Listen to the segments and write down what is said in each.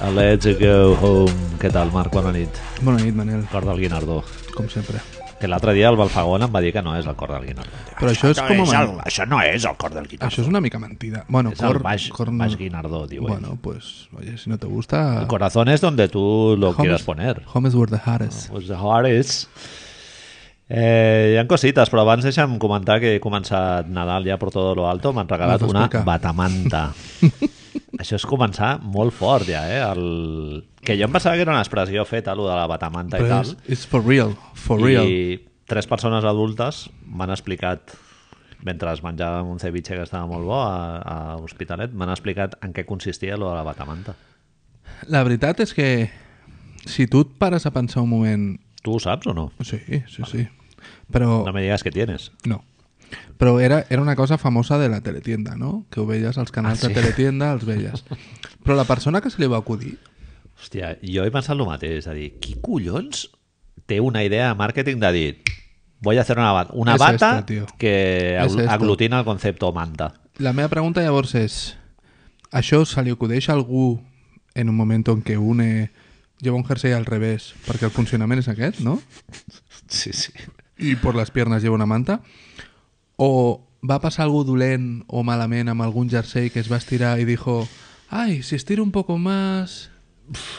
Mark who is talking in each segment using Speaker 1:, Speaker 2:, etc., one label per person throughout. Speaker 1: Let's go home. Què tal, Marc? Bona nit.
Speaker 2: Bona nit, Manel,
Speaker 1: Cor del Guinardó.
Speaker 2: com sempre.
Speaker 1: Que l'altre dia el Balfagón em va dir que no és el cor del Guinardó.
Speaker 2: Però això és com a
Speaker 1: és el,
Speaker 2: man-
Speaker 1: això no és el cor del Guinardó.
Speaker 2: Això és una mica mentida. Bueno,
Speaker 1: és
Speaker 2: cor,
Speaker 1: el baix,
Speaker 2: cor no-
Speaker 1: baix Guinardó, diuen.
Speaker 2: Bueno, pues, oye, si no te gusta...
Speaker 1: El corazón es donde tú lo
Speaker 2: home
Speaker 1: quieras
Speaker 2: is-
Speaker 1: poner.
Speaker 2: Home is where the heart is.
Speaker 1: Pues the heart is... Eh, hi ha cosites, però abans deixa'm comentar que he començat Nadal ja per todo lo alto, m'han regalat
Speaker 2: Vas a
Speaker 1: una
Speaker 2: explicar.
Speaker 1: batamanta. Això és començar molt fort ja, eh? El... Que jo em pensava que era una expressió feta, allò de la batamanta i
Speaker 2: Però
Speaker 1: tal.
Speaker 2: és, it's for real, for real.
Speaker 1: I tres persones adultes m'han explicat mentre es menjava un ceviche que estava molt bo a, a Hospitalet, m'han explicat en què consistia lo de la batamanta.
Speaker 2: La veritat és que si tu et pares a pensar un moment...
Speaker 1: Tu ho saps o no?
Speaker 2: Sí, sí, sí. Però...
Speaker 1: No me digas que tienes.
Speaker 2: No. Però era, era una cosa famosa de la teletienda, no? Que ho veies als canals
Speaker 1: Ah,
Speaker 2: ah,
Speaker 1: sí?
Speaker 2: sí? de teletienda, els veies. Però la persona que se li va acudir...
Speaker 1: Hòstia, jo he pensat el mateix, és a dir, qui collons té una idea de màrqueting de dir voy a hacer una, ba- una
Speaker 2: Es
Speaker 1: bata
Speaker 2: esto, tío.
Speaker 1: que
Speaker 2: Es
Speaker 1: agl-
Speaker 2: esto.
Speaker 1: aglutina el concepto manta.
Speaker 2: La meva pregunta llavors és... Això se li acudeix a algú en un moment en què une lleva un jersei al revés, perquè el funcionament és aquest, no?
Speaker 1: Sí, sí.
Speaker 2: I per les piernas lleva una manta? O va passar algú dolent o malament amb algun jersei que es va estirar i dijo «Ai, si estiro un poco más...»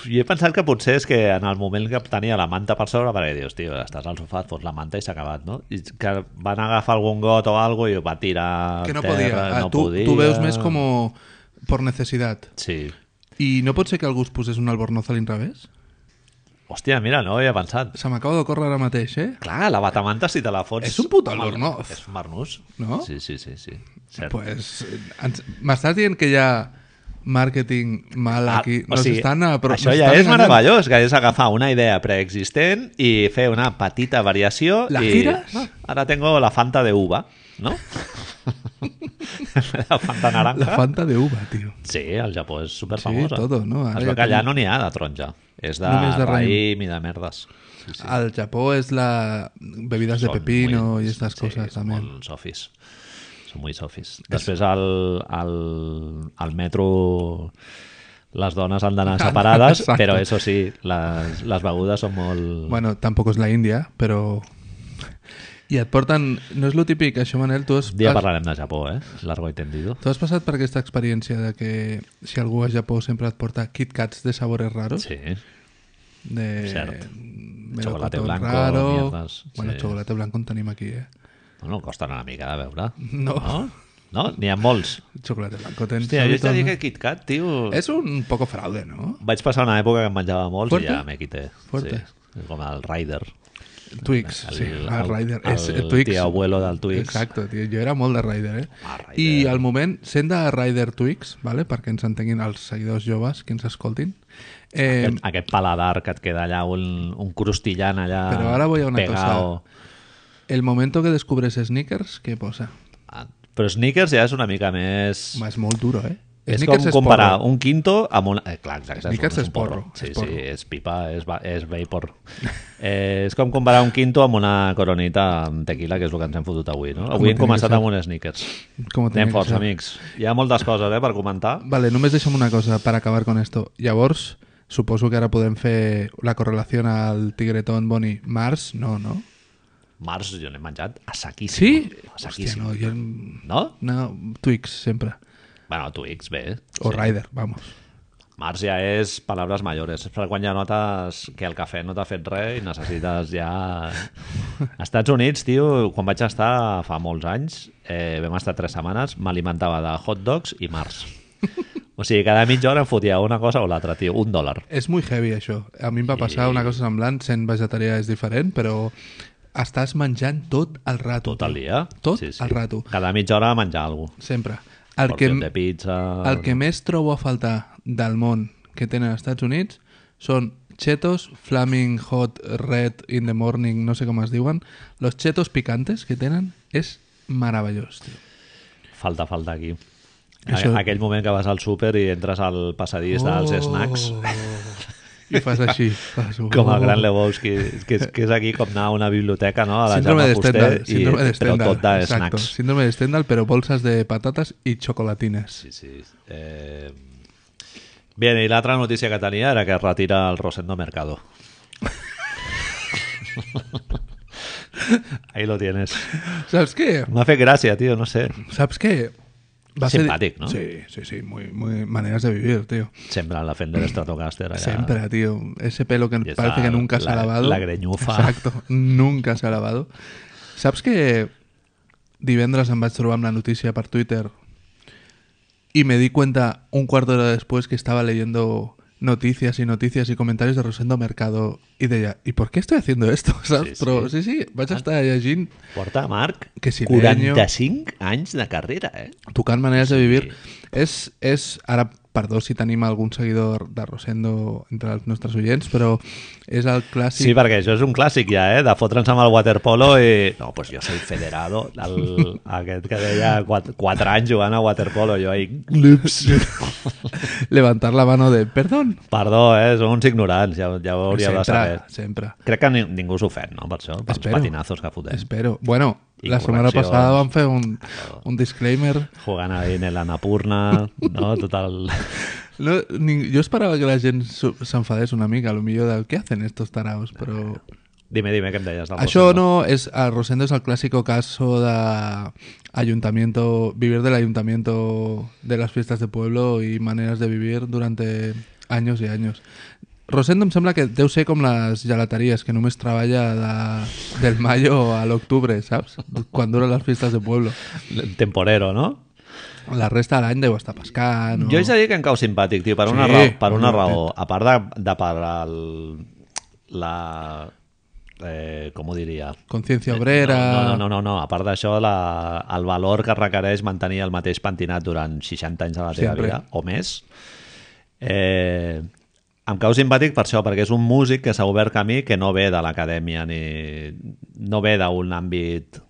Speaker 1: Jo he pensat que potser és que en el moment que tenia la manta per sobre, perquè dius, tio, estàs al sofà, et fots la manta i s'ha acabat, no? I que van agafar algun got o algo i ho va tirar
Speaker 2: Que no
Speaker 1: a terra,
Speaker 2: podia. Ah,
Speaker 1: no
Speaker 2: tu,
Speaker 1: podia.
Speaker 2: tu veus més com per necessitat.
Speaker 1: Sí.
Speaker 2: I no pot ser que algú es posés un albornoz a l'inrevés?
Speaker 1: Hòstia, mira, no ho havia pensat.
Speaker 2: Se m'acaba de córrer ara mateix, eh?
Speaker 1: Clar, la batamanta, si te la fots...
Speaker 2: És un puto
Speaker 1: amb el-
Speaker 2: albornoz.
Speaker 1: És un marnús.
Speaker 2: No?
Speaker 1: Sí, sí, sí, sí. Cert.
Speaker 2: Pues, eh, ens- m'estàs dient que hi ha màrqueting mal
Speaker 1: Ah,
Speaker 2: aquí?
Speaker 1: o Ah,
Speaker 2: Nos
Speaker 1: sigui,
Speaker 2: estan a- però
Speaker 1: això
Speaker 2: nos
Speaker 1: ja
Speaker 2: estan
Speaker 1: és
Speaker 2: enganyant.
Speaker 1: meravellós, que és agafar una idea preexistent i fer una petita variació.
Speaker 2: La
Speaker 1: i,
Speaker 2: gires?
Speaker 1: No, ara tengo la Fanta de uva, no? la Fanta naranja.
Speaker 2: La Fanta de uva, tio.
Speaker 1: Sí, al Japó és
Speaker 2: Sí,
Speaker 1: superfamosa.
Speaker 2: todo, no? Ara
Speaker 1: Es
Speaker 2: ja
Speaker 1: veu que allà
Speaker 2: tenim-
Speaker 1: no n'hi ha de taronja. És de
Speaker 2: Només de raïm.
Speaker 1: raïm i de merdes. Sí, sí.
Speaker 2: Al Japó és la... bebides de
Speaker 1: Són
Speaker 2: pepino
Speaker 1: muy-
Speaker 2: i estas coses, també.
Speaker 1: Són molt sofis. Són molt sofis. Després al, al, al metro les dones han d'anar separades,
Speaker 2: Exacte.
Speaker 1: però això sí, les, les begudes són molt...
Speaker 2: Bueno, tampoc és la Índia, però... I et porten... No és lo típic, això, Manel, tu has,
Speaker 1: Un dia
Speaker 2: has,
Speaker 1: parlarem de Japó, eh? Largo i tendido.
Speaker 2: tu has passat per aquesta experiència de que si algú a Japó sempre et porta Kit Kats de sabores raros?
Speaker 1: Sí.
Speaker 2: de
Speaker 1: Cert.
Speaker 2: melocotón
Speaker 1: Chocolate blanco, mierdas,
Speaker 2: Bueno,
Speaker 1: sí.
Speaker 2: chocolate blanco en tenim aquí, eh?
Speaker 1: No, no, costen una mica de veure.
Speaker 2: No.
Speaker 1: No? No? N'hi ha molts.
Speaker 2: Chocolate blanco tens...
Speaker 1: Hòstia, jo
Speaker 2: Sabitón,
Speaker 1: haig de dir
Speaker 2: eh?
Speaker 1: que Kit Kat, tio...
Speaker 2: És un poco fraude, no?
Speaker 1: Vaig passar una època que em menjava molts i
Speaker 2: Fuerte?
Speaker 1: ja me quité.
Speaker 2: Fuerte.
Speaker 1: Sí. Com el Rider.
Speaker 2: Twix, sí, el, Rider.
Speaker 1: el
Speaker 2: és, eh, Twix.
Speaker 1: tio abuelo del Twix.
Speaker 2: Exacte, tio, jo era molt de Rider, eh?
Speaker 1: Ah, Rider.
Speaker 2: I al moment, sent de Rider Twix, vale? perquè ens entenguin els seguidors joves que ens escoltin, eh,
Speaker 1: Aquest, aquest paladar que et queda allà, un, un crustillant allà
Speaker 2: Però ara voy a una
Speaker 1: pegao.
Speaker 2: el moment que descobres sneakers, què posa?
Speaker 1: Ah, Però Snickers ja és una mica més...
Speaker 2: Home, és molt duro, eh?
Speaker 1: És com
Speaker 2: Snickers
Speaker 1: comparar
Speaker 2: porro.
Speaker 1: un quinto amb un... Eh, clar, exacte,
Speaker 2: Snickers
Speaker 1: un- un
Speaker 2: és porro,
Speaker 1: Sí,
Speaker 2: és porro.
Speaker 1: sí, és pipa, és, va- és vapor. Eh, és com comparar un quinto amb una coronita amb tequila, que és el que ens hem fotut avui, no? Avui
Speaker 2: ho
Speaker 1: hem
Speaker 2: tenia
Speaker 1: començat
Speaker 2: que
Speaker 1: amb un Snickers.
Speaker 2: Com ho tenia
Speaker 1: Anem
Speaker 2: que
Speaker 1: forts,
Speaker 2: ser?
Speaker 1: amics. Hi ha moltes coses, eh, per comentar.
Speaker 2: Vale, només deixa'm una cosa per acabar con esto. Llavors, suposo que ara podem fer la correlació al tigretón Boni Mars, no, no?
Speaker 1: Març, jo n'he menjat a saquíssim.
Speaker 2: Sí?
Speaker 1: A
Speaker 2: Hòstia,
Speaker 1: saquíssim.
Speaker 2: no, jo...
Speaker 1: No?
Speaker 2: No, Twix, sempre.
Speaker 1: Bueno, Twix, bé.
Speaker 2: O Rider, vamos.
Speaker 1: Març ja és paraules majores. És per quan ja notes que el cafè no t'ha fet res i necessites ja... A Estats Units, tio, quan vaig estar fa molts anys, eh, vam estar tres setmanes, m'alimentava de hot dogs i mars. O sigui, cada mitja hora em fotia una cosa o l'altra, tio. Un dòlar.
Speaker 2: És muy heavy, això. A mi em va passar una cosa semblant, sent vegetarià és diferent, però estàs menjant tot el rato.
Speaker 1: Tot el dia.
Speaker 2: Tot el rato.
Speaker 1: Cada mitja hora menjar alguna cosa.
Speaker 2: Sempre. El que,
Speaker 1: Porcions de pizza...
Speaker 2: el que més trobo a faltar del món que tenen als Estats Units són chetos, flaming hot, red, in the morning, no sé com es diuen. Los chetos picantes que tenen és meravellós, tio.
Speaker 1: Falta, falta aquí. Això...
Speaker 2: Això-
Speaker 1: Aquell moment que vas al súper i entres al passadís oh. dels snacks
Speaker 2: I fas així. Fas, oh.
Speaker 1: com el gran Lebowski, que és, que és aquí com anar a una biblioteca, no? A la
Speaker 2: Síndrome de
Speaker 1: Jaume Fuster,
Speaker 2: Stendhal. Síndrome de
Speaker 1: i, però
Speaker 2: Stendhal.
Speaker 1: tot de
Speaker 2: Exacto.
Speaker 1: snacks.
Speaker 2: Síndrome de Stendhal, però bolsas de patates i xocolatines.
Speaker 1: Sí, sí. Eh, Bien, i l'altra notícia que tenia era que es retira el Rosendo Mercado. Ahí lo tienes.
Speaker 2: ¿Sabes qué?
Speaker 1: M'ha fet gràcia, tio, no sé.
Speaker 2: ¿Sabes qué?
Speaker 1: Simpàtic, ¿no?
Speaker 2: Sí, sí, sí. Muy, muy maneras de vivir, tío.
Speaker 1: Sempre la Fender Stratocaster. Allà.
Speaker 2: Siempre, tío. Ese pelo que
Speaker 1: Y
Speaker 2: parece
Speaker 1: esa-
Speaker 2: que nunca se ha
Speaker 1: la-
Speaker 2: lavado.
Speaker 1: la greñufa.
Speaker 2: Exacto. Nunca se ha lavado. ¿Sabes que divendres em vaig trobar amb la noticia per Twitter y me di cuenta un cuarto de hora después que estaba leyendo noticias y noticias y comentarios de Rosendo Mercado y de ella, ¿y por qué estoy haciendo esto? ¿Sabes?
Speaker 1: Sí,
Speaker 2: Però
Speaker 1: sí. Ah.
Speaker 2: Sí, sí, vaig estar llegint
Speaker 1: Porta, Marc,
Speaker 2: Que si
Speaker 1: 45 anys de carrera, eh?
Speaker 2: tocant maneres de vivir. És, és, ara, perdó si tenim algun seguidor de Rosendo entre els nostres oients, però és el
Speaker 1: Sí,
Speaker 2: clàssic...
Speaker 1: sí perquè això és un clàssic ja, eh? De fotre'ns amb el waterpolo i... No, pues jo soy federado. El, aquest que deia 4, 4 anys jugant a waterpolo. Jo ahí... Ups.
Speaker 2: levantar la mano de perdón.
Speaker 1: Perdó, eh? Són uns ignorants, ja, ja ho hauríeu de saber.
Speaker 2: Sempre, sempre.
Speaker 1: Crec que ni, ningú s'ofèn, no? Per això, pels
Speaker 2: Espero.
Speaker 1: patinazos que fotem.
Speaker 2: Espero. Bueno,
Speaker 1: I
Speaker 2: la setmana
Speaker 1: correccions.
Speaker 2: passada vam fer un, un disclaimer.
Speaker 1: Jugant ahí en l'Anapurna, no? Tot el...
Speaker 2: No, ni, jo esperava que la gent s'ho- s'enfadés una mica, a lo millor del què hacen estos taraos, però...
Speaker 1: Dime, dime, què em deies del
Speaker 2: Això
Speaker 1: Rosendo?
Speaker 2: no és... El Rosendo és el clàssico caso de ayuntamiento, vivir del ayuntamiento de las fiestas de pueblo y maneras de vivir durante años y años. Rosendo em sembla que deu ser com les gelateries, que només treballa de, del mayo a l'octubre, saps? Quan duren les fiestes de pueblo.
Speaker 1: Temporero, no?
Speaker 2: La resta de l'any deu estar pescant. O...
Speaker 1: Jo he de dir que em cau simpàtic, tio, per una
Speaker 2: Sí,
Speaker 1: raó. Per una
Speaker 2: molt
Speaker 1: raó. A part de, de per el, la... Eh, com ho diria?
Speaker 2: Consciència obrera...
Speaker 1: No, no, no, no, no. a part d'això, la- el valor que requereix mantenir el mateix pentinat durant 60 anys de la teva
Speaker 2: Sempre.
Speaker 1: vida, o més, eh, em cau simpàtic per això, perquè és un músic que s'ha obert camí que no ve de l'acadèmia, ni no ve d'un àmbit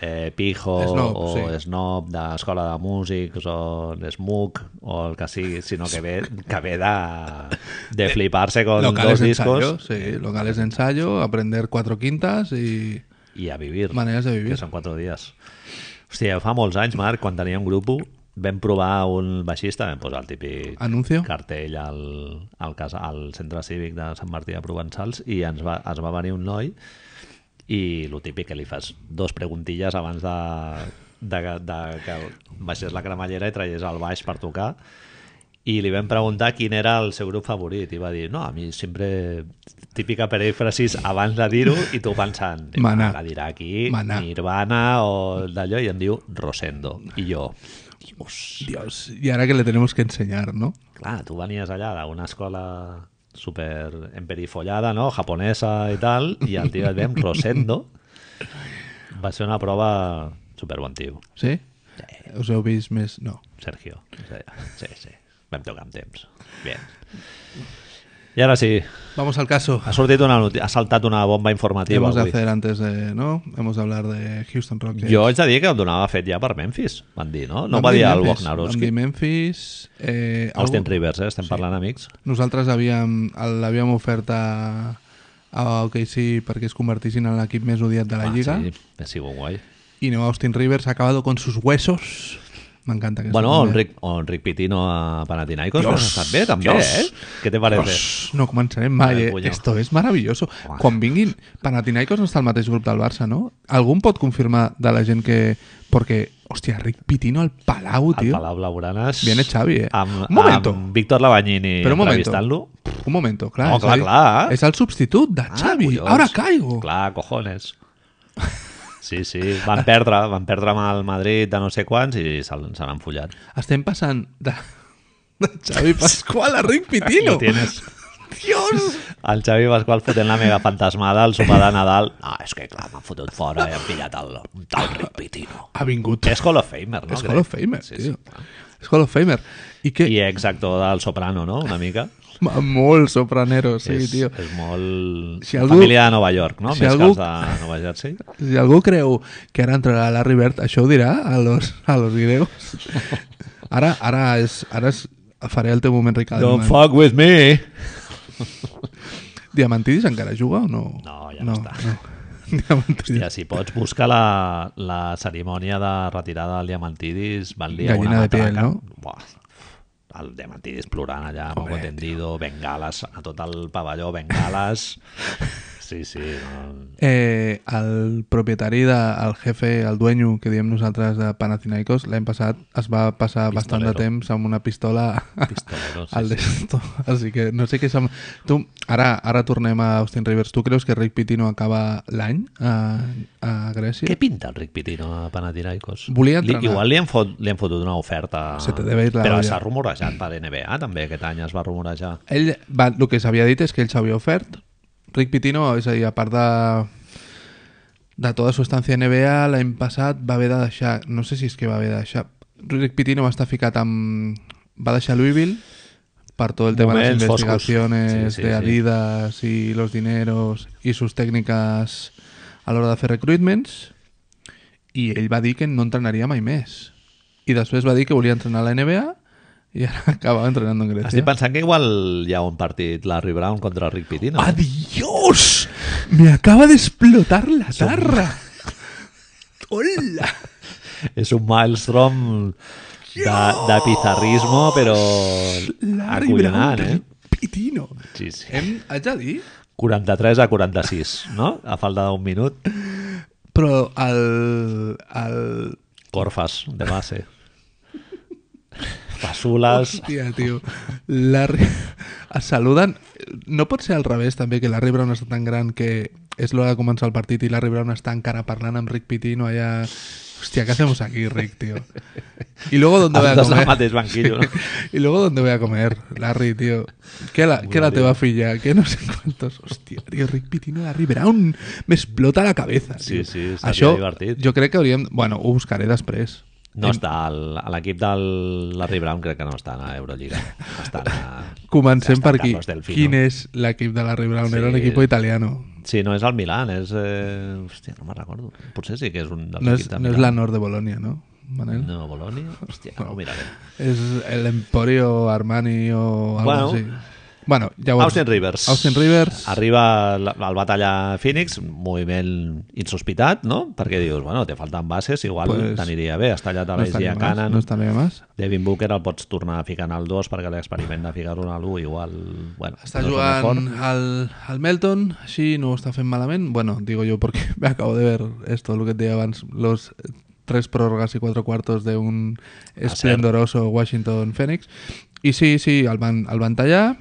Speaker 1: eh, pijo
Speaker 2: Snob,
Speaker 1: o
Speaker 2: sí.
Speaker 1: snob d'escola de músics o d'esmuc o el que sigui, sinó que ve, que ve de,
Speaker 2: Eh,
Speaker 1: de flipar-se con dos
Speaker 2: Locales de ensayo,
Speaker 1: discos
Speaker 2: sí, locales de ensayo, aprender cuatro quintas y
Speaker 1: i a vivir.
Speaker 2: maneras de vivir.
Speaker 1: que són 4 dies. Hòstia, fa molts anys, Marc, quan teníem grup, vam provar un baixista, vam posar el típic
Speaker 2: Anuncio.
Speaker 1: cartell al, al, casa, al centre cívic de Sant Martí de Provençals i ens va, ens va venir un noi i lo típic que li fas dos preguntilles abans de, de, de, de que baixés la cremallera i traies el baix per tocar i li vam preguntar quin era el seu grup favorit i va dir, no, a mi sempre típica perífrasis abans de dir-ho i tu pensant, "Eh,
Speaker 2: Maná.
Speaker 1: la dirà aquí
Speaker 2: Maná.
Speaker 1: Nirvana o d'allò i em diu Rosendo i jo, dios
Speaker 2: Dios, y ahora que le tenemos que enseñar, ¿no?
Speaker 1: Clar, tu venies allà d'una escola super emperifollada, no? japonesa i tal, i el tio et ve amb Rosendo. Va ser una prova super bon tio,
Speaker 2: Sí? Us heu vist més... No.
Speaker 1: Sergio. Es deia. Sí, sí. Vam tocar amb temps. Bé. I ara sí,
Speaker 2: Vamos al caso.
Speaker 1: ha sortit una noti- ha saltat una bomba informativa
Speaker 2: Hemos de
Speaker 1: avui.
Speaker 2: hacer antes de... ¿No? Hemos de hablar de Houston Rockets.
Speaker 1: Jo haig de dir que em donava fet ja per Memphis, van dir, no? No
Speaker 2: Vam
Speaker 1: va
Speaker 2: dir
Speaker 1: dir el
Speaker 2: Memphis, vam
Speaker 1: Wojnarowski.
Speaker 2: dir Memphis... Eh,
Speaker 1: Austin
Speaker 2: algú-
Speaker 1: Rivers, eh? estem parlant amics.
Speaker 2: Nosaltres havíem, el- l'havíem ofert a, a OKC perquè es convertissin en l'equip més odiat de
Speaker 1: Ah,
Speaker 2: la Lliga.
Speaker 1: sí, ha sigut guai.
Speaker 2: Y no, Austin Rivers ha acabado con sus huesos. Me encanta que
Speaker 1: Bueno,
Speaker 2: eso
Speaker 1: el
Speaker 2: también.
Speaker 1: Rick, el Rick Pitino a Panathinaikos
Speaker 2: Dios,
Speaker 1: Dios, estat bé, també,
Speaker 2: Dios,
Speaker 1: eh? Què te parece?
Speaker 2: Pues, No començarem mai,
Speaker 1: Vale,
Speaker 2: eh?
Speaker 1: puño.
Speaker 2: Esto es maravilloso. Quan vinguin... Panathinaikos no està al mateix grup del Barça, no? Algú em pot confirmar de la gent que... Perquè, hòstia, Ric Pitino al Palau,
Speaker 1: Al
Speaker 2: tio.
Speaker 1: Palau Blaugranes...
Speaker 2: Viene Xavi, eh?
Speaker 1: Amb,
Speaker 2: Un momento.
Speaker 1: amb Víctor Lavagnini
Speaker 2: Però un momento.
Speaker 1: entrevistant-lo.
Speaker 2: Un momento, clar.
Speaker 1: No,
Speaker 2: és
Speaker 1: clar,
Speaker 2: el-
Speaker 1: clar. Ah,
Speaker 2: És el substitut de Ah, Xavi.
Speaker 1: collons.
Speaker 2: Ara caigo.
Speaker 1: Clar, cojones. Sí, sí, van perdre, van perdre amb el Madrid de no sé quants i se l'han se l'han follat.
Speaker 2: Estem passant de... de Xavi Pasqual a Ric
Speaker 1: Lo
Speaker 2: Pitino.
Speaker 1: tienes.
Speaker 2: Dios!
Speaker 1: El Xavi Pasqual fotent la mega fantasmada al sopar de Nadal. No, és que clar, m'han fotut fora i han pillat el, un tal Rick Pitino.
Speaker 2: Ha vingut.
Speaker 1: Que és Hall of Famer, no?
Speaker 2: És
Speaker 1: Crec.
Speaker 2: Hall of Famer,
Speaker 1: Sí,
Speaker 2: tio.
Speaker 1: sí.
Speaker 2: És Hall of Famer. I que...
Speaker 1: I ex-actor del Soprano, no? Una mica.
Speaker 2: Ma- Molt sopranero, sí,
Speaker 1: és,
Speaker 2: tio.
Speaker 1: És molt... Si
Speaker 2: Si
Speaker 1: algú...
Speaker 2: algú-
Speaker 1: Família de Nova York, no? Si
Speaker 2: si
Speaker 1: Més
Speaker 2: algú-
Speaker 1: algú... que els de Nova Jersey.
Speaker 2: Si algú creu que ara entrarà Larry Bird, això ho dirà a los, a los griegos. Ara, ara, és, ara és, faré el teu moment, Ricard.
Speaker 1: fuck with me!
Speaker 2: Diamantidis encara juga o no?
Speaker 1: No, ja no està.
Speaker 2: No. Diamantidis.
Speaker 1: Hòstia, si pots buscar la, la cerimònia de retirada del Diamantidis, van liar
Speaker 2: Gallina
Speaker 1: una
Speaker 2: de piel,
Speaker 1: matraca.
Speaker 2: no?
Speaker 1: Buah. al dematí plorant allà, poco tendido, bengales a tot el pavelló, bengales... Sí, sí, no.
Speaker 2: Eh, el propietari del de, el jefe, el dueño, que diem nosaltres de Panathinaikos, l'any passat es va passar bastant de
Speaker 1: Pistolero.
Speaker 2: temps amb una pistola
Speaker 1: Pistolero, sí,
Speaker 2: al
Speaker 1: sí.
Speaker 2: desto. Així que no sé què... Som... Tu, ara, ara tornem a Austin Rivers. Tu creus que Rick Pitino acaba l'any a, a Grècia?
Speaker 1: Què pinta el Rick Pitino a Panathinaikos?
Speaker 2: Volia
Speaker 1: Li,
Speaker 2: entrenar.
Speaker 1: igual li han, fot, li han fotut una oferta.
Speaker 2: Se te debe ir la
Speaker 1: Però
Speaker 2: olla.
Speaker 1: s'ha rumorejat per NBA també, aquest any es va rumorejar.
Speaker 2: Ell, va, el que s'havia dit és que ell s'havia ofert. Rick Pitino, és a dir, a part de de tota su estància a NBA, l'any passat va haver de deixar... No sé si és que va haver de deixar... Rick Pitino va estar ficat amb... Va deixar Louisville per tot el tema de las
Speaker 1: Moments foscos.
Speaker 2: investigaciones
Speaker 1: Sí, sí,
Speaker 2: de
Speaker 1: sí.
Speaker 2: Adidas y los dineros y sus técnicas a l'hora de fer recruitments i ell va dir que no entrenaria mai més. I després va dir que volia entrenar a la NBA i ara acabava entrenant en Grècia.
Speaker 1: Estic pensant que igual hi ha un partit Larry Brown contra Rick Pitino.
Speaker 2: Ah. ¡Adiós! Me acaba de explotar la tarra. ¡Hola!
Speaker 1: És un maelstrom de, de pizarrismo, però
Speaker 2: Larry
Speaker 1: acollonant, eh?
Speaker 2: Brown, Pitino.
Speaker 1: Sí, sí.
Speaker 2: Hem, haig de dir,
Speaker 1: 43 a 46, no? A falta d'un minut.
Speaker 2: però el, el...
Speaker 1: Corfas, de base. Fasules...
Speaker 2: Hòstia, tio. Larry... Es saluden... No pot ser al revés, també, que Larry Brown està tan gran que és l'hora de començar el partit i Larry Brown està encara parlant amb Rick Pitino allà... Hòstia, ¿qué hacemos aquí, Rick, tío? Y luego, ¿dónde voy a
Speaker 1: Els dos al
Speaker 2: comer?
Speaker 1: mateix banquillo, no?
Speaker 2: Y luego, ¿dónde voy a comer? Larry, tío. ¿Qué la, qué la te va a fillar? Que no sé cuántos. Hostia, tío, Rick Pitino, Larry Brown. Me explota la cabeza.
Speaker 1: Sí,
Speaker 2: tio.
Speaker 1: sí, estaria
Speaker 2: Això,
Speaker 1: divertit.
Speaker 2: jo crec que hauríem... Bueno, ho buscaré després.
Speaker 1: No està, el- a l'equip del Larry Brown crec que no està a Euroliga. Està a...
Speaker 2: Comencem
Speaker 1: Està
Speaker 2: per aquí.
Speaker 1: Carlos Delfino.
Speaker 2: Quin és l'equip de Larry Brown? Era un
Speaker 1: Sí.
Speaker 2: equip italiano.
Speaker 1: Sí, no és el Milan, és... Eh... Hòstia, no me'n recordo. Potser sí que és un dels
Speaker 2: No és,
Speaker 1: equips de
Speaker 2: no és eh?
Speaker 1: Milan.
Speaker 2: la Nord de Bolonia, no? Manel?
Speaker 1: No, Bologna? Hòstia, no, ho miraré.
Speaker 2: És l'Emporio Armani o algo
Speaker 1: Bueno.
Speaker 2: així. Bueno, llavors...
Speaker 1: Austin Rivers.
Speaker 2: Austin Rivers.
Speaker 1: Arriba la- el batalla Phoenix, moviment insospitat, no? Perquè dius, bueno, te falten bases, igual
Speaker 2: Pues,
Speaker 1: pues, t'aniria bé. Has tallat a
Speaker 2: no
Speaker 1: l'Aisia
Speaker 2: estaria
Speaker 1: no
Speaker 2: més.
Speaker 1: Cannon.
Speaker 2: No
Speaker 1: No
Speaker 2: estaria més.
Speaker 1: Devin Booker el pots tornar a ficar en el 2 perquè l'experiment de ficar-lo en el 1 igual... Bueno,
Speaker 2: Està
Speaker 1: no és el
Speaker 2: jugant
Speaker 1: mejor.
Speaker 2: al, al Melton, així no ho està fent malament. Bueno, digo yo porque me acabo de ver esto, lo que et deia abans, los eh, tres pròrrogues i quatre quartos d'un esplendoroso Washington Phoenix. I sí, sí, el van, el van tallar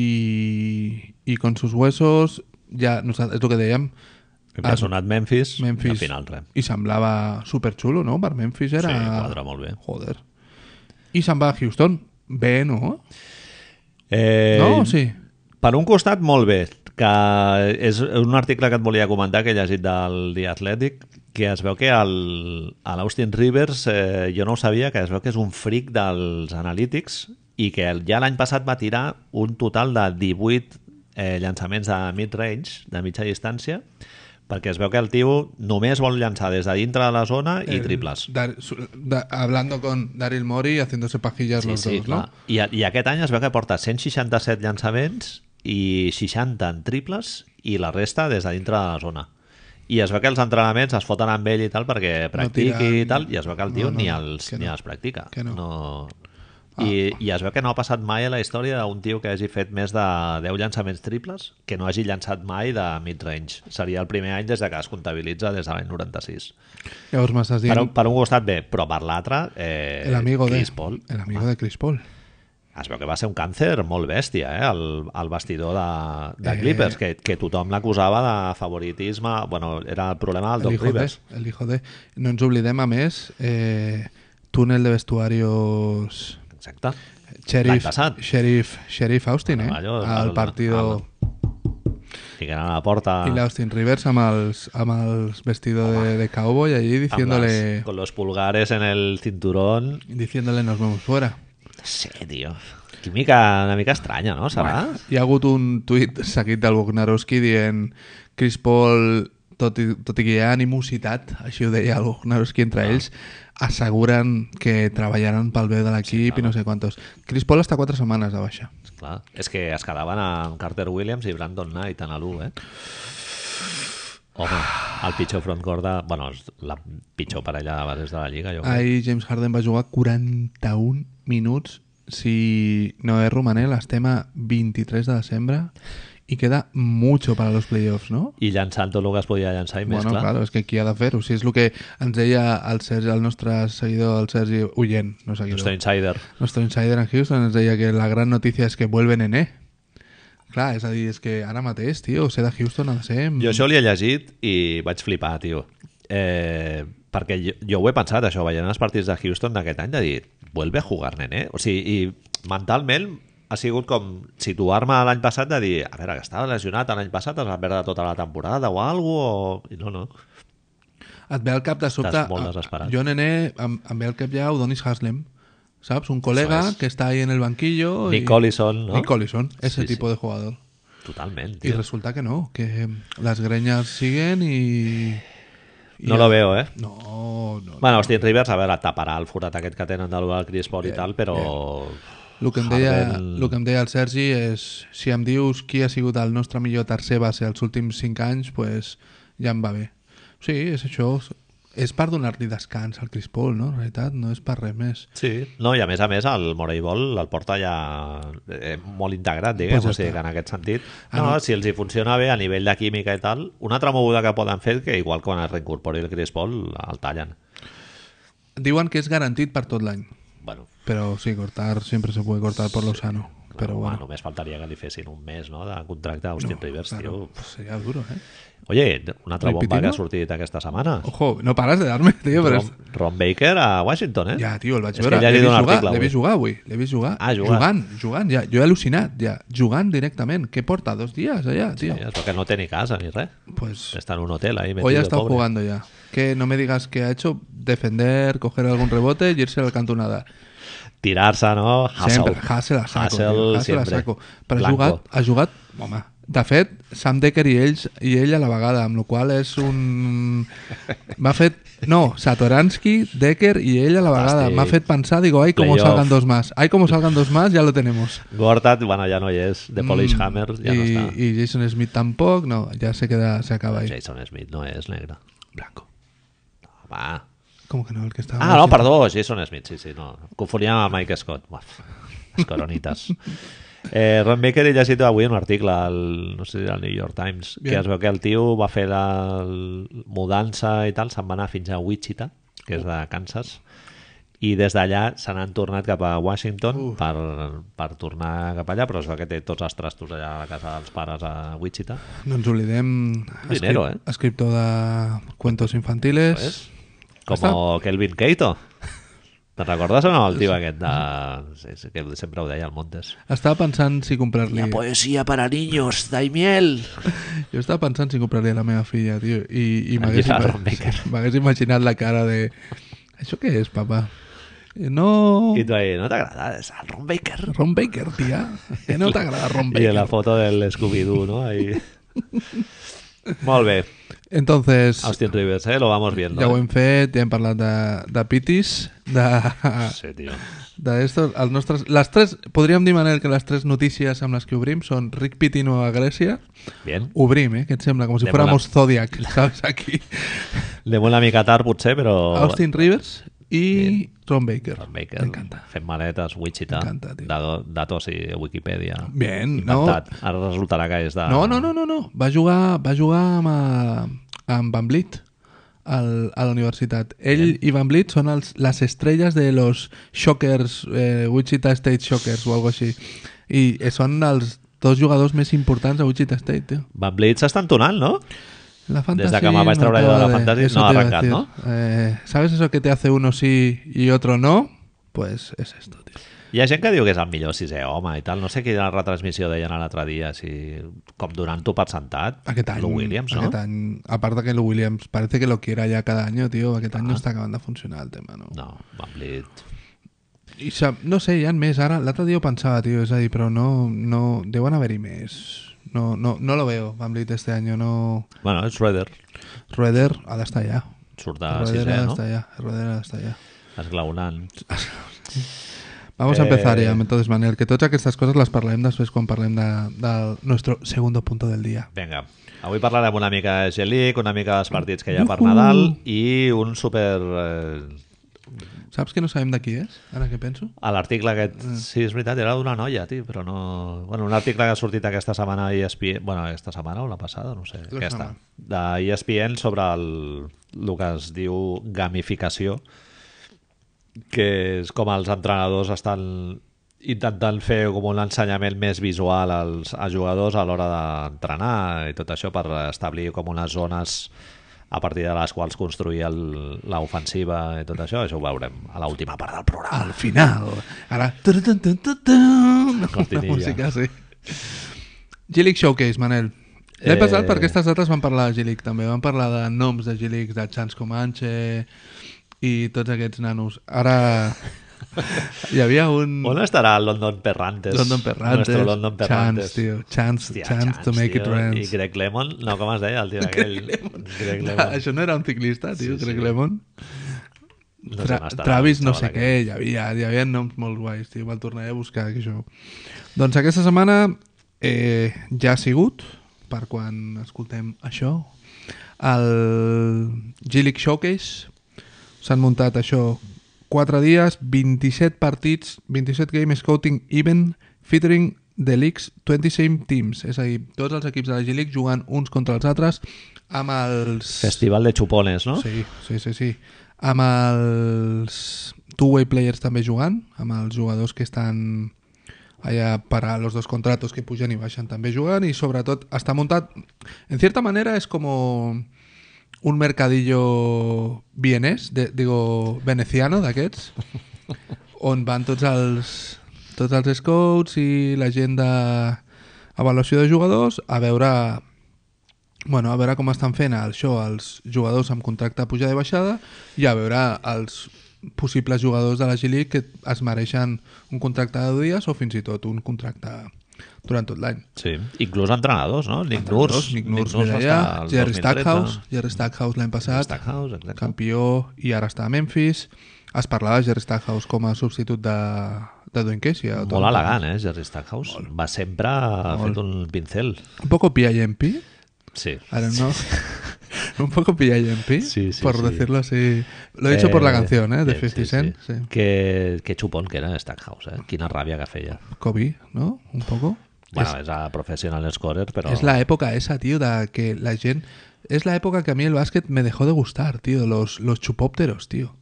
Speaker 2: i, i con sus huesos ja, no, és el que dèiem,
Speaker 1: Ha sonat Memphis, Memphis.
Speaker 2: Memphis.
Speaker 1: al final res.
Speaker 2: i semblava superxulo, no? Per Memphis era...
Speaker 1: Sí, quadra molt bé.
Speaker 2: Joder. I se'n va a Houston. Bé, no?
Speaker 1: Eh,
Speaker 2: No, sí.
Speaker 1: Per un costat, molt bé, que és un article que et volia comentar que he llegit del The Athletic, que es veu que el, a l'Austin Rivers, eh, jo no ho sabia, que es veu que és un fric dels analítics i que el- ja l'any passat va tirar un total de 18 eh, llançaments de mid-range, de mitja distància, perquè es veu que el tio només vol llançar des de dintre de la zona i
Speaker 2: El
Speaker 1: triples.
Speaker 2: Dar- su- da- hablando con Daryl Mori y haciéndose pajillas los dos, ¿no?
Speaker 1: I, a- I aquest any es veu que porta 167 llançaments i 60 en triples i la resta des de dintre de la zona. I es veu que els entrenaments es foten amb ell i tal perquè practiqui
Speaker 2: tira-
Speaker 1: i tal, i es veu que el tio
Speaker 2: No, no,
Speaker 1: ni,
Speaker 2: no,
Speaker 1: els,
Speaker 2: que
Speaker 1: ni
Speaker 2: no,
Speaker 1: els practica.
Speaker 2: que no. Ah.
Speaker 1: I, I es veu que no ha passat mai a la història d'un tio que hagi fet més de 10 llançaments triples que no hagi llançat mai de mid-range. Seria el primer any des de que es comptabilitza des de l'any 96.
Speaker 2: Llavors m'estàs
Speaker 1: Per,
Speaker 2: dient
Speaker 1: un- per un costat bé, però per l'altre... Eh,
Speaker 2: el amigo de...
Speaker 1: Chris Paul Ah.
Speaker 2: El amigo de Chris Paul.
Speaker 1: es veu que va ser un càncer molt bèstia, eh? El, el vestidor de, de
Speaker 2: Eh.
Speaker 1: Clippers, que, que tothom l'acusava de favoritisme. Bueno, era el problema del
Speaker 2: El
Speaker 1: Doc
Speaker 2: hijo de,
Speaker 1: Rivers.
Speaker 2: el hijo de... No ens oblidem, a més, eh, túnel de vestuarios...
Speaker 1: Exacte. L'any
Speaker 2: Sheriff,
Speaker 1: passat.
Speaker 2: Sheriff, Sheriff Austin, eh?
Speaker 1: allò,
Speaker 2: al
Speaker 1: el-
Speaker 2: partido...
Speaker 1: Ficant a la porta...
Speaker 2: Y la Austin Rivers amb els, amb els vestido de, de cowboy allí
Speaker 1: amb
Speaker 2: diciéndole,
Speaker 1: les- Con los pulgares en el cinturón...
Speaker 2: diciéndole nos vemos fuera.
Speaker 1: No sé, tio. Que mica, una mica estranya, no? Serà?
Speaker 2: Hi ha hagut un tuit seguit del Bognarowski dient Chris Paul, tot i, tot i que hi ha animositat, així ho deia el Bognarowski entre
Speaker 1: Ah.
Speaker 2: ells, asseguren que treballaran pel bé de l'equip i no sé quantos. Chris Paul està quatre setmanes de baixa.
Speaker 1: Clar. És que es quedaven amb Carter Williams i Brandon Knight en l'1, eh? Home, el pitjor frontcourt de... Bueno, és la pitjor parella de bases de la Lliga, jo crec.
Speaker 2: Ahir James Harden va jugar 41 minuts si no es romanel, estem a 23 de desembre y queda mucho para los playoffs, no?
Speaker 1: I llançant tot el que es podia llançar i més,
Speaker 2: bueno,
Speaker 1: clar.
Speaker 2: claro, és que qui ha de fer-ho? Si és el que ens deia el, Sergi, el nostre seguidor, el Sergi Ullent, no seguidor.
Speaker 1: Nostre insider.
Speaker 2: Nuestro insider en Houston ens deia que la gran notícia és que vuelven en E. Clar, és a dir, és que ara mateix, tio, ser de Houston ha de ser...
Speaker 1: Jo això li he llegit i vaig flipar, tio. Eh, perquè jo, jo ho he pensat, això, veient els partits de Houston d'aquest any, de dir, vuelve a jugar, nene. O sigui, i mentalment ha sigut com situar-me a l'any passat de dir, a veure, que estava lesionat l'any passat, es va perdre tota la temporada o alguna cosa, o... No, no.
Speaker 2: Et ve al cap de sobte...
Speaker 1: Estàs molt desesperat.
Speaker 2: Jo, nene, em, em ve al cap ja Udonis Haslem, saps? Un col·lega
Speaker 1: Eso es.
Speaker 2: que està ahí en el banquillo...
Speaker 1: Nick Collison, no?
Speaker 2: Nick Collison, ese
Speaker 1: Sí, sí.
Speaker 2: tipo de jugador.
Speaker 1: Totalment,
Speaker 2: Y
Speaker 1: tio.
Speaker 2: resulta que no, que las greñas siguen y... y-
Speaker 1: No lo veo, eh?
Speaker 2: No, no.
Speaker 1: Bueno, Austin Rivers, a veure, taparà el forat aquest que tenen del Chris Paul
Speaker 2: Eh,
Speaker 1: i tal, però...
Speaker 2: El que, em deia,
Speaker 1: Harden-
Speaker 2: el que em deia el Sergi és si em dius qui ha sigut el nostre millor tercer base els últims 5 anys, pues, ja em va bé. Sí, és això. És per donar-li descans al Chris Paul, no? En realitat, no és per res més.
Speaker 1: Sí, no, i a més a més el Morey Ball el porta ja eh, molt integrat, diguem,
Speaker 2: Pues ja
Speaker 1: o sigui,
Speaker 2: està. Ah,
Speaker 1: que en aquest sentit no, si els hi funciona bé a nivell de química i tal, una altra moguda que poden fer és que igual quan es reincorpori el Chris Paul el tallen
Speaker 2: Diuen que és garantit per tot l'any,
Speaker 1: bueno,
Speaker 2: però sí, cortar sempre se puede cortar por lo sano. Però
Speaker 1: home,
Speaker 2: bueno,
Speaker 1: només faltaria que li fessin un mes no, de contracte a Austin Rivers
Speaker 2: claro,
Speaker 1: tio.
Speaker 2: pues sería duro, ¿eh?
Speaker 1: Oye, una altra bomba
Speaker 2: Repitino?
Speaker 1: que ha sortit aquesta setmana
Speaker 2: Ojo, no paras de darme, tío, però...
Speaker 1: Ron,
Speaker 2: és-
Speaker 1: Ron Baker a Washington eh?
Speaker 2: Ja, tio, el vaig
Speaker 1: És
Speaker 2: veure.
Speaker 1: que ja he
Speaker 2: L'he vist,
Speaker 1: dit un
Speaker 2: jugar,
Speaker 1: article
Speaker 2: l'he
Speaker 1: avui.
Speaker 2: vist jugar avui. L'he vist jugar.
Speaker 1: Ah, jugant.
Speaker 2: Jugant, jugant, ja. Jo he al·lucinat, ja. Jugant directament. Què porta? Dos dies allà, tio.
Speaker 1: Sí, és perquè no té ni casa ni res
Speaker 2: Pues
Speaker 1: està en un hotel ahí
Speaker 2: hoy
Speaker 1: metido
Speaker 2: ha
Speaker 1: de
Speaker 2: estado
Speaker 1: pobre.
Speaker 2: jugando ya. Que no me digas qué ha hecho. Defender, coger algún rebote y irse al canto nada.
Speaker 1: tirar-se, no? Hustle.
Speaker 2: Sempre. Hassel a saco.
Speaker 1: Hustle
Speaker 2: tio. Hassel a
Speaker 1: sempre.
Speaker 2: saco. Però ha
Speaker 1: Blanco.
Speaker 2: jugat, ha jugat, home, de fet, Sam Decker i ells i ell a la vegada, amb la qual cosa és un... M'ha fet... No, Satoransky, Decker i ell a la vegada.
Speaker 1: Fantàstic.
Speaker 2: M'ha fet pensar, digo, ai, como
Speaker 1: Playoff.
Speaker 2: salgan dos más. Ai, como salgan dos más, ya lo tenemos.
Speaker 1: Gortat, bueno, ja no hi és. The Polish Hammer ja
Speaker 2: Mm, I,
Speaker 1: no està.
Speaker 2: I Jason Smith tampoc, no, ja se queda, se acaba ahí.
Speaker 1: Jason Smith no és negre.
Speaker 2: Blanco.
Speaker 1: Va.
Speaker 2: Com que no, el que estava...
Speaker 1: Ah, no, perdó, Jason Smith, sí, sí, no. Confoníem amb Mike Scott. Buaf, les coronites. Eh, Ron Baker he llegit avui un article al, no sé, al New York Times Bien.
Speaker 2: Bien.
Speaker 1: que es veu que el tio va fer la mudança i tal, se'n va anar fins a Wichita que és de Kansas i des d'allà se n'han tornat cap a Washington per, per tornar cap allà però és veu que té tots els trastos allà a la casa dels pares a Wichita
Speaker 2: No ens oblidem...
Speaker 1: Dinero,
Speaker 2: escrip-
Speaker 1: eh? Pues.
Speaker 2: Escriptor de cuentos infantiles.
Speaker 1: ¿Ves? Como Kelvin Keito. Te'n recordes o no el tio aquest de... Sí, sí, que sempre ho deia al Montes.
Speaker 2: Estava pensant si comprar-li...
Speaker 1: poesía para niños, Daimiel.
Speaker 2: Jo estava pensant si compraria la meva filla, tio, i, i
Speaker 1: El
Speaker 2: m'hagués
Speaker 1: Gerard
Speaker 2: ima-
Speaker 1: Rombaker.
Speaker 2: sí, m'hagués imaginat la cara de... Això què és, papa? Eh, No...
Speaker 1: I tu ahí, no t'agrada? És el Ron Baker.
Speaker 2: Ron Baker, tia. Que no t'agrada Ron
Speaker 1: I la
Speaker 2: Baker.
Speaker 1: foto del Scooby-Doo, no? Ahí. Molt bé.
Speaker 2: Entonces,
Speaker 1: Austin Rivers, eh? Lo vamos viendo.
Speaker 2: ja ho
Speaker 1: eh?
Speaker 2: hem fet, ja hem parlat de, de pitis, de,
Speaker 1: Sí, tio.
Speaker 2: de estos, els nostres... Les tres, podríem dir, Manel, que les tres notícies amb les que obrim són Rick Pitino a Grècia,
Speaker 1: Bien.
Speaker 2: obrim, eh, que et sembla, com si
Speaker 1: Anem
Speaker 2: fuéramos Zodiac, saps, aquí.
Speaker 1: Anem una mica tard, potser, però...
Speaker 2: Austin Rivers i Ron Baker.
Speaker 1: Ron Baker.
Speaker 2: M'encanta.
Speaker 1: Fent maletes, Wichita.
Speaker 2: M'encanta, tio.
Speaker 1: Dato- Datos i Wikipedia.
Speaker 2: Bien, no,
Speaker 1: Inventat. Ara resultarà que és de...
Speaker 2: No, no, no, no, no. Va jugar, va jugar amb, eh, amb Van Blit al, a la universitat. Ell i Van Blit són els, les estrelles de los Shockers, eh, Wichita State Shockers o algo així. I eh, són els dos jugadors més importants a Wichita State, eh. tio.
Speaker 1: Van Blitz està entonant, no?
Speaker 2: La fantasy
Speaker 1: Desde que me vaig
Speaker 2: no
Speaker 1: treure jo de
Speaker 2: acaba
Speaker 1: la fantasy,
Speaker 2: eso
Speaker 1: no
Speaker 2: te
Speaker 1: ha
Speaker 2: iba a
Speaker 1: arrencat,
Speaker 2: decir.
Speaker 1: ¿no?
Speaker 2: Eh, ¿Sabes eso que te hace uno sí y otro no? Pues es esto, tío.
Speaker 1: Hi ha gent que diu que és el millor sisè home i tal. No sé quina retransmissió deien l'altre dia, si... com donant-ho per sentat.
Speaker 2: Aquest any,
Speaker 1: Lou Williams, no?
Speaker 2: aquest any, aparte que lo Williams parece que lo quiera ya cada año, tío, aquest any no està acabant de funcionar el tema, no?
Speaker 1: No, Van Blit.
Speaker 2: I sap, no sé, hi ha més. Ara, l'altre dia ho pensava, tio, és a dir, però no, no deuen haver-hi més. No, no, no lo veo, Van Blit, este año, no...
Speaker 1: Bueno, és Schroeder.
Speaker 2: Rueder ha d'estar allà.
Speaker 1: Surt de
Speaker 2: Rueder
Speaker 1: sisè,
Speaker 2: ha
Speaker 1: no?
Speaker 2: d'estar allà, Rueder ha d'estar allà.
Speaker 1: Esglaonant.
Speaker 2: Vamos
Speaker 1: Eh,
Speaker 2: a empezar ya, entonces, Manel, que totes aquestes coses les parlem després quan parlem de, del nostre segundo punto del dia.
Speaker 1: Vinga, avui parlarem una
Speaker 2: Uh-huh.
Speaker 1: mica de G-League, una mica dels partits que hi ha per Nadal i un super... Eh,
Speaker 2: Saps que no sabem de qui és, ara que penso?
Speaker 1: A l'article aquest, sí, és veritat, era d'una noia, tio, però no... Bueno, un article que ha sortit aquesta setmana a E ESPN... Bueno, aquesta setmana o la passada, no sé,
Speaker 2: La
Speaker 1: aquesta.
Speaker 2: setmana.
Speaker 1: De E ESPN sobre el, el que es diu gamificació, que és com els entrenadors estan intentant fer com un ensenyament més visual als, als jugadors a l'hora d'entrenar i tot això per establir com unes zones a partir de les quals construir el- l'ofensiva i tot això, això ho veurem a l'última part del programa.
Speaker 2: Al final. Ara... Tun, tun, tun, tun, tun. Una
Speaker 1: Cortinilla.
Speaker 2: música, sí. G-League Showcase, Manel. L'he
Speaker 1: Eh.
Speaker 2: passat perquè aquestes dates van parlar de G-League també, van parlar de noms de G-League, de Chans Comanche i tots aquests nanos. Ara hi havia un...
Speaker 1: On estarà el London Perrantes?
Speaker 2: London Perrantes,
Speaker 1: Nuestro London Perrantes.
Speaker 2: Chance, tio, Chance,
Speaker 1: Hòstia,
Speaker 2: Chance, to make
Speaker 1: tio.
Speaker 2: it rain.
Speaker 1: I Greg Lemon, no, com es deia el tio aquell? Greg Lemon.
Speaker 2: Això no era un ciclista, tio,
Speaker 1: Sí, sí.
Speaker 2: crec que Lemon.
Speaker 1: No sé
Speaker 2: Tra
Speaker 1: on estarà,
Speaker 2: Travis
Speaker 1: el
Speaker 2: no sé
Speaker 1: xaval
Speaker 2: què, hi havia, hi havia noms molt guais, tio, me'l tornaré a buscar, que això. Doncs aquesta setmana eh, ja ha sigut, per quan escoltem això, el G-League Showcase. S'han muntat això 4 dies, 27 partits, 27 game scouting event, featuring the league's 26 teams, és a dir, tots els equips de la G-League jugant uns contra els altres amb els...
Speaker 1: Festival de Chupones, no?
Speaker 2: Sí, sí, sí, sí. Amb els two-way players també jugant, amb els jugadors que estan allà per a los dos contratos que pugen i baixen també jugant i sobretot està muntat, en cierta manera és com un mercadillo vienés, de, digo, veneciano d'aquests, on van tots els, tots els scouts i la gent d'avaluació de jugadors a veure Bueno, a veure com estan fent això els jugadors amb contracte pujada i baixada i a veure els possibles jugadors de la G-League que es mereixen un contracte de deu dies o fins i tot un contracte durant tot l'any.
Speaker 1: Sí. Inclús entrenadors, no? Nick Nurse.
Speaker 2: Nick Nurse,
Speaker 1: va estar
Speaker 2: Mireia,
Speaker 1: al
Speaker 2: Jerry
Speaker 1: 2013.
Speaker 2: Stackhouse, Jerry Stackhouse l'any passat,
Speaker 1: Stackhouse, exacte.
Speaker 2: campió i ara està a Memphis. Es parlava de Jerry Stackhouse com a substitut de, de Dwayne Casey. a
Speaker 1: Molt
Speaker 2: Toronto.
Speaker 1: elegant, eh, Jerry Stackhouse. Va sempre fet un pincel.
Speaker 2: Un poco PIMP,
Speaker 1: Sí.
Speaker 2: Ahora no. Un poco pilla y
Speaker 1: Sí, sí,
Speaker 2: por
Speaker 1: sí.
Speaker 2: decirlo así. Lo he dicho por la canción, ¿eh? De 50
Speaker 1: sí,
Speaker 2: Cent.
Speaker 1: Sí.
Speaker 2: sí.
Speaker 1: Que, que xupón que era Stackhouse, eh? Quina ràbia que feia.
Speaker 2: Kobe, ¿no? Un poco.
Speaker 1: Bueno, és, a professional scorer, però...
Speaker 2: Es la época esa, tío, de que la gente... Es la época que a mí el básquet me dejó de gustar, tío. Los, los chupópteros, tío.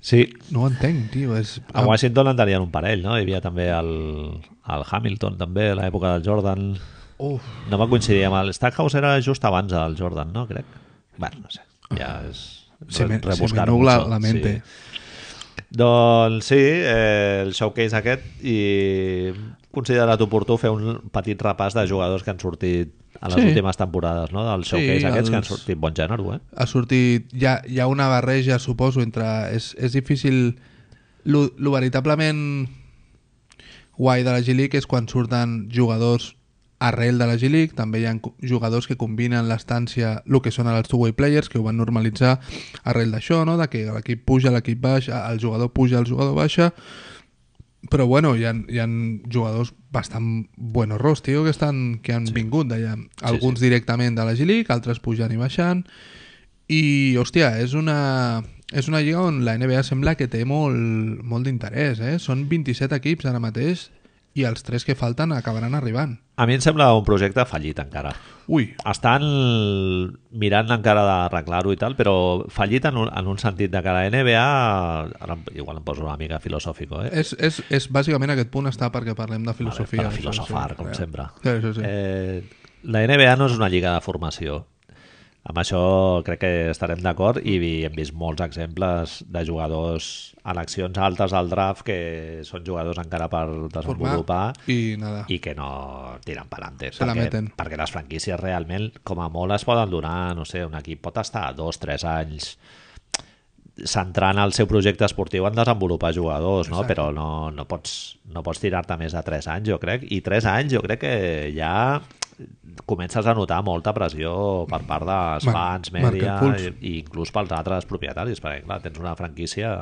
Speaker 1: Sí,
Speaker 2: No entenc, tío. Es...
Speaker 1: a Washington en tenien un parell, no? Hi havia també el, el Hamilton, també, a l'època del Jordan.
Speaker 2: ah, Uf.
Speaker 1: No va coincidir amb el Stackhouse, era just abans del Jordan, no? Crec. Bueno, no sé, ja és...
Speaker 2: Ah. Se me, se me
Speaker 1: rebuscar
Speaker 2: nubla
Speaker 1: mucho,
Speaker 2: la mente.
Speaker 1: sí. Doncs sí, eh, el showcase aquest i considerat oportú fer un petit repàs de jugadors que han sortit a les
Speaker 2: Sí.
Speaker 1: últimes temporades, no? Del showcase
Speaker 2: Sí,
Speaker 1: aquests que han
Speaker 2: els-
Speaker 1: sortit bon gènere, eh?
Speaker 2: ha sortit... Hi ha, hi ha una barreja, suposo, entre... És, és difícil... Lo, lo veritablement guai de la G-League és quan surten jugadors arrel de la G-League, també hi ha co- jugadors que combinen l'estància, el que són els two-way players, que ho van normalitzar arrel d'això, no? de que l'equip puja, l'equip baixa, el jugador puja, el jugador baixa, però bueno, hi ha, hi ha jugadors bastant buenorros, tio, que, estan, que han sí. vingut d'allà. Alguns sí, sí. directament de la G-League, altres pujant i baixant. I, hòstia, és una, és una lliga on la NBA sembla que té molt, molt d'interès, eh? Són 27 equips ara mateix i els tres que falten acabaran arribant.
Speaker 1: A mi em sembla un projecte fallit encara.
Speaker 2: Ui,
Speaker 1: Estan mirant encara d'arreglar-ho i tal, però fallit en un, en un sentit de que la NBA... Ara, em- igual em poso una mica filosòfico, eh?
Speaker 2: és, és, és bàsicament aquest punt està perquè parlem de filosofia.
Speaker 1: per a filosofar, com
Speaker 2: clar.
Speaker 1: sempre.
Speaker 2: Sí, sí, sí.
Speaker 1: Eh, la NBA no és una lliga de formació. Amb això crec que estarem d'acord i vi- hem vist molts exemples de jugadors a eleccions altes al draft que són jugadors encara per
Speaker 2: Formar
Speaker 1: desenvolupar
Speaker 2: i nada.
Speaker 1: i que no tiren per antes.
Speaker 2: Se la
Speaker 1: perquè,
Speaker 2: meten.
Speaker 1: perquè les franquícies realment, com a molt, es poden donar, no sé, un equip pot estar dos, tres anys centrant el seu projecte esportiu en desenvolupar jugadors, no? però no, no pots, no pots tirar-te més de 3 anys, jo crec, i 3 anys jo crec que ja comences a notar molta pressió per part dels
Speaker 2: Mar-
Speaker 1: fans,
Speaker 2: marca
Speaker 1: mèdia,
Speaker 2: impuls.
Speaker 1: i, i inclús pels altres propietaris, perquè clar, tens una franquícia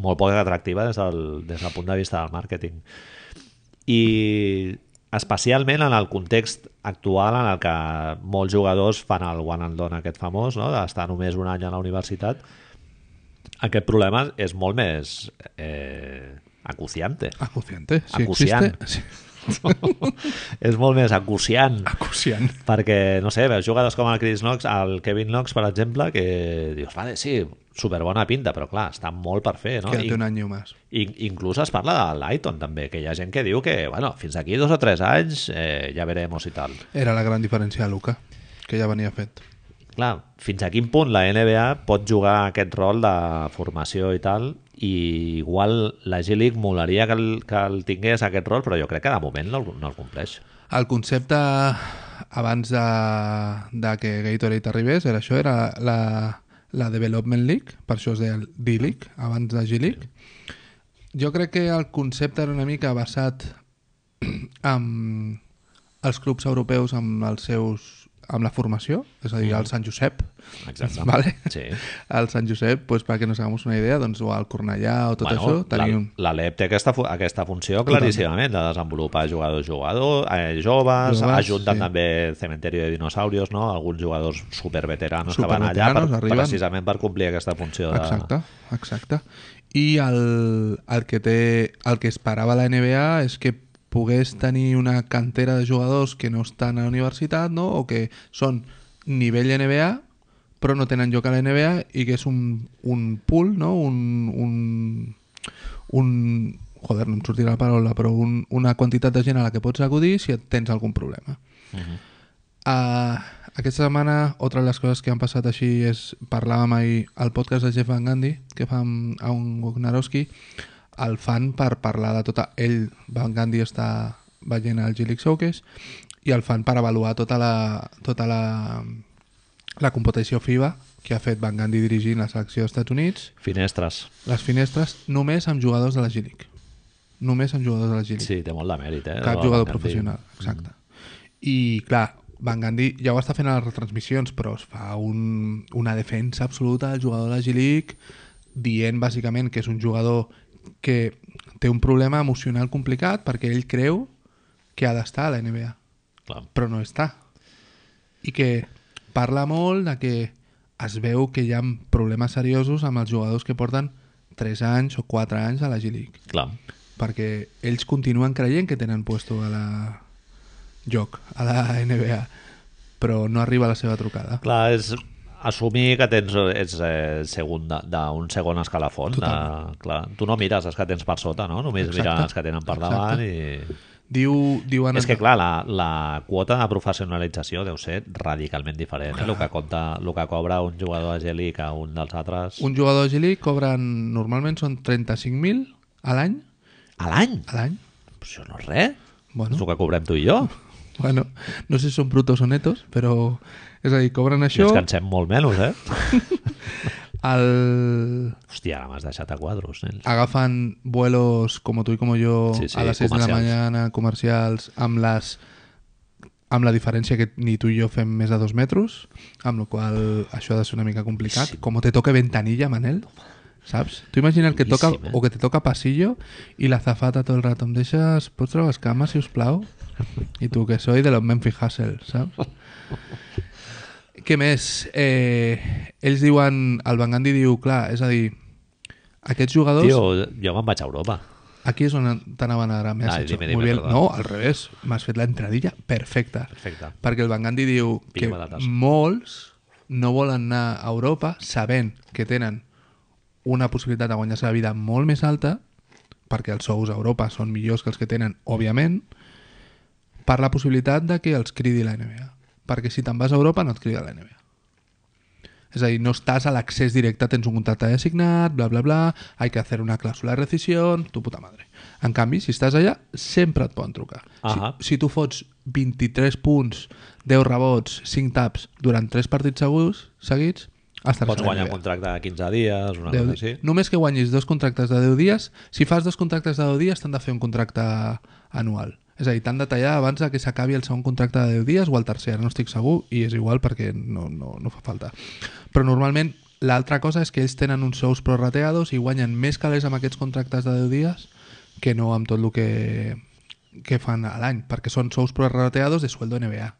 Speaker 1: molt poc atractiva des del, des del punt de vista del màrqueting i especialment en el context actual en el que molts jugadors fan el one and done aquest famós, no? d'estar només un any a la universitat Aquest problema és molt més eh, acuciante.
Speaker 2: Acuciante. Si
Speaker 1: Acuciant.
Speaker 2: existe. Sí.
Speaker 1: és molt més acuciant.
Speaker 2: Acuciant.
Speaker 1: Perquè, no sé, veus jugadors com el Chris Knox, el Kevin Knox, per exemple, que dius, vale, sí, superbona pinta, però clar, està molt per fer, no?
Speaker 2: Quédate
Speaker 1: I-
Speaker 2: un año más.
Speaker 1: In- Inclús es parla de l'Aiton també, que hi ha gent que diu que bueno, fins aquí dos o tres anys eh, ja verem i tal.
Speaker 2: Era la gran diferència de Luca, que ja venia fet.
Speaker 1: Clar, fins a quin punt la NBA pot jugar aquest rol de formació i tal, i igual la G-League molaria que el, que el tingués aquest rol, però jo crec que de moment no, el- no el compleix.
Speaker 2: El concepte abans de, de que Gatorade arribés era això, era la, la Development League, per això es deia el D-League, abans de G-League. Jo crec que el concepte era una mica basat en els clubs europeus amb els seus amb la formació, és a dir,
Speaker 1: Mm.
Speaker 2: el Sant Josep,
Speaker 1: Exacte.
Speaker 2: Vale.
Speaker 1: Sí.
Speaker 2: el Sant Josep, doncs, perquè nos hagamos una idea, doncs, o el Cornellà o tot això,
Speaker 1: la,
Speaker 2: tenia un...
Speaker 1: la LEP té aquesta, fu- aquesta funció claríssimament de desenvolupar jugadors jugador, eh, joves,
Speaker 2: Joves,
Speaker 1: ajunten
Speaker 2: sí.
Speaker 1: també Cementerio de Dinosaurios, no? alguns jugadors superveteranos que van allà per,
Speaker 2: Superveteranos, arriben.
Speaker 1: precisament per complir aquesta funció. De...
Speaker 2: Exacte, exacte. I el, el, que té, el que esperava la NBA és que pogués tenir una cantera de jugadors que no estan a la universitat, no? o que són nivell NBA, però no tenen lloc a la NBA i que és un, un pool, no? un, un, un... Joder, no em sortirà la paraula, però un, una quantitat de gent a la que pots acudir si et tens algun problema. Uh, aquesta setmana, otra de les coses que han passat així és... Parlàvem ahir al podcast de Jeff Van Gandhi, que fa amb a un Wagnarowski, el fan per parlar de tota... Ell, Van Gandhi, està veient el G-League Showcase, i el fan per avaluar tota la, tota la, la competició FIBA que ha fet Van Gandhi dirigint la selecció dels Estats Units,
Speaker 1: Finestres.
Speaker 2: les finestres, només amb jugadors de la G-League. Només amb jugadors de la G-League.
Speaker 1: Sí, té molt de mèrit, eh?
Speaker 2: Cap
Speaker 1: la
Speaker 2: jugador
Speaker 1: Van Mm-hmm. Gundy.
Speaker 2: professional, exacte. I, clar, Van Gandhi ja ho està fent a les retransmissions, però es fa un, una defensa absoluta del jugador de la G-League, dient, bàsicament, que és un jugador que té un problema emocional complicat perquè ell creu que ha d'estar a la NBA,
Speaker 1: Clar.
Speaker 2: però no està. I que parla molt de que es veu que hi ha problemes seriosos amb els jugadors que porten 3 anys o 4 anys a la G-League
Speaker 1: Clar.
Speaker 2: perquè ells continuen creient que tenen puesto a la joc, a la NBA però no arriba la seva trucada
Speaker 1: Clar, és assumir que tens, ets eh, segon de- d'un segon escalafon. De, clar, tu no mires els que tens per sota, no? Només
Speaker 2: Exacte.
Speaker 1: mires els que tenen per davant i...
Speaker 2: diu, diuen
Speaker 1: És que, clar, la, la quota de professionalització deu ser radicalment diferent. Eh? El, que compta, el que cobra un jugador de Geli que un dels altres... Un...
Speaker 2: un jugador de G-League cobren normalment són 35.000 a l'any
Speaker 1: A l'any?
Speaker 2: a l'any
Speaker 1: Però Això no és res.
Speaker 2: bueno,
Speaker 1: És el que cobrem tu i jo.
Speaker 2: bueno, no sé si són brutos o netos però és a dir, cobren
Speaker 1: Això... I
Speaker 2: això
Speaker 1: ens cansem molt menys, eh?
Speaker 2: el,
Speaker 1: Hòstia, ara m'has deixat a quadros, nens.
Speaker 2: agafan vuelos como tú y como yo
Speaker 1: Sí, sí,
Speaker 2: a las 6 de la
Speaker 1: comercials.
Speaker 2: mañana, comercials, amb les amb la diferència que ni tu i jo fem més de dos metres, amb la qual cosa això ha de ser una mica complicat.
Speaker 1: Sí.
Speaker 2: Com te toca ventanilla, Manel, saps? Tu imagina el que toca,
Speaker 1: Duríssim, eh?
Speaker 2: o que te toca passillo i la zafata tot el rato. Em deixes, pots treure les cames, si us plau? I tu, que soy de los Memphis Hustle, saps? Què més? Eh, ells diuen, el Van Gandhi diu, clar, és a dir, aquests jugadors...
Speaker 1: Tio, jo me'n vaig a Europa.
Speaker 2: Aquí es on t'anaven ara, m'has
Speaker 1: Ah,
Speaker 2: hecho
Speaker 1: dime, dime,
Speaker 2: muy bien.
Speaker 1: perdón.
Speaker 2: No, al revés, m'has fet l'entradilla perfecta.
Speaker 1: Perfecte.
Speaker 2: Perquè el Van Gandhi diu
Speaker 1: Pica
Speaker 2: que
Speaker 1: patates.
Speaker 2: molts no volen anar a Europa sabent que tenen una possibilitat de guanyar-se la vida molt més alta, perquè els sous a Europa són millors que els que tenen, òbviament, per la possibilitat de que els cridi la NBA. Perquè si te'n vas a Europa no et crida la NBA. És a dir, no estàs a l'accés directe, tens un contracte ja signat, bla, bla, bla, hay que hacer una clàusula de rescisió, tu puta madre. En canvi, si estàs allà, sempre et poden trucar.
Speaker 1: Ahà.
Speaker 2: Si, si tu fots 23 punts, 10 rebots, 5 taps durant 3 partits segurs, seguits, estaràs
Speaker 1: Pots
Speaker 2: a la
Speaker 1: guanyar un
Speaker 2: NBA.
Speaker 1: contracte de 15 dies, una
Speaker 2: 10
Speaker 1: cosa
Speaker 2: di-
Speaker 1: així.
Speaker 2: Només que guanyis dos contractes de 10 dies, si fas dos contractes de 10 dies t'han de fer un contracte anual. És a dir, t'han de tallar abans de que s'acabi el segon contracte de 10 dies o el tercer, ara no estic segur, i és igual perquè no, no, no fa falta. Però normalment l'altra cosa és que ells tenen uns sous prorrateados i guanyen més calés amb aquests contractes de 10 dies que no amb tot el que, que fan a l'any, perquè són sous prorrateados de sueldo NBA.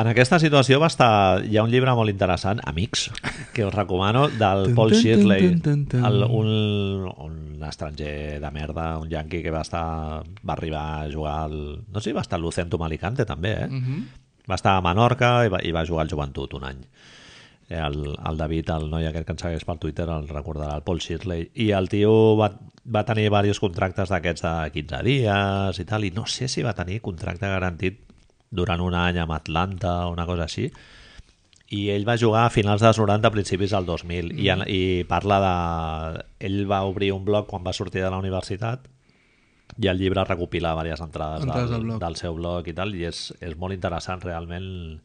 Speaker 1: En aquesta situació va estar... Hi ha un llibre molt interessant, Amics, que us recomano, del Paul Shirley, el, un, un estranger de merda, un yanqui que va estar... va arribar a jugar al... No sé si va estar al Lucentum Alicante, també, eh? Va estar a Menorca i va, i va jugar al Joventut un any. Eh, El, el David, el noi aquest que ens segueix per Twitter, el recordarà, el Paul Shirley. I el tio va, va tenir diversos contractes d'aquests de 15 dies i tal, i no sé si va tenir contracte garantit durant un any amb Atlanta o una cosa així. I ell va jugar a finals dels 90, principis del 2000. I,
Speaker 2: Mm.
Speaker 1: en- I parla de... Ell va obrir un blog quan va sortir de la universitat i el llibre recopila diverses entrades,
Speaker 2: Entrades del
Speaker 1: del,
Speaker 2: blog.
Speaker 1: del seu blog i tal, i és, és molt interessant realment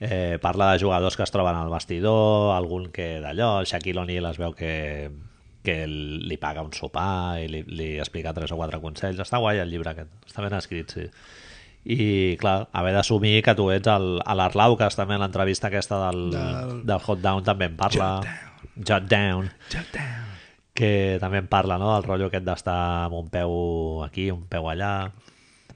Speaker 1: Eh, parla de jugadors que es troben al vestidor, algun que d'allò, el Shaquille O'Neal es veu que, que li paga un sopar i li, li explica tres o quatre consells. Està guai el llibre aquest, està ben escrit, sí. I, clar, haver d'assumir que tu ets el- a l'Arlau, que també en l'entrevista aquesta del,
Speaker 2: Del-
Speaker 1: del... del Hot Down també en parla. Jot Down.
Speaker 2: Shut down.
Speaker 1: Que també en parla, no?, del rotllo aquest d'estar amb un peu aquí, un peu allà.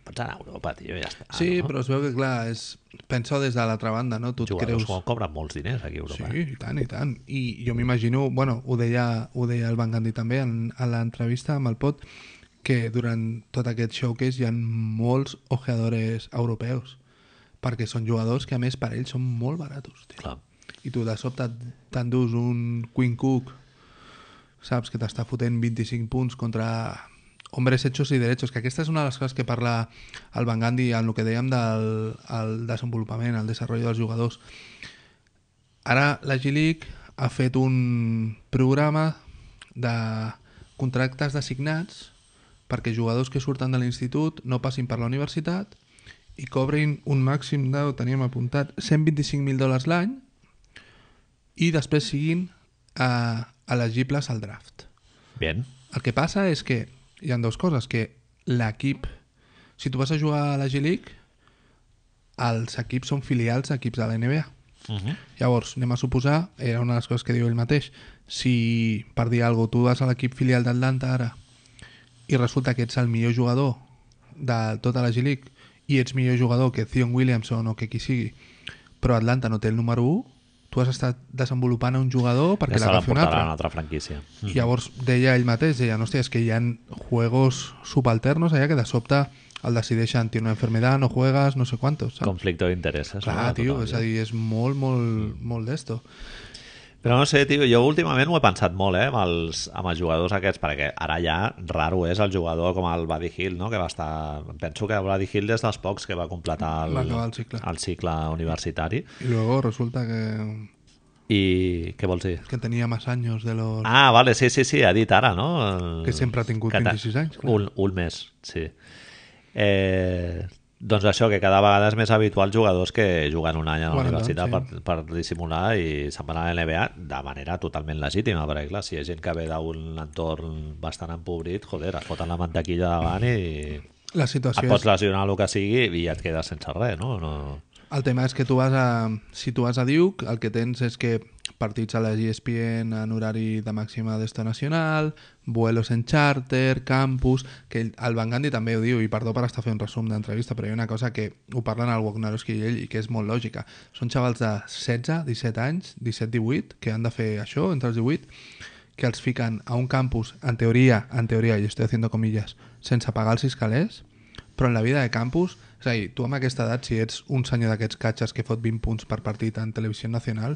Speaker 1: Pots anar a Europa, tio, i ja està.
Speaker 2: Sí,
Speaker 1: no?
Speaker 2: però es veu que, clar, és... penso des de l'altra banda, no? Tu et
Speaker 1: Jugadors
Speaker 2: creus...
Speaker 1: creus... cobren molts diners aquí a Europa.
Speaker 2: Sí, i tant, i tant. I jo m'imagino, bueno, ho deia, ho deia el Van Gandhi també en, a l'entrevista amb el Pot, que durant tot aquest showcase hi ha molts ojeadores europeus, perquè són jugadors que, a més, per ells són molt baratos. Tio.
Speaker 1: eh? Clar.
Speaker 2: I tu, de sobte, t'endús un Queen Cook, saps, que t'està fotent 25 punts contra hombres hechos i derechos, que aquesta és una de les coses que parla el Van Gandhi en el que dèiem del el desenvolupament, el desenvolupament dels jugadors. Ara la G-League ha fet un programa de contractes designats perquè jugadors que surten de l'institut no passin per la universitat i cobrin un màxim de, ho teníem apuntat, 125.000 dòlars l'any i després siguin eh, elegibles al draft.
Speaker 1: Bien.
Speaker 2: El que passa és que hi han dues coses, que l'equip... Si tu vas a jugar a la G-League, els equips són filials d'equips de la NBA.
Speaker 1: Uh -huh.
Speaker 2: Llavors, anem a suposar, era una de les coses que diu ell mateix, si, per dir alguna cosa, tu vas a l'equip filial d'Atlanta ara i resulta que ets el millor jugador de tota la G-League i ets millor jugador que Zion Williamson o que qui sigui, però Atlanta no té el número 1, tu has estat desenvolupant a un jugador perquè
Speaker 1: se
Speaker 2: l'agafi un
Speaker 1: l'emportarà
Speaker 2: altre.
Speaker 1: a una altra franquícia.
Speaker 2: I llavors deia ell mateix, deia, hòstia, és que hi ha juegos subalternos allà que de sobte el decideixen, tiene una enfermedad, no juegas, no sé cuántos, saps?
Speaker 1: Conflicte d'interessos.
Speaker 2: Clar,
Speaker 1: no? Tota
Speaker 2: tio,
Speaker 1: Totalment.
Speaker 2: és a dir, és molt, molt, molt d'esto.
Speaker 1: Però no sé, tio, jo últimament ho he pensat molt, eh, amb els, amb els jugadors aquests, perquè ara ja raro és el jugador com el Buddy Hill, no?, que va estar... Penso que Buddy Hill és dels pocs que va completar el,
Speaker 2: Va acabar el cicle.
Speaker 1: el cicle universitari.
Speaker 2: Y luego resulta que,
Speaker 1: I què vols dir?
Speaker 2: que tenía más años de los...
Speaker 1: Ah, vale, sí, sí, sí, ha dit ara, no?
Speaker 2: Doncs. Que sempre ha tingut
Speaker 1: Que ta-
Speaker 2: 26 anys, clar.
Speaker 1: Un, un mes, sí. Eh, doncs això, que cada vegada és més habitual jugadors que juguen un any a la
Speaker 2: Bueno,
Speaker 1: universitat
Speaker 2: doncs,
Speaker 1: per, per dissimular i se'n van a la NBA de manera totalment legítima, perquè clar, si hi ha gent que ve d'un entorn bastant empobrit, joder, es foten la mantequilla davant i
Speaker 2: La situació
Speaker 1: et
Speaker 2: és...
Speaker 1: pots lesionar el que sigui i et quedes sense res, no? no...
Speaker 2: El tema és que tu vas a... Si tu vas a Duke, el que tens és que partits a E la ESPN en horari de màxima d'esto nacional, vuelos en charter, campus... Que ell- el Van Gandhi també ho diu, i perdó per estar fent resum d'entrevista, però hi ha una cosa que ho parlen al Wagnarowski i ell i que és molt lògica. Són xavals de 16, 17 anys, 17, 18, que han de fer això entre els 18, que els fiquen a un campus, en teoria, en teoria, i estoy haciendo comillas, sense pagar els fiscalers, però en la vida de campus, és a dir, tu amb aquesta edat, si ets un senyor d'aquests catxes que fot 20 punts per partit en televisió nacional,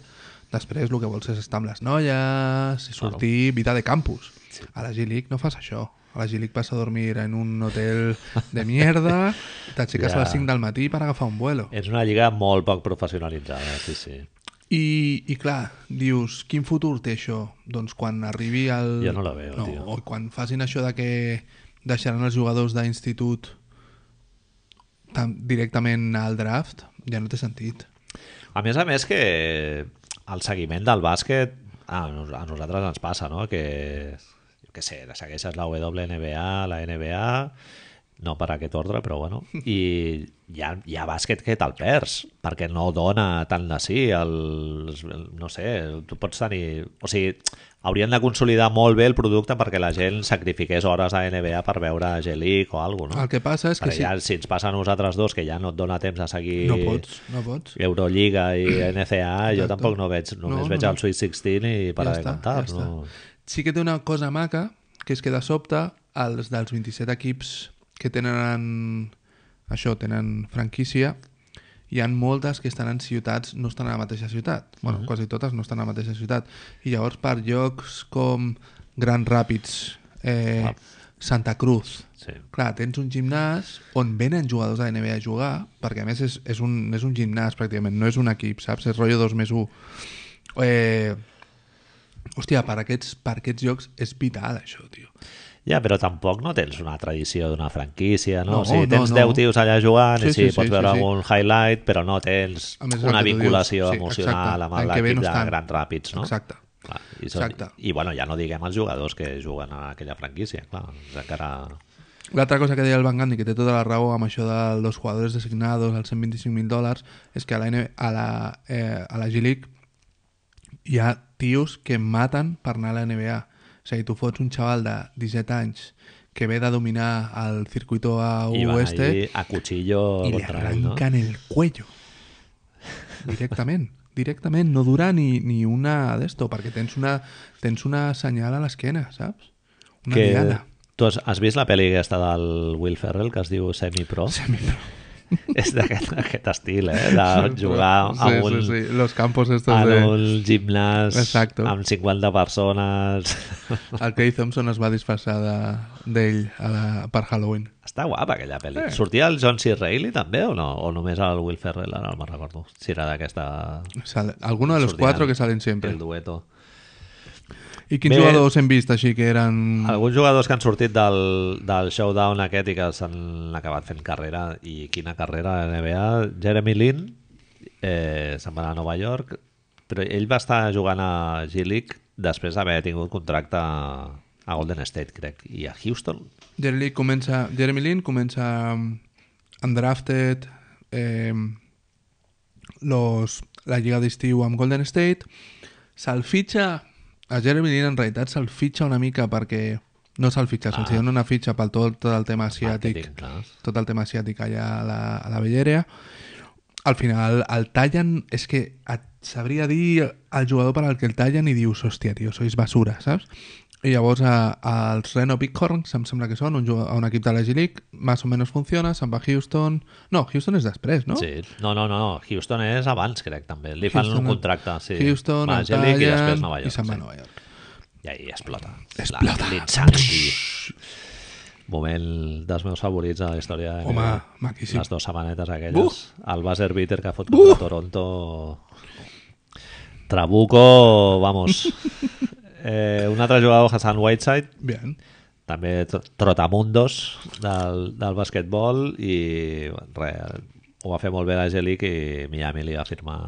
Speaker 2: després el que vols és estar amb les noies i sortir vida de campus. A la G-League no fas això. A la G-League vas a dormir en un hotel de mierda, t'aixeques
Speaker 1: Ja.
Speaker 2: a les 5 del matí per agafar un vuelo.
Speaker 1: És una lliga molt poc professionalitzada, sí, sí.
Speaker 2: I, I clar, dius, quin futur té això? Doncs quan arribi al...
Speaker 1: Jo no la veo, tio.
Speaker 2: O quan facin això de que deixaran els jugadors d'institut tam- directament al draft, ja no té sentit.
Speaker 1: A més a més que el seguiment del bàsquet a, nos- a nosaltres ens passa, no? Que, jo què sé, segueixes la WNBA, la NBA, no per aquest ordre, però bueno. I hi ha, hi ha bàsquet que te'l perds, perquè no dona tant de sí. El, el- no sé, tu pots tenir... O sigui, haurien de consolidar molt bé el producte perquè la gent sacrifiqués hores a NBA per veure G-League o alguna cosa, no?
Speaker 2: El que passa és que
Speaker 1: Perquè
Speaker 2: si...
Speaker 1: ja, si ens passa a nosaltres dos, que ja no et dona temps a seguir
Speaker 2: No pots, no pots.
Speaker 1: Euroliga i NCA, jo
Speaker 2: Exacte.
Speaker 1: tampoc no veig, només
Speaker 2: No,
Speaker 1: veig
Speaker 2: no, no.
Speaker 1: el Sweet 16 i per de cantar. no?
Speaker 2: Sí que té una cosa maca, que és que de sobte els dels 27 equips que tenen això, tenen franquícia, hi han moltes que estan en ciutats, no estan a la mateixa ciutat. bueno, quasi totes no estan a la mateixa ciutat. I llavors per llocs com Grand Rapids, eh, Santa Cruz,
Speaker 1: Sí.
Speaker 2: Clar, tens un gimnàs on venen jugadors de NBA a jugar, perquè a més és, és, un, és un gimnàs pràcticament, no és un equip, saps? És rotllo 2 més 1. Eh, hòstia, per aquests, per aquests llocs és vital això, tio.
Speaker 1: Ja, però tampoc no tens una tradició d'una franquícia, no?
Speaker 2: No,
Speaker 1: o sigui,
Speaker 2: no,
Speaker 1: tens
Speaker 2: no.
Speaker 1: 10 tios allà jugant sí, i sí, pots veure
Speaker 2: sí.
Speaker 1: algun highlight, però no tens
Speaker 2: A més, és el
Speaker 1: una
Speaker 2: que tu
Speaker 1: vinculació
Speaker 2: dius. Sí,
Speaker 1: emocional
Speaker 2: exacte.
Speaker 1: amb
Speaker 2: L'any que ve
Speaker 1: l'equip
Speaker 2: no
Speaker 1: de
Speaker 2: estan.
Speaker 1: Gran Ràpids, no?
Speaker 2: Exacte.
Speaker 1: Clar, i, són,
Speaker 2: Exacte.
Speaker 1: I, bueno, ja no diguem els jugadors que juguen a aquella franquícia, clar, doncs encara...
Speaker 2: L'altra cosa que deia el Van Gandhi, que té tota la raó amb això dels jugadors designados, els 125.000 dòlars, és que a la, N- a la, eh, a la G-League hi ha tios que maten per anar a la NBA. O sigui, tu fots un xaval de 17 anys que ve de dominar el circuito a
Speaker 1: I van
Speaker 2: oeste...
Speaker 1: allí a cuchillo
Speaker 2: y le
Speaker 1: contra ell, no?
Speaker 2: arrancan el cuello. Directament. Directament. No dura ni, ni una d'esto, perquè tens una, tens una senyal a l'esquena, saps? Una que...
Speaker 1: Que...
Speaker 2: diada.
Speaker 1: Tu has, has vist la pel·li aquesta del Will Ferrell que es diu Semi-Pro? És d'aquest aquest estil, eh? De jugar a
Speaker 2: sí,
Speaker 1: un,
Speaker 2: Sí, sí. Los campos estos
Speaker 1: en
Speaker 2: de...
Speaker 1: un gimnàs
Speaker 2: Exacto.
Speaker 1: amb 50 persones.
Speaker 2: El Clay Thompson es va disfressar de- d'ell a la... per Halloween.
Speaker 1: Està guapa aquella pel·li.
Speaker 2: Eh.
Speaker 1: Sortia el John C. Reilly també o no? O només el Will Ferrell, ara no me'n recordo. Si era d'aquesta...
Speaker 2: Sale... Alguno de los
Speaker 1: Sortiran.
Speaker 2: cuatro que salen siempre.
Speaker 1: El dueto.
Speaker 2: I
Speaker 1: Bé.
Speaker 2: quins jugadors hem vist així que eren...
Speaker 1: Alguns jugadors que han sortit del, del showdown aquest i que s'han acabat fent carrera, i quina carrera a la NBA, Jeremy Lin eh, se'n va anar a Nova York, però ell va estar jugant a G-League després d'haver tingut contracte a Golden State, crec, i a Houston.
Speaker 2: Jeremy Lin comença, Jeremy Lin comença mm, undrafted eh, los, la lliga d'estiu amb Golden State se'l fitxa a Jeremy Lin en realitat se'l fitxa una mica perquè no se'l fitxa, se'ls dona una fitxa pel tot, tot el tema asiàtic
Speaker 1: Marketing, Ah, clar.
Speaker 2: tot el tema asiàtic allà a la, a la Velleria al final el tallen, és que et sabria dir el jugador per al que el tallen i dius, hòstia, tio, sois basura, saps? I llavors a, als Reno Bighorns, em sembla que són, un, jugador, un equip de la G-League, més o menys funciona, se'n va a Houston... No, Houston és després, no?
Speaker 1: Sí. No, no, no, Houston és abans, crec, també. Li fan
Speaker 2: Houston,
Speaker 1: un contracte, sí.
Speaker 2: Houston,
Speaker 1: va, a
Speaker 2: el
Speaker 1: G-League i després
Speaker 2: tallen
Speaker 1: Nova York.
Speaker 2: i se'n va a
Speaker 1: sí.
Speaker 2: Nova York.
Speaker 1: I ahí explota. Explota. L'insanity. Moment dels meus favorits de la història. de
Speaker 2: Home,
Speaker 1: NBA.
Speaker 2: maquíssim.
Speaker 1: Les dues setmanetes aquelles. El buzzer beater que fot contra Toronto. Trabuco, vamos. eh, un altre jugador, Hassan Whiteside,
Speaker 2: Bien.
Speaker 1: també tr- trotamundos del, del basquetbol i re, ho va fer molt bé la Gelic i Miami li va firmar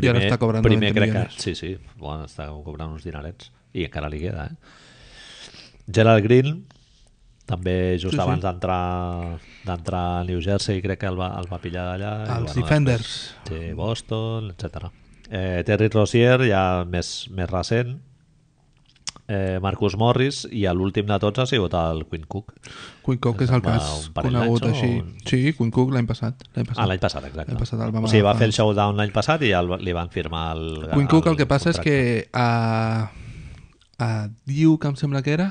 Speaker 2: I ara està cobrant
Speaker 1: primer
Speaker 2: 90
Speaker 1: crec que,
Speaker 2: milions.
Speaker 1: sí, sí, bueno, està cobrant uns dinerets i encara li queda eh? Gerald Green també just sí,
Speaker 2: Sí, sí.
Speaker 1: abans d'entrar d'entrar a New Jersey crec que el va, el va pillar d'allà i,
Speaker 2: Els
Speaker 1: bueno,
Speaker 2: Defenders.
Speaker 1: Sí, Boston, etc. Eh, Terry Rozier, ja més, més recent, eh, Marcus Morris, i a l'últim de tots ha sigut el Quinn Cook.
Speaker 2: Quinn Cook és el
Speaker 1: Va,
Speaker 2: cas
Speaker 1: un parell
Speaker 2: conegut
Speaker 1: d'anys o
Speaker 2: així.
Speaker 1: un-
Speaker 2: Sí, Quinn Cook l'any passat. L'any
Speaker 1: Ah,
Speaker 2: passat.
Speaker 1: l'any passat, exacte.
Speaker 2: L'any passat el vam
Speaker 1: o sigui, va
Speaker 2: agafar.
Speaker 1: fer el showdown l'any passat i ja el, li van firmar el...
Speaker 2: Quinn Cook el que passa és que a, a Diu, que em sembla que era,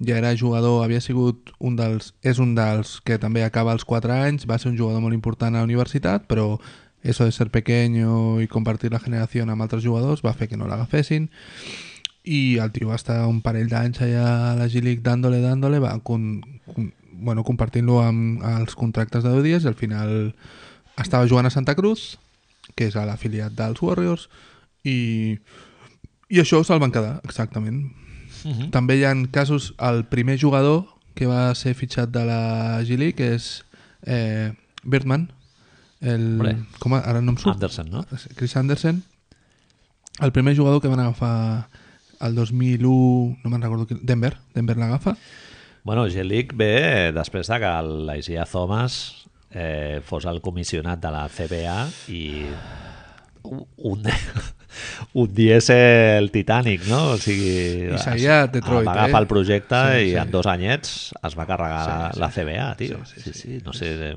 Speaker 2: ja era jugador, havia sigut un dels... És un dels que també acaba els 4 anys, va ser un jugador molt important a la universitat, però eso de ser pequeño i compartir la generació amb altres jugadors va fer que no l'agafessin i el tio va estar un parell d'anys allà a la G-League dándole, dándole, va con, con, bueno, compartint-lo amb els contractes de 10 dies i al final estava jugant a Santa Cruz, que és a l'afiliat dels Warriors, i, i això se'l van quedar, exactament. Uh -huh. També hi ha casos, el primer jugador que va ser fitxat de la G-League que és eh, Birdman, el,
Speaker 1: Hombre.
Speaker 2: com a- ara no em surt,
Speaker 1: Anderson, no?
Speaker 2: Chris Anderson, el primer jugador que van agafar el 2001, no me'n recordo, qui- Denver, Denver l'agafa,
Speaker 1: Bueno, Gelic ve després de que l'Isia Thomas eh, fos el comissionat de la CBA i un, un dies el Titanic, no? O sigui,
Speaker 2: I seguia Detroit,
Speaker 1: va agafar
Speaker 2: eh?
Speaker 1: el projecte
Speaker 2: Sí,
Speaker 1: i
Speaker 2: sí.
Speaker 1: en dos anyets es va carregar
Speaker 2: Sí, sí,
Speaker 1: la
Speaker 2: sí.
Speaker 1: CBA, tio.
Speaker 2: Sí,
Speaker 1: Sí,
Speaker 2: sí,
Speaker 1: sí, no sé... eh,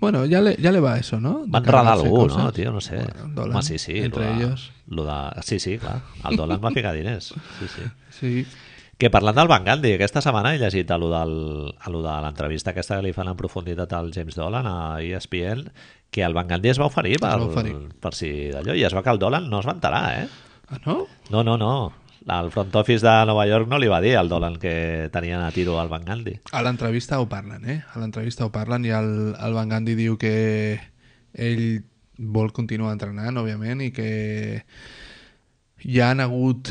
Speaker 2: Bueno, ya le, ya le va eso, ¿no? De
Speaker 1: Va enredar
Speaker 2: cargarse
Speaker 1: algú,
Speaker 2: cosas.
Speaker 1: no, tio? No sé.
Speaker 2: Bueno,
Speaker 1: Home,
Speaker 2: Dolan,
Speaker 1: sí, sí.
Speaker 2: entre
Speaker 1: lo de-
Speaker 2: ellos.
Speaker 1: lo de- Sí, sí, clar. El Dolan va ficar diners. Sí, sí.
Speaker 2: Sí.
Speaker 1: Que parlant del Van Gandhi, aquesta setmana he llegit a lo, del, a lo de l'entrevista aquesta que li fan en profunditat al James Dolan a E ESPN, que el Van Gandhi es va oferir per,
Speaker 2: va oferir.
Speaker 1: per si d'allò, i es va que el Dolan no es va enterar, eh?
Speaker 2: Ah, ¿no?
Speaker 1: No, no, no. El front office de Nova York no li va dir al Dolan que tenien a tiro al Van Gandhi.
Speaker 2: A l'entrevista ho parlen, eh? A l'entrevista ho parlen i el, el Van Gandhi diu que ell vol continuar entrenant, òbviament, i que hi han hagut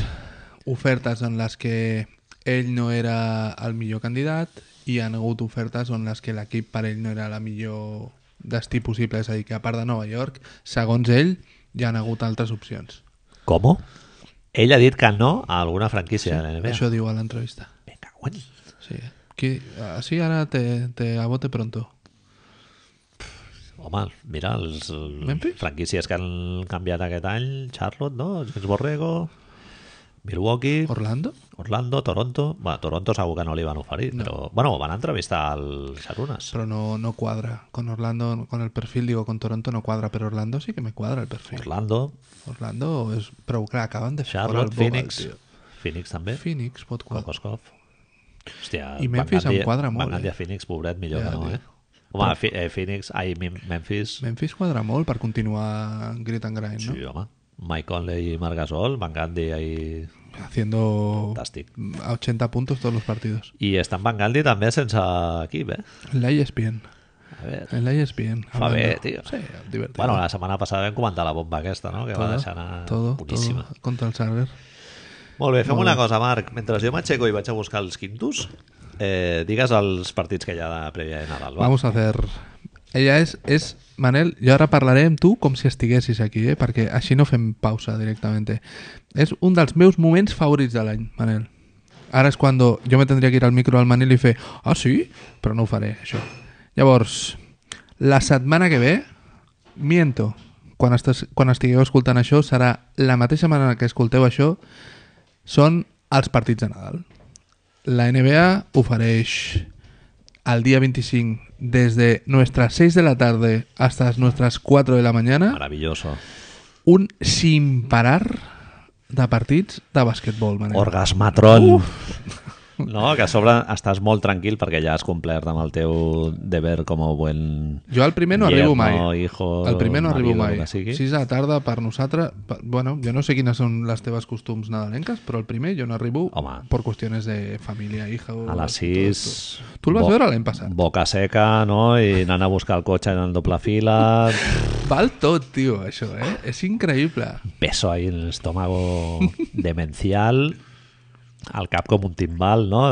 Speaker 2: ofertes en les que ell no era el millor candidat i hi han hagut ofertes en les que l'equip per ell no era la millor destí possible, és a dir, que a part de Nova York, segons ell, hi han hagut altres opcions.
Speaker 1: Com? Ell ha dit que no a alguna franquícia sí, de l'NBA.
Speaker 2: Això diu a l'entrevista.
Speaker 1: Me cago en-
Speaker 2: Sí. eh? Qui, així ara te, te a bote pronto.
Speaker 1: Home, mira, els
Speaker 2: Memphis?
Speaker 1: franquícies que han canviat aquest any, Charlotte, no? James Borrego, Milwaukee,
Speaker 2: Orlando?
Speaker 1: Orlando, Toronto... Bé, Toronto segur que no li van oferir, no. però... Bueno, van entrevistar al Xarunas.
Speaker 2: Pero no, no cuadra. Con Orlando, con el perfil, digo, con Toronto no cuadra, pero Orlando sí que me cuadra el perfil.
Speaker 1: Orlando,
Speaker 2: Orlando es. Pero claro, acaban de fichar
Speaker 1: Charlotte,
Speaker 2: al Boban,
Speaker 1: Phoenix...
Speaker 2: tío.
Speaker 1: Phoenix també,
Speaker 2: Phoenix pot quadrar.
Speaker 1: Kokoskov... Hòstia,
Speaker 2: I Memphis
Speaker 1: Van Gundy-
Speaker 2: em quadra molt,
Speaker 1: Van Gundy
Speaker 2: eh?
Speaker 1: a Phoenix, pobret, millor
Speaker 2: Ja,
Speaker 1: que no,
Speaker 2: tio.
Speaker 1: eh? Home, fi, eh, Phoenix... Ai, Mem- Memphis...
Speaker 2: Memphis quadra molt per continuar en Grit and Grind, ¿no?
Speaker 1: Sí, home. Mike Conley i Marc Gasol, Van Gandhi i...
Speaker 2: Haciendo
Speaker 1: Fantàstic.
Speaker 2: a 80 puntos todos los partidos.
Speaker 1: I estan Van Gandhi també sense equip, eh?
Speaker 2: En la ESPN.
Speaker 1: A veure...
Speaker 2: En la ESPN.
Speaker 1: Fa
Speaker 2: hablando.
Speaker 1: bé, tio.
Speaker 2: Sí, divertido.
Speaker 1: Bueno, la setmana passada vam comentar la bomba aquesta, no? Que va deixar anar
Speaker 2: todo,
Speaker 1: boníssima.
Speaker 2: todo contra el Sarger.
Speaker 1: Molt bé, fem una cosa, Marc. Mentre jo m'aixeco i vaig a buscar els quintos, eh, digues els partits que hi ha de prèvia de Nadal. Va?
Speaker 2: Vamos a hacer... Ella és, és... Manel, jo ara parlaré amb tu com si estiguessis aquí, eh? perquè així no fem pausa directament. És un dels meus moments favorits de l'any, Manel. Ara és quan jo me tendria que ir al micro al Manel i fer ah sí? Però no ho faré, això. Llavors, la setmana que ve, miento, quan, estàs, quan estigueu escoltant això, serà la mateixa manera que escolteu això, són els partits de Nadal. La NBA ofereix al día 25 desde nuestras 6 de la tarde hasta nuestras 4 de la mañana
Speaker 1: Maravilloso.
Speaker 2: un sin parar de partits de basquetbol, Manel.
Speaker 1: Orgasmatron. Uf. No, que a sobre estàs molt tranquil perquè ja has complert amb el teu deber com a buen...
Speaker 2: Jo al primer no
Speaker 1: Yerno,
Speaker 2: arribo mai.
Speaker 1: hijo,
Speaker 2: al primer no arribo
Speaker 1: marido,
Speaker 2: mai.
Speaker 1: el que sigui.
Speaker 2: 6 de la tarda per nosaltres... per- Bueno, jo no sé quines són les teves costums nadalenques, però el primer jo no arribo
Speaker 1: Home.
Speaker 2: per qüestiones de família, hija... o-
Speaker 1: A les
Speaker 2: tot,
Speaker 1: 6...
Speaker 2: tot. Tu el vas veure l'any passat.
Speaker 1: Boca seca, no? I anant a buscar el cotxe en doble fila...
Speaker 2: Val tot, tio, això, eh? És increïble.
Speaker 1: peso ahí en el estómago demencial, al cap com un timbal, no?,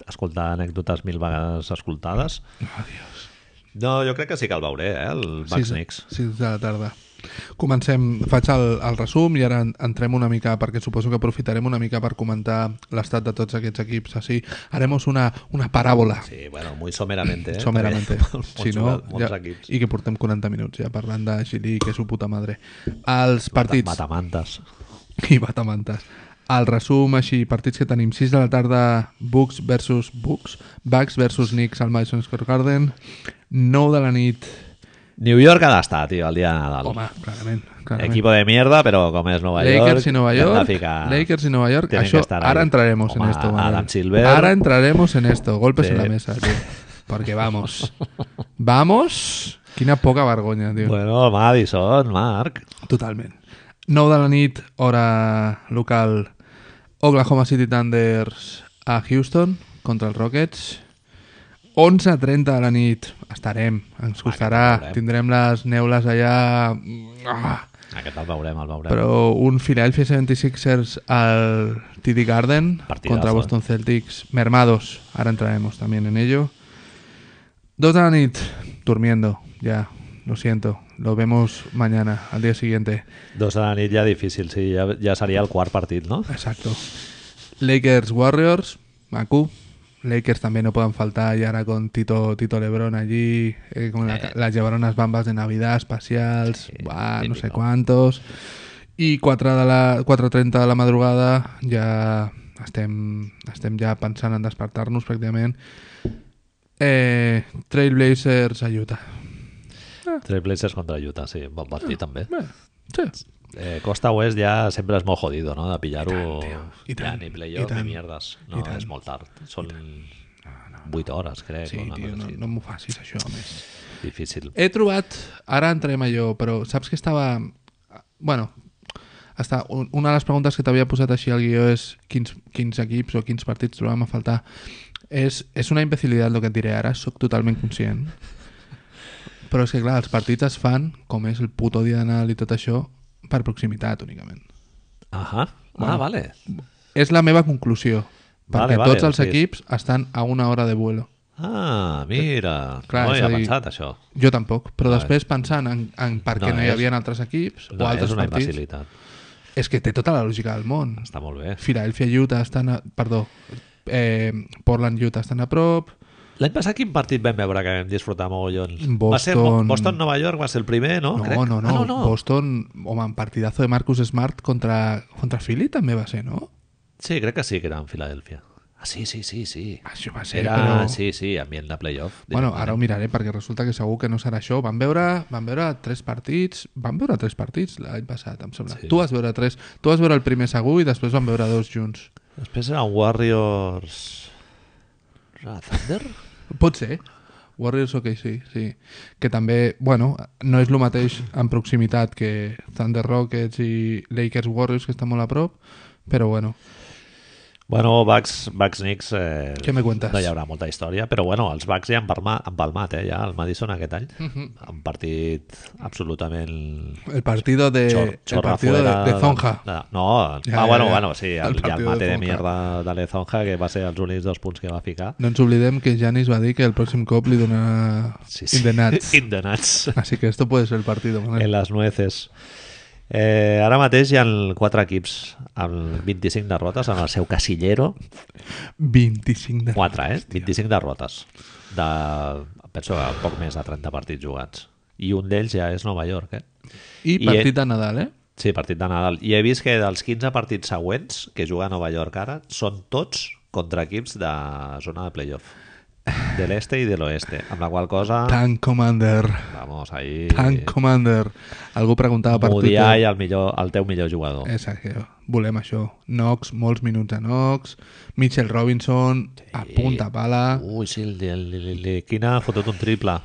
Speaker 1: d'escoltar anècdotes mil vegades escoltades.
Speaker 2: Oh, Dios.
Speaker 1: No, jo crec que sí que el veuré, eh, el Bucks
Speaker 2: Sis-
Speaker 1: Knicks.
Speaker 2: sis de la tarda. Comencem, faig el, el resum i ara en- entrem una mica, perquè suposo que aprofitarem una mica per comentar l'estat de tots aquests equips. Així, haremos una, una paràbola,
Speaker 1: Sí, bueno, muy someramente, eh?
Speaker 2: someramente.
Speaker 1: Perquè
Speaker 2: Si no,
Speaker 1: molts
Speaker 2: ja,
Speaker 1: equips.
Speaker 2: I que portem 40 minuts ja parlant de Gili, que és su puta madre. Els partits...
Speaker 1: Matamantes.
Speaker 2: I batamantes. El resum, així, partits que tenim 6 de la tarda, Bucks versus Bucks, Bucks versus Knicks al Madison Square Garden, 9 de la nit...
Speaker 1: New York ha d'estar, tio, el dia de Nadal.
Speaker 2: Home, clarament, clarament.
Speaker 1: Equipo de mierda, però com és Nova York...
Speaker 2: Lakers y Nueva
Speaker 1: hem de
Speaker 2: York.
Speaker 1: Ficar...
Speaker 2: Lakers y Nueva York.
Speaker 1: Tienen
Speaker 2: Això,
Speaker 1: que estar
Speaker 2: ahora
Speaker 1: ahí.
Speaker 2: entraremos en
Speaker 1: Home,
Speaker 2: esto. Manuel.
Speaker 1: Adam Silver.
Speaker 2: Ahora entraremos en esto. Golpes
Speaker 1: Sí.
Speaker 2: en la mesa, tío. Porque vamos. vamos. Quina poca vergonya, tío.
Speaker 1: Bueno, Madison, Marc.
Speaker 2: Totalment. 9 de la nit, hora local, Oklahoma City Thunders a Houston contra els Rockets. 11.30 de la nit estarem, ens costarà,
Speaker 1: veurem.
Speaker 2: tindrem les neules allà... Ah,
Speaker 1: Aquest el veurem, el veurem.
Speaker 2: però un Philadelphia 76ers al TD Garden
Speaker 1: Partidazo,
Speaker 2: contra
Speaker 1: eh.
Speaker 2: Boston Celtics. Mermados, ahora entraremos también en ello. Dos de la nit, durmiendo, ya, lo siento. Lo vemos mañana, al día siguiente.
Speaker 1: Dos de la nit ja difícil, sí, ja, ja seria el quart partit, no?
Speaker 2: Exacto. Lakers Warriors, Macu, Lakers también no puedan faltar y ahora con Tito, Tito Lebron allí, eh, con la-
Speaker 1: Eh.
Speaker 2: las llevaron unas bambas de Navidad espacials,
Speaker 1: Sí,
Speaker 2: buah, no sé
Speaker 1: típico.
Speaker 2: quantos. I 4 de la, 4.30 de la madrugada ja estem, estem ja pensant en despertar-nos pràcticament. Eh, Trailblazers a Utah.
Speaker 1: Trailblazers contra Utah, sí, bon partit també.
Speaker 2: Bé, sí.
Speaker 1: Eh, Costa Oest ja sempre és molt jodido, no?, de pillar-ho...
Speaker 2: I tant, tio, i
Speaker 1: Ja
Speaker 2: tant,
Speaker 1: ni
Speaker 2: i
Speaker 1: playoff
Speaker 2: tant,
Speaker 1: ni mierdes.
Speaker 2: i
Speaker 1: No,
Speaker 2: tant.
Speaker 1: és molt tard. Són 8 hores, crec.
Speaker 2: Sí,
Speaker 1: o una
Speaker 2: tio,
Speaker 1: cosa
Speaker 2: no,
Speaker 1: així.
Speaker 2: no m'ho facis això, a més.
Speaker 1: Difícil.
Speaker 2: He trobat, ara entrem allò, però saps que estava... bueno, està, un- una de les preguntes que t'havia posat així al guió és quins, quins equips o quins partits trobàvem a faltar. És, és una imbecilitat el que et diré ara, sóc totalment conscient. Però és que clar, els partits es fan, com és el puto dia de Nadal i tot això, per proximitat únicament.
Speaker 1: Ahà. Ah,
Speaker 2: Bueno.
Speaker 1: vale.
Speaker 2: És la meva conclusió,
Speaker 1: Vale,
Speaker 2: perquè
Speaker 1: vale,
Speaker 2: tots els
Speaker 1: sí.
Speaker 2: equips estan a una hora de vuelo.
Speaker 1: Ah, mira.
Speaker 2: Clar,
Speaker 1: no
Speaker 2: és
Speaker 1: hi
Speaker 2: a
Speaker 1: ha
Speaker 2: dir-
Speaker 1: pensat, això.
Speaker 2: Jo tampoc, però
Speaker 1: Ah,
Speaker 2: després pensant en, en per què
Speaker 1: No,
Speaker 2: no, hi
Speaker 1: és-
Speaker 2: havia altres equips
Speaker 1: No,
Speaker 2: o altres
Speaker 1: és una
Speaker 2: partits...
Speaker 1: imbecilitat.
Speaker 2: És que té tota la lògica del món.
Speaker 1: Està molt bé.
Speaker 2: Filadelfia i Utah estan a... Perdó. Eh, Portland i Utah estan a prop.
Speaker 1: L'any passat quin partit vam veure que vam disfrutar mogollons? Va ser
Speaker 2: Boston-
Speaker 1: Boston-Nova York, va ser el primer, no?
Speaker 2: No,
Speaker 1: Crec.
Speaker 2: no, no,
Speaker 1: Ah, no, no.
Speaker 2: Boston, home, en partidazo de Marcus Smart contra, contra Philly també va ser, no?
Speaker 1: Sí, crec que sí, que era en Filadèlfia. Ah, sí, sí, sí, sí.
Speaker 2: Això va ser,
Speaker 1: Era,
Speaker 2: però...
Speaker 1: sí, sí, ambient de playoff.
Speaker 2: Bueno, ara ho miraré perquè resulta que segur que no serà això. Van veure, van veure tres partits, van veure tres partits l'any passat, em sembla.
Speaker 1: Sí.
Speaker 2: Tu vas veure tres, tu vas veure el primer segur i després van veure dos junts.
Speaker 1: Després era un Warriors... Ah, Thunder?
Speaker 2: Pot ser. Warriors, ok, sí, sí. Que també, bueno, no és el mateix en proximitat que Thunder Rockets i Lakers Warriors, que estan molt a prop, però bueno,
Speaker 1: bueno, Bucks, Bucks Knicks... Eh,
Speaker 2: Què me cuentas?
Speaker 1: No hi haurà molta història, però bueno, els Bucks ja han palma- han palmat, eh, ja, el Madison aquest any. Un partit absolutament...
Speaker 2: el partido de,
Speaker 1: Chor,
Speaker 2: Eh, el
Speaker 1: chorra
Speaker 2: partido de,
Speaker 1: fuera,
Speaker 2: de Zonja.
Speaker 1: No, no ah,
Speaker 2: Ja, ja,
Speaker 1: bueno,
Speaker 2: ja.
Speaker 1: bueno, sí, el,
Speaker 2: El
Speaker 1: ja el
Speaker 2: partido de
Speaker 1: mate de,
Speaker 2: Zonja.
Speaker 1: mierda de Lezonja, que va ser els únics dos punts que va ficar.
Speaker 2: No ens oblidem que Janis va dir que el pròxim cop li donarà
Speaker 1: Sí, sí.
Speaker 2: in the nuts.
Speaker 1: In the nuts.
Speaker 2: Así que esto puede ser el partido. Manel.
Speaker 1: en les nueces. Eh, ara mateix hi ha quatre equips amb 25 derrotes en el seu casillero.
Speaker 2: 25 de...
Speaker 1: 4, eh? 25 derrotes. De, penso que poc més de 30 partits jugats. I un d'ells ja és Nova York, eh?
Speaker 2: I
Speaker 1: I-
Speaker 2: partit de Nadal, eh?
Speaker 1: Sí, partit de Nadal. I he vist que dels 15 partits següents que juga a Nova York ara són tots contra equips de zona de playoff. De l'este i de l'oeste. Amb la qual cosa...
Speaker 2: Tank Commander.
Speaker 1: Vamos, ahí...
Speaker 2: Tank Commander. Algú preguntava per
Speaker 1: Mudiar
Speaker 2: Twitter.
Speaker 1: i el, millor, el teu millor jugador.
Speaker 2: Exacte, volem això. Knox, molts minuts a Knox, Mitchell Robinson, a punta pala,
Speaker 1: Ui, sí, el, el, el, el Quina ha fotut un triple.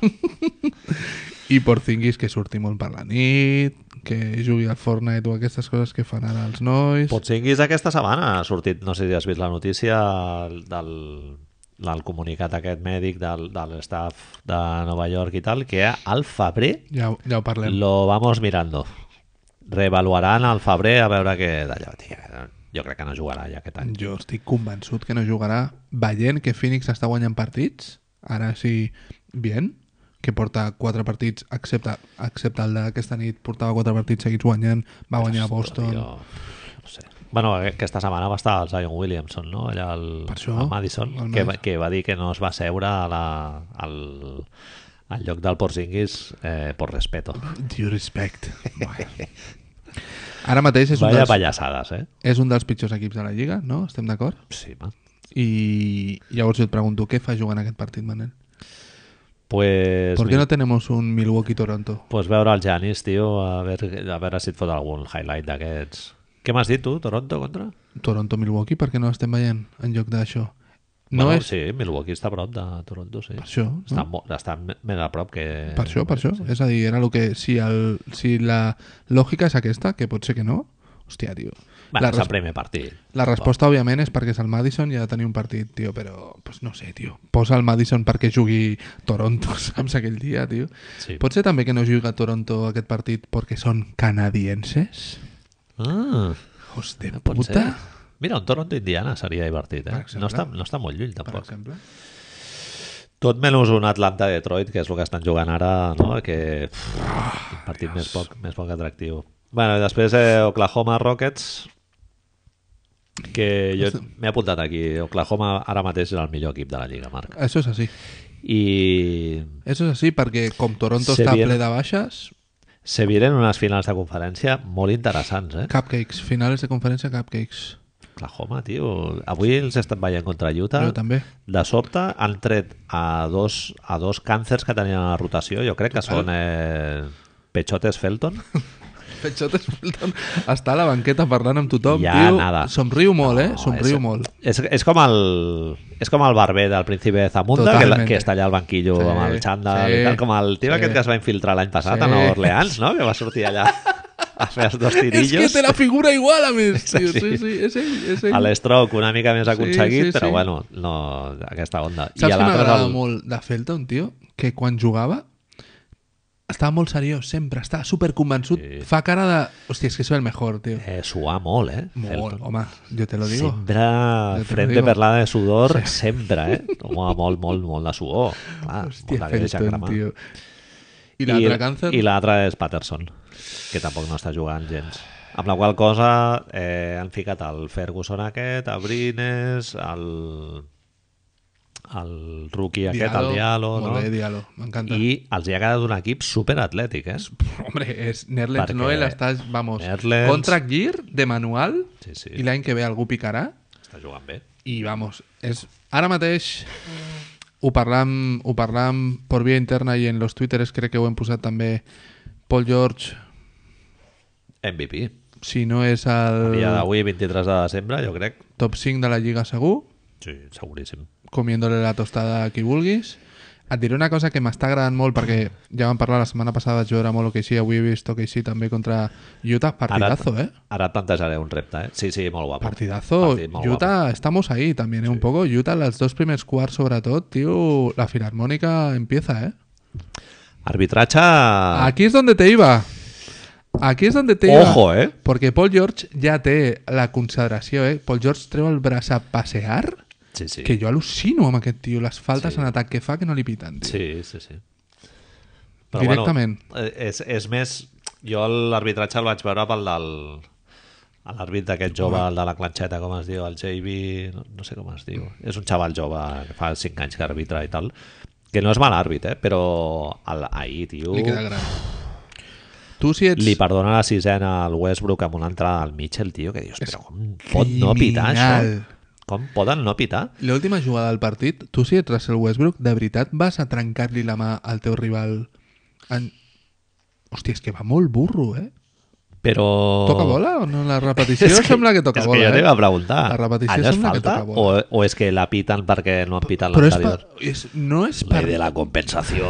Speaker 2: i Porzingis que surti molt per la nit, que jugui al Fortnite o aquestes coses que fan ara els nois.
Speaker 1: Porzingis aquesta setmana ha sortit, no sé si has vist la notícia del, del comunicat aquest mèdic del, de l'estaf de Nova York i tal, que al febrer
Speaker 2: Ja, ho- ja ho parlem.
Speaker 1: lo vamos mirando. Revaluaran al febrer a veure què d'allò. Tio, jo crec que no jugarà ja aquest any.
Speaker 2: Jo estic convençut que no jugarà veient que Phoenix està guanyant partits, ara sí, bien, que porta quatre partits, excepte, excepte el d'aquesta nit, portava quatre partits seguits guanyant, va guanyar a Boston.
Speaker 1: Tio, no sé. Bueno, aquesta setmana va estar el Zion Williamson, no? Allà al,
Speaker 2: Per això,
Speaker 1: al Madison,
Speaker 2: al
Speaker 1: que, va-
Speaker 2: Madison.
Speaker 1: que va dir que no es va seure a la, al, al lloc del Porzingis eh, por respeto.
Speaker 2: Due respect. Bueno. Ara mateix és un,
Speaker 1: Vaya
Speaker 2: dels,
Speaker 1: pallassades, eh?
Speaker 2: és un dels pitjors equips de la Lliga, no? Estem d'acord?
Speaker 1: Sí, man.
Speaker 2: I llavors jo et pregunto, què fa jugant aquest partit, Manel?
Speaker 1: Pues,
Speaker 2: ¿Por qué no tenemos un Milwaukee-Toronto?
Speaker 1: pues veure el Janis, tio, a veure, a veure si et fot algun highlight d'aquests. Què m'has dit tu, Toronto contra?
Speaker 2: Toronto-Milwaukee, per què no estem veient en lloc d'això? No
Speaker 1: bueno,
Speaker 2: és...
Speaker 1: Sí, Milwaukee està a prop de Toronto, sí.
Speaker 2: Per això,
Speaker 1: Està,
Speaker 2: no?
Speaker 1: mo- està me- més a prop que...
Speaker 2: Per això, per això. És a dir, era el que... Si, el, si la lògica és aquesta, que pot ser que no, hòstia, tio.
Speaker 1: Bueno,
Speaker 2: la,
Speaker 1: és
Speaker 2: res,
Speaker 1: el primer partit.
Speaker 2: la resposta, òbviament, és perquè és el Madison i ha de tenir un partit, tio, però pues, no sé, tio. Posa el Madison perquè jugui Toronto, saps, aquell dia, tio.
Speaker 1: Sí.
Speaker 2: Pot ser també que no juga Toronto aquest partit perquè són canadienses?
Speaker 1: Ah,
Speaker 2: Hos de
Speaker 1: pot ser.
Speaker 2: puta,
Speaker 1: Mira, un Toronto-Indiana seria divertit,
Speaker 2: Per
Speaker 1: eh?
Speaker 2: exemple.
Speaker 1: No està, no està molt lluny,
Speaker 2: per
Speaker 1: tampoc.
Speaker 2: exemple.
Speaker 1: Tot menys un Atlanta-Detroit, que és el que estan jugant ara, no? Que... pff, un partit més poc, més poc atractiu. Bueno, i després eh, Oklahoma Rockets, que jo m'he apuntat aquí. Oklahoma ara mateix és el millor equip de la Lliga, Marc.
Speaker 2: Això és així.
Speaker 1: I
Speaker 2: Això és així perquè com Toronto
Speaker 1: Se
Speaker 2: està
Speaker 1: viene-
Speaker 2: ple de baixes,
Speaker 1: se viren unes finals de conferència molt interessants, eh?
Speaker 2: cupcakes, finals de conferència cupcakes.
Speaker 1: Oklahoma, tio. Avui els he estat veient contra Utah.
Speaker 2: Jo també.
Speaker 1: De sobte han tret a dos, a dos càncers que tenien a la rotació. Jo crec que són eh, Pechotes Felton.
Speaker 2: Petxot Spelton està a la banqueta parlant amb tothom,
Speaker 1: Ja,
Speaker 2: tio.
Speaker 1: nada.
Speaker 2: Somriu molt, eh?
Speaker 1: No,
Speaker 2: Somriu
Speaker 1: és-
Speaker 2: molt.
Speaker 1: És, és, com el, és com el barber del Príncipe de Zamunda, que, la-
Speaker 2: Totalmente.
Speaker 1: que està allà al banquillo
Speaker 2: Sí,
Speaker 1: amb el xandall
Speaker 2: sí,
Speaker 1: i tal, com el tio
Speaker 2: sí.
Speaker 1: aquest que es va infiltrar l'any passat
Speaker 2: Sí.
Speaker 1: a Nova Orleans, no? que va sortir allà a fer els dos
Speaker 2: És que
Speaker 1: tirillos.
Speaker 2: té la figura igual, a més, tio.
Speaker 1: així.
Speaker 2: Sí, sí, és ell, és ell.
Speaker 1: a l'estroc una mica més aconseguit,
Speaker 2: sí,
Speaker 1: però
Speaker 2: sí.
Speaker 1: bueno, no, aquesta onda.
Speaker 2: Saps què
Speaker 1: l'altre és
Speaker 2: m'agrada
Speaker 1: el-
Speaker 2: molt de Felton, tio? Que quan jugava estava molt seriós, sempre. Estava superconvençut.
Speaker 1: Sí.
Speaker 2: Fa cara de... Hòstia, és que soy el mejor, tio.
Speaker 1: Eh, suar molt, eh?
Speaker 2: Molt,
Speaker 1: Felton.
Speaker 2: home, jo te lo digo.
Speaker 1: Sempre
Speaker 2: te lo
Speaker 1: frente
Speaker 2: digo.
Speaker 1: perlada de sudor, sempre, eh? Home, molt, molt, molt de suor. Clar,
Speaker 2: Hòstia,
Speaker 1: molt de que deixa
Speaker 2: Felton,
Speaker 1: cremar.
Speaker 2: tio. I l'altre càncer?
Speaker 1: I l'altre és Patterson, que tampoc no està jugant gens. Amb la qual cosa eh, han ficat el Ferguson aquest, a Brines, el, el rookie aquest, el Diallo,
Speaker 2: Molt
Speaker 1: no?
Speaker 2: bé, Diallo, m'encanta. I...
Speaker 1: I els hi ha quedat un equip superatlètic, eh?
Speaker 2: Hombre, és Nerlens
Speaker 1: Perquè-
Speaker 2: Noel, estàs, vamos,
Speaker 1: Nerlens-
Speaker 2: contract year de manual,
Speaker 1: Sí, sí.
Speaker 2: i l'any que ve algú picarà,
Speaker 1: Està jugant bé.
Speaker 2: i vamos, és... Ara mateix ho parlam, ho parlam per via interna i en los twitters crec que ho hem posat també Paul George,
Speaker 1: MVP.
Speaker 2: si no és
Speaker 1: El dia
Speaker 2: el
Speaker 1: d'avui, 23 de desembre, jo crec.
Speaker 2: top 5 de la Lliga segur,
Speaker 1: Sí, seguríssim.
Speaker 2: comiéndole la tostada a qui vulguis. Et diré una cosa que m'està agradant molt perquè ja vam parlar la setmana passada, jo era molt OKC, avui he vist OKC també contra Utah. Partidazo, eh?
Speaker 1: Ara et plantejaré un repte, eh? Sí, sí, molt guapo.
Speaker 2: Partidazo.
Speaker 1: Partit molt
Speaker 2: Utah, estamos ahí también, ¿eh? Un poco. Utah, los dos primeros quarts, sobretot, tío, la filarmónica empieza, ¿eh?
Speaker 1: guapo. Arbitratge... Ah.
Speaker 2: Aquí es donde te iba. Aquí es donde te iba.
Speaker 1: Ojo, eh?
Speaker 2: Porque Paul George ya te la consideració, eh? Paul George treu el braç a passear,
Speaker 1: Sí, sí.
Speaker 2: que jo al·lucino amb aquest tio. Les faltes en atac que fa que no li piten, tio.
Speaker 1: Sí, sí, sí.
Speaker 2: Directament.
Speaker 1: Bueno, eh, és, és més... Jo l'arbitratge el vaig veure pel del... a L'àrbit d'aquest jove, el de la clanxeta, com es diu, el JB... No, no sé com es diu. És un xaval jove que fa 5 anys que arbitra i tal. Que no és mal àrbit, eh? Però el, ahir, tio...
Speaker 2: Li queda gran. Tu si ets...
Speaker 1: li perdona la sisena al Westbrook amb una entrada al Mitchell, tio, que dius, però com pot no pitar això?
Speaker 2: criminal.
Speaker 1: Com poden no pitar?
Speaker 2: L'última jugada del partit, tu si ets Russell Westbrook, de veritat vas a trencar-li la mà al teu rival en... Hòstia, és que va molt burro, eh?
Speaker 1: Però...
Speaker 2: Toca bola o no? La repetició sembla que toca
Speaker 1: és Oh.
Speaker 2: bola,
Speaker 1: que jo
Speaker 2: eh?
Speaker 1: t'he de preguntar.
Speaker 2: La repetició
Speaker 1: Allò és
Speaker 2: sembla que
Speaker 1: falta
Speaker 2: toca bola.
Speaker 1: O, o és que la piten perquè no han pitat
Speaker 2: Però és,
Speaker 1: l'anterior?
Speaker 2: per, és, no és
Speaker 1: La
Speaker 2: per,
Speaker 1: idea de la compensació.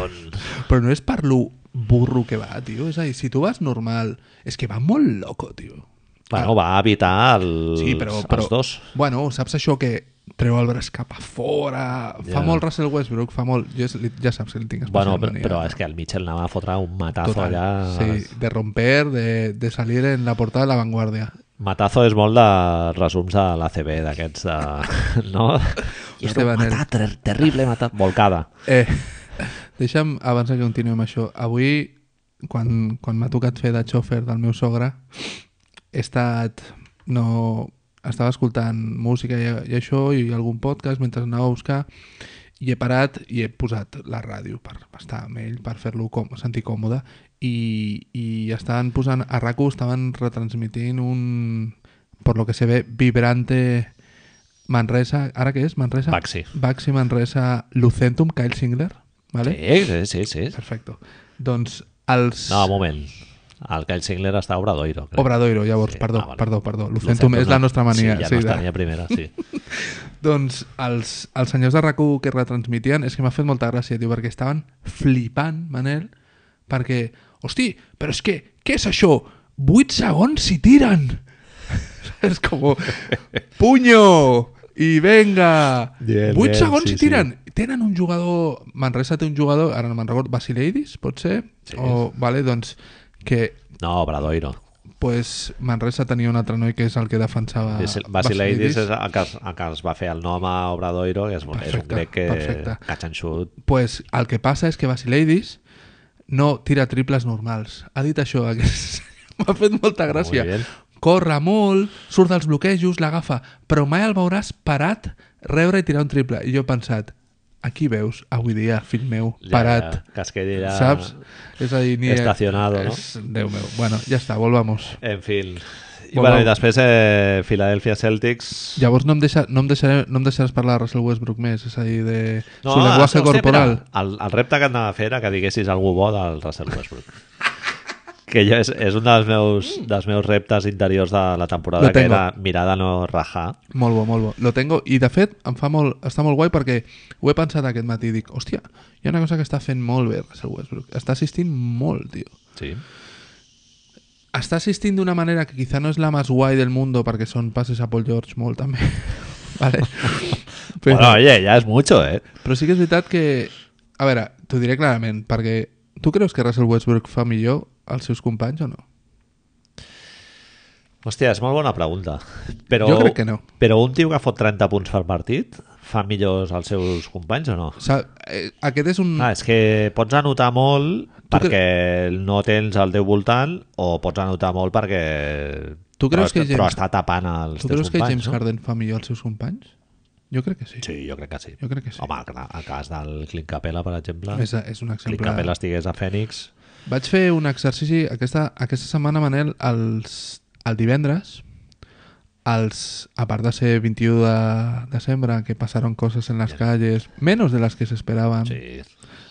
Speaker 2: però no és per lo burro que va, tio. És a dir, si tu vas normal, és que va molt loco, tio.
Speaker 1: Bueno, va evitar els,
Speaker 2: Ah. Sí, però, però...
Speaker 1: els Pues, dos.
Speaker 2: Bueno, saps això que treu el braç cap a fora...
Speaker 1: Ja.
Speaker 2: Fa molt Russell Westbrook, fa molt... Jo, és- li- ja saps que li tinc especial
Speaker 1: Bueno, però,
Speaker 2: mania.
Speaker 1: però és que el Mitchell anava a fotre un matazo
Speaker 2: Total,
Speaker 1: allà.
Speaker 2: sí, de romper, de, de salir en la portada de la vanguardia.
Speaker 1: Matazo és molt de resums de l'ACB d'aquests de... no? I era
Speaker 2: Esteban,
Speaker 1: un
Speaker 2: el-
Speaker 1: matat, ter- terrible matat. Volcada.
Speaker 2: Eh, deixa'm, abans que continuï amb això, avui, quan, quan m'ha tocat fer de xòfer del meu sogre, he estat... No, estava escoltant música i, i això, i algun podcast, mentre anava a buscar, i he parat i he posat la ràdio per estar amb ell, per fer-lo com, sentir còmode, i, i estaven posant... A rac estaven retransmitint un... Por lo que se ve, vibrante... Manresa, ara què és? Manresa?
Speaker 1: Baxi.
Speaker 2: Baxi Manresa Lucentum, Kyle Singler, vale?
Speaker 1: Sí, sí, sí. sí.
Speaker 2: Perfecto. Doncs els...
Speaker 1: No, un moment. El Kyle Singler està a Obradoiro. Crec.
Speaker 2: Obradoiro, llavors,
Speaker 1: Sí,
Speaker 2: perdó,
Speaker 1: ah, vale.
Speaker 2: perdó, perdó. Lucentum és la nostra mania.
Speaker 1: Sí, ja
Speaker 2: sí,
Speaker 1: no
Speaker 2: de-
Speaker 1: està ni a primera, sí.
Speaker 2: Doncs els, els senyors de rac que retransmitien és que m'ha fet molta gràcia, tio, perquè estaven flipant, Manel, perquè, hosti, però és que, què és això? 8 segons si tiren! és com, puño! I venga!
Speaker 1: Bien,
Speaker 2: 8
Speaker 1: bien,
Speaker 2: segons
Speaker 1: sí,
Speaker 2: si tiren! Tenen un jugador, Manresa té un jugador, ara no me'n recordo, Basileidis, pot ser?
Speaker 1: Sí.
Speaker 2: O, vale, doncs, que
Speaker 1: No, Obradoiro.
Speaker 2: pues, Manresa tenia un altre noi que és el que defensava
Speaker 1: Basileidis és el que, es, el que es va fer el nom a Obradoiro, que és, un- és un
Speaker 2: Perfecte,
Speaker 1: grec que
Speaker 2: perfecte.
Speaker 1: catch and shoot.
Speaker 2: pues el que passa és que Basileidis no tira triples normals. Ha dit això, aquest senyor. m'ha fet molta gràcia.
Speaker 1: Molt bé.
Speaker 2: corre molt, surt dels bloquejos, l'agafa, però mai el veuràs parat, rebre i tirar un triple. I jo he pensat, aquí veus, avui dia, fill meu, parat.
Speaker 1: que es quedi allà...
Speaker 2: Saps? És a dir, ni...
Speaker 1: Estacionado, no?
Speaker 2: és, Déu meu. Bueno, ja està, volvamos.
Speaker 1: En fin. I,
Speaker 2: Bueno.
Speaker 1: bueno, i després eh, Philadelphia Celtics...
Speaker 2: Llavors no em, deixa, no, em deixaré, no em deixaràs parlar de Russell Westbrook més, és a dir, de no, su
Speaker 1: ah,
Speaker 2: llenguatge
Speaker 1: hòstia,
Speaker 2: corporal.
Speaker 1: Mira, el, el repte que anava a fer era que diguessis algú bo del Russell Westbrook. que jo és, és un dels meus, dels meus reptes interiors de la temporada,
Speaker 2: Lo
Speaker 1: que
Speaker 2: tengo.
Speaker 1: era mirada no rajar.
Speaker 2: Molt bo, molt bo. Lo tengo. I, de fet, em fa molt, està molt guai perquè ho he pensat aquest matí. Dic, hòstia, hi ha una cosa que està fent molt bé Russell Westbrook. Està assistint molt, tio.
Speaker 1: Sí.
Speaker 2: Està assistint d'una manera que quizá no és la més guai del mundo perquè són passes a Paul George molt, també. vale?
Speaker 1: Però... Bueno, oye, ja és mucho, eh?
Speaker 2: Però sí que és veritat que... A veure, t'ho diré clarament, perquè tu creus que Russell Westbrook fa millor als seus companys o no?
Speaker 1: Hòstia, és molt bona pregunta. Però,
Speaker 2: Jo crec que no.
Speaker 1: Però un tio que fot 30 punts per partit fa millors els seus companys o no?
Speaker 2: O sigui, eh, aquest és un...
Speaker 1: Ah, és que pots anotar molt
Speaker 2: Tu
Speaker 1: perquè no tens el teu voltant o pots anotar molt perquè...
Speaker 2: Tu
Speaker 1: però,
Speaker 2: creus que James-
Speaker 1: Però està tapant els
Speaker 2: tu
Speaker 1: teus
Speaker 2: creus que
Speaker 1: companys,
Speaker 2: James
Speaker 1: no?
Speaker 2: Harden fa millor als seus companys? Jo crec que sí.
Speaker 1: Sí, jo crec que sí.
Speaker 2: Jo crec que sí.
Speaker 1: Home, clar, el cas del Clint Capella, per exemple,
Speaker 2: és, és un
Speaker 1: Clint
Speaker 2: exemple...
Speaker 1: Capella estigués a Fènix...
Speaker 2: Vaig fer un exercici aquesta, aquesta setmana, Manel, els, el divendres, els, a part de ser 21 de desembre, que pasaron cosas en las calles, menos de las que se esperaban,
Speaker 1: Sí,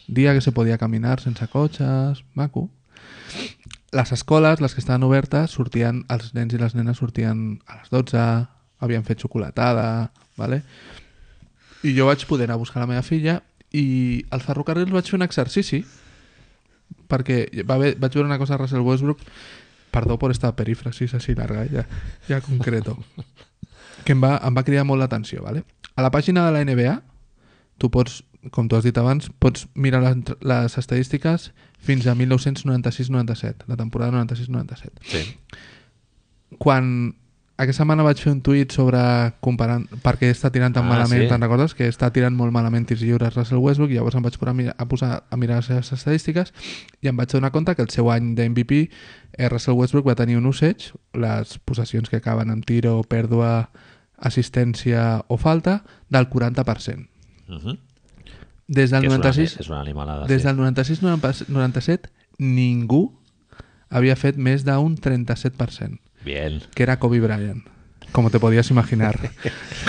Speaker 2: día que se podía caminar sense cotxes, maco. Les escoles, les que estaven obertes, sortien, els nens i les nenes sortien a les 12, havien fet xocolatada, ¿vale? i jo vaig poder anar a buscar la meva filla i al ferrocarril vaig fer un exercici perquè va haver, vaig veure una cosa a Russell Westbrook perdó per esta perífrasis així larga eh, ja, ja concreto que em va, em va cridar molt l'atenció ¿vale? a la pàgina de la NBA tu pots, com tu has dit abans, pots mirar les, les estadístiques fins a 1996-97, la temporada 96-97.
Speaker 1: sí.
Speaker 2: Quan aquesta setmana vaig fer un tuit sobre comparant, perquè està tirant tan
Speaker 1: Ah,
Speaker 2: ah, malament,
Speaker 1: sí.
Speaker 2: sí. te'n recordes? Que està tirant molt malament tirs lliures Russell Westbrook, i llavors em vaig posar a, mirar, a, posar a mirar les seves estadístiques i em vaig donar compte que el seu any de MVP eh, Russell Westbrook va tenir un usage, les possessions que acaben amb tiro, pèrdua, assistència o falta, del 40%.
Speaker 1: Uh -huh.
Speaker 2: Des del
Speaker 1: que
Speaker 2: 96
Speaker 1: és, una, és una animalada.
Speaker 2: Des
Speaker 1: Ah, sí.
Speaker 2: del 96-97 ningú havia fet més d'un 37%,
Speaker 1: Bien.
Speaker 2: que era Kobe Bryant, com te podies imaginar.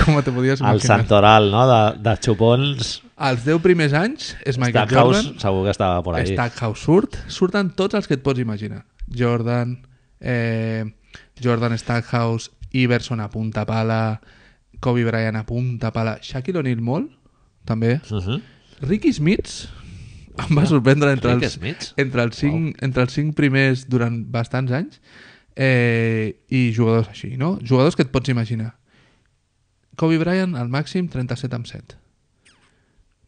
Speaker 2: com te podies
Speaker 1: El
Speaker 2: imaginar.
Speaker 1: Santoral, no?, de, de xupons...
Speaker 2: Els 10 primers anys és Michael
Speaker 1: Stackhouse
Speaker 2: Jordan,
Speaker 1: segur que estava por ahí.
Speaker 2: Stackhouse surt, surten tots els que et pots imaginar. Jordan, eh, Jordan Stackhouse, Iverson a punta pala, Kobe Bryant a punta pala, Shaquille O'Neal molt, també.
Speaker 1: Uh -huh.
Speaker 2: Ricky Smith em va sorprendre entre
Speaker 1: Rick
Speaker 2: els,
Speaker 1: Smith?
Speaker 2: entre, els cinc, entre els cinc primers durant bastants anys eh, i jugadors així, no? Jugadors que et pots imaginar. Kobe Bryant al màxim 37 amb 7.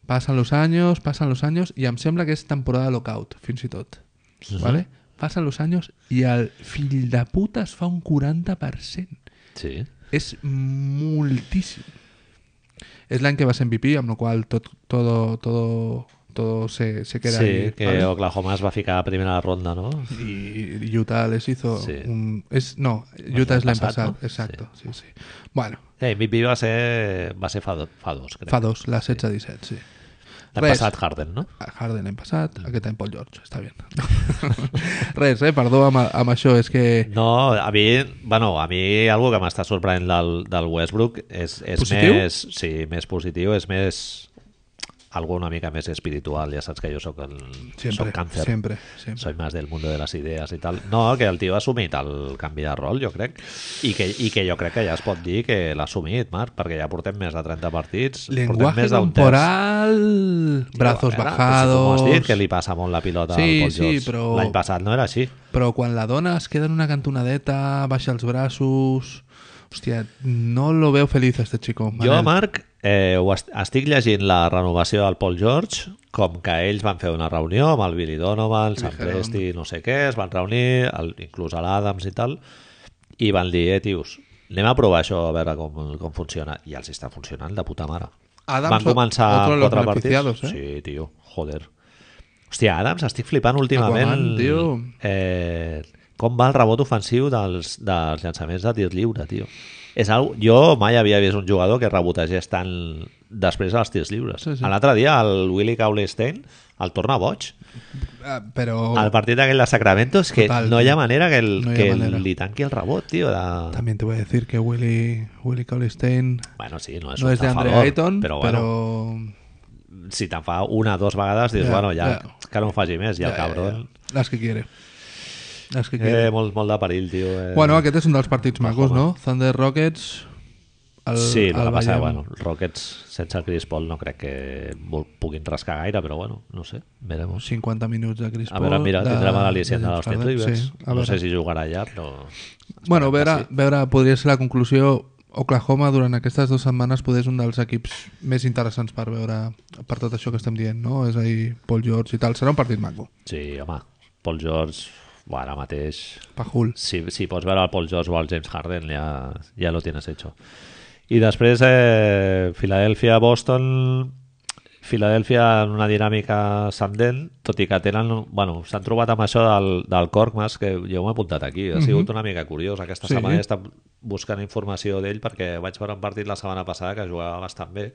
Speaker 2: Passen los años, passen los años i em sembla que és temporada lockout, fins i tot.
Speaker 1: Mhm.
Speaker 2: ¿vale? Passen los años i el fill de puta es fa un 40%.
Speaker 1: Sí.
Speaker 2: És moltíssim. És l'any que va ser MVP, amb la qual tot, todo, todo, todo se, se queda
Speaker 1: sí,
Speaker 2: ahí,
Speaker 1: que
Speaker 2: ¿vale?
Speaker 1: Oklahoma es va ficar a primera ronda, ¿no?
Speaker 2: Y Utah les hizo
Speaker 1: Sí.
Speaker 2: un... Es, no,
Speaker 1: l'any
Speaker 2: Utah es la
Speaker 1: passat,
Speaker 2: pasado,
Speaker 1: no?
Speaker 2: exacto. Sí. sí, Bueno,
Speaker 1: Eh, MVP va ser, va ser fa, do, fa dos, crec.
Speaker 2: fa dos, la 16-17, sí.
Speaker 1: L'ha
Speaker 2: Res.
Speaker 1: passat Harden, no?
Speaker 2: A Harden l'any passat, aquest any Paul George, està bé. Res, eh? Perdó amb, amb això, és que...
Speaker 1: No, a mi, bueno, a mi algo que m'està sorprenent del, del Westbrook és, és
Speaker 2: Positiu?
Speaker 1: més, sí, més positiu, és més algo una mica més espiritual, ja saps que jo sóc el
Speaker 2: Sempre,
Speaker 1: sóc càncer.
Speaker 2: sempre, sempre.
Speaker 1: Soy más del mundo de las ideas i tal. No, que el tio ha assumit el canvi de rol, jo crec, i que, i que jo crec que ja es pot dir que l'ha assumit, Marc, perquè ja portem més de 30 partits, portem
Speaker 2: Lenguaje
Speaker 1: més d'un terç.
Speaker 2: corporal, brazos
Speaker 1: Però, a veure, però Si
Speaker 2: bajados...
Speaker 1: tu m'ho has dit, que li passa molt la pilota
Speaker 2: Sí,
Speaker 1: al Paul
Speaker 2: sí,
Speaker 1: George.
Speaker 2: però-
Speaker 1: L'any passat no era així.
Speaker 2: Però quan la dona es queda en una cantonadeta, baixa els braços... Hòstia, no lo veo feliz a este chico.
Speaker 1: Jo,
Speaker 2: Manel.
Speaker 1: Marc, eh, ho est estic llegint la renovació del Paul George, com que ells van fer una reunió amb el Billy Donovan, el Sam
Speaker 2: Dijeron.
Speaker 1: Presti, no sé què, es van reunir, el, inclús a l'Adams i tal, i van dir, eh, tios, anem a provar això, a veure com, com funciona. I els està funcionant de puta mare.
Speaker 2: Adams,
Speaker 1: van començar
Speaker 2: otro de los
Speaker 1: quatre partits.
Speaker 2: beneficiados, eh?
Speaker 1: Sí, tio, joder. Hòstia, Adams, estic flipant últimament.
Speaker 2: Aquaman, tio.
Speaker 1: Eh, com va el rebot ofensiu dels, dels llançaments de tir lliure, tio. És algo, jo mai havia vist un jugador que rebotegés tant després dels tirs lliures.
Speaker 2: Sí,
Speaker 1: Sí,
Speaker 2: sí.
Speaker 1: sí. L'altre dia, el Willy Cauley-Stein el torna boig.
Speaker 2: Ah, però
Speaker 1: Al partit aquell de Sacramento és que
Speaker 2: Total,
Speaker 1: no hi
Speaker 2: tio.
Speaker 1: ha manera que, el,
Speaker 2: No hi ha
Speaker 1: que
Speaker 2: manera.
Speaker 1: el, li tanqui el rebot, tio. De...
Speaker 2: también te voy a decir que Willy, Willy Colistein
Speaker 1: Bueno, sí, no és
Speaker 2: no
Speaker 1: un
Speaker 2: es de Andre
Speaker 1: estafador,
Speaker 2: Ayton,
Speaker 1: però,
Speaker 2: pero,
Speaker 1: bueno, si te'n fa una o dues vegades, dius,
Speaker 2: Ja,
Speaker 1: bueno, ja,
Speaker 2: ja.
Speaker 1: que no ho faci més, i el cabron...
Speaker 2: las que quiere. Las que quiere.
Speaker 1: Eh, molt, molt de perill, tio. Eh.
Speaker 2: Bueno, aquest és un dels partits macos,
Speaker 1: Ojo,
Speaker 2: no? Thunder Rockets... El,
Speaker 1: sí, el que
Speaker 2: el
Speaker 1: passa,
Speaker 2: veiem.
Speaker 1: bueno, els Rockets sense el Chris Paul no crec que vol- puguin rascar gaire, però bueno, no sé, veremos.
Speaker 2: 50 minuts de Chris
Speaker 1: A
Speaker 2: Paul...
Speaker 1: veure, mira,
Speaker 2: de-
Speaker 1: tindrem a l'Alicent de,
Speaker 2: de James
Speaker 1: l'Austin
Speaker 2: Harden.
Speaker 1: Rivers.
Speaker 2: Sí, a
Speaker 1: no sé
Speaker 2: veure.
Speaker 1: si jugarà allà, però...
Speaker 2: Bueno,
Speaker 1: Esperem que
Speaker 2: veure, veure, podria ser la conclusió Oklahoma durant aquestes dues setmanes poder és un dels equips més interessants per veure per tot això que estem dient, no? És a dir, Paul George i tal. Serà un partit maco.
Speaker 1: Sí, home, Paul George, bo, ara mateix...
Speaker 2: Pajul.
Speaker 1: Si, si pots veure el Paul George o el James Harden, ja, ja lo tienes hecho. I després, eh, Filadèlfia-Boston... Filadèlfia en una dinàmica ascendent, tot i que tenen... Bueno, s'han trobat amb això del, del Corkmas, que jo m'he apuntat aquí. Ha sigut una mica curiós. Aquesta
Speaker 2: Mhm. Sí.
Speaker 1: sí. setmana he estat buscant informació d'ell perquè vaig veure un partit la setmana passada que jugava bastant bé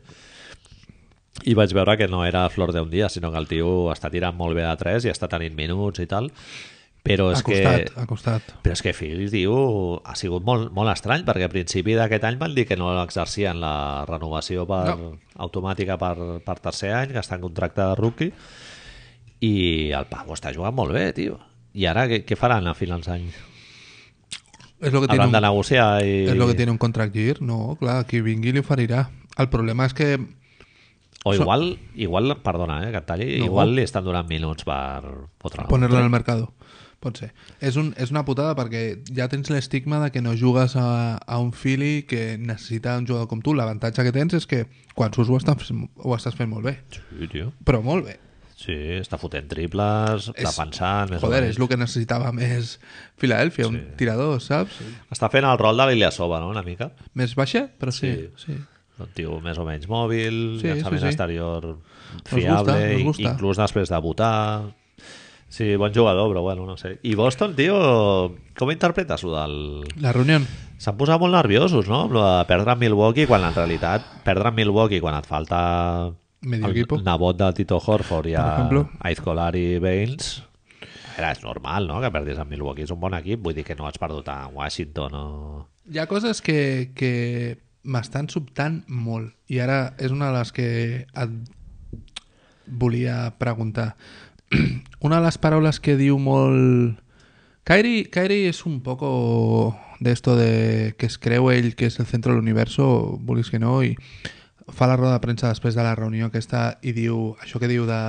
Speaker 1: i vaig veure que no era flor d'un dia, sinó que el tio està tirant molt bé de 3 i està tenint minuts i tal, però és
Speaker 2: Ha costat,
Speaker 1: Pues que...
Speaker 2: ha costat.
Speaker 1: Però és que Phil diu, ha sigut molt, molt estrany, perquè a principi d'aquest any van dir que no exercien la renovació per,
Speaker 2: No.
Speaker 1: no. automàtica per, per tercer any, que està en contracte de rookie, i el Pavo està jugant molt bé, tio. I ara què, què faran a finals d'any?
Speaker 2: És lo que tiene
Speaker 1: Hauran
Speaker 2: un
Speaker 1: de negociar i...
Speaker 2: És el que tiene un contract year, no, clar, qui vingui li oferirà. El problema és que...
Speaker 1: O igual, igual, perdona, eh, que et talli,
Speaker 2: No.
Speaker 1: no. igual li estan donant minuts per fotre
Speaker 2: Ponerlo en el mercado, pot ser. És, un, és una putada perquè ja tens l'estigma de que no jugues a, a un Philly que necessita un jugador com tu. L'avantatge que tens és que quan surts ho estàs, ho estàs fent molt bé.
Speaker 1: Sí, tio.
Speaker 2: Però molt bé.
Speaker 1: Sí, està fotent triples, està
Speaker 2: És-
Speaker 1: pensant... Més o
Speaker 2: Joder,
Speaker 1: menys.
Speaker 2: és el que necessitava més Filadèlfia, un tirador, saps?
Speaker 1: Està fent el rol de l'Iliasova, no?, una mica.
Speaker 2: Més baixa, però sí. sí.
Speaker 1: Un tio més o menys mòbil,
Speaker 2: Sí,
Speaker 1: sí, llançament sí,
Speaker 2: sí, sí.
Speaker 1: sí. exterior
Speaker 2: gusta,
Speaker 1: fiable,
Speaker 2: us
Speaker 1: i-
Speaker 2: gusta.
Speaker 1: inclús després de votar... Sí, bon jugador, però bueno, no sé. I Boston, tio, com interpretes lo del...
Speaker 2: La reunió.
Speaker 1: S'han posat molt nerviosos, no? Amb lo de perdre en Milwaukee, quan en realitat perdre en Milwaukee quan et falta
Speaker 2: Medio
Speaker 1: el
Speaker 2: equipo.
Speaker 1: nebot de Tito Horford i a
Speaker 2: ejemplo.
Speaker 1: Aizcolar i Baines, era, és normal, no?, que perdis en Milwaukee. És un bon equip, vull dir que no has perdut a Washington o...
Speaker 2: Hi ha coses que, que m'estan sobtant molt i ara és una de les que et volia preguntar. Una de les paraules que diu molt... Kairi, Kairi és un poco de esto de que es creu ell que és el centre del universo, vulguis que no, i fa la roda de premsa després de la reunió aquesta i diu això que diu de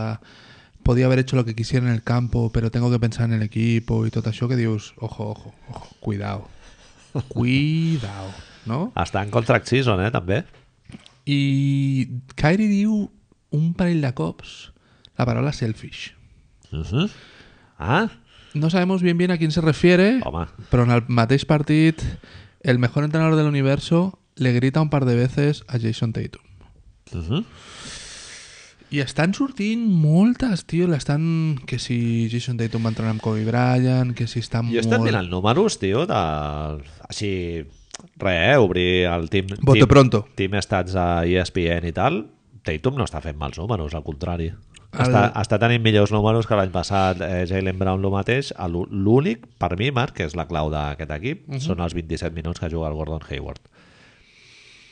Speaker 2: podía haber hecho lo que quisiera en el campo, pero tengo que pensar en el equipo y tot això que dius, ojo, ojo, ojo, cuidao. Cuidao, no?
Speaker 1: Està en contract season, eh, també.
Speaker 2: I Kyrie diu un parell de cops la paraula selfish.
Speaker 1: Uh Ah,
Speaker 2: No sabemos bien bien a quién se refiere,
Speaker 1: Home.
Speaker 2: pero en el mateix partit el mejor entrenador del universo le grita un par de veces a Jason Tatum.
Speaker 1: Uh -huh.
Speaker 2: I estan sortint moltes, tio. L'estan... Que si Jason Tatum va entrenar amb Kobe Bryant, que si està
Speaker 1: Jo he
Speaker 2: molt...
Speaker 1: estat mirant números, tio, de... així, res, eh? obrir el team...
Speaker 2: Voto
Speaker 1: team,
Speaker 2: pronto.
Speaker 1: Team Stats a E ESPN i tal, Tatum no està fent mals números, al contrari.
Speaker 2: El-
Speaker 1: Està, està tenint millors números que l'any passat eh, Jalen Brown el mateix. El- L'únic, per mi, Marc, que és la clau d'aquest equip, són els 27 minuts que juga el Gordon Hayward.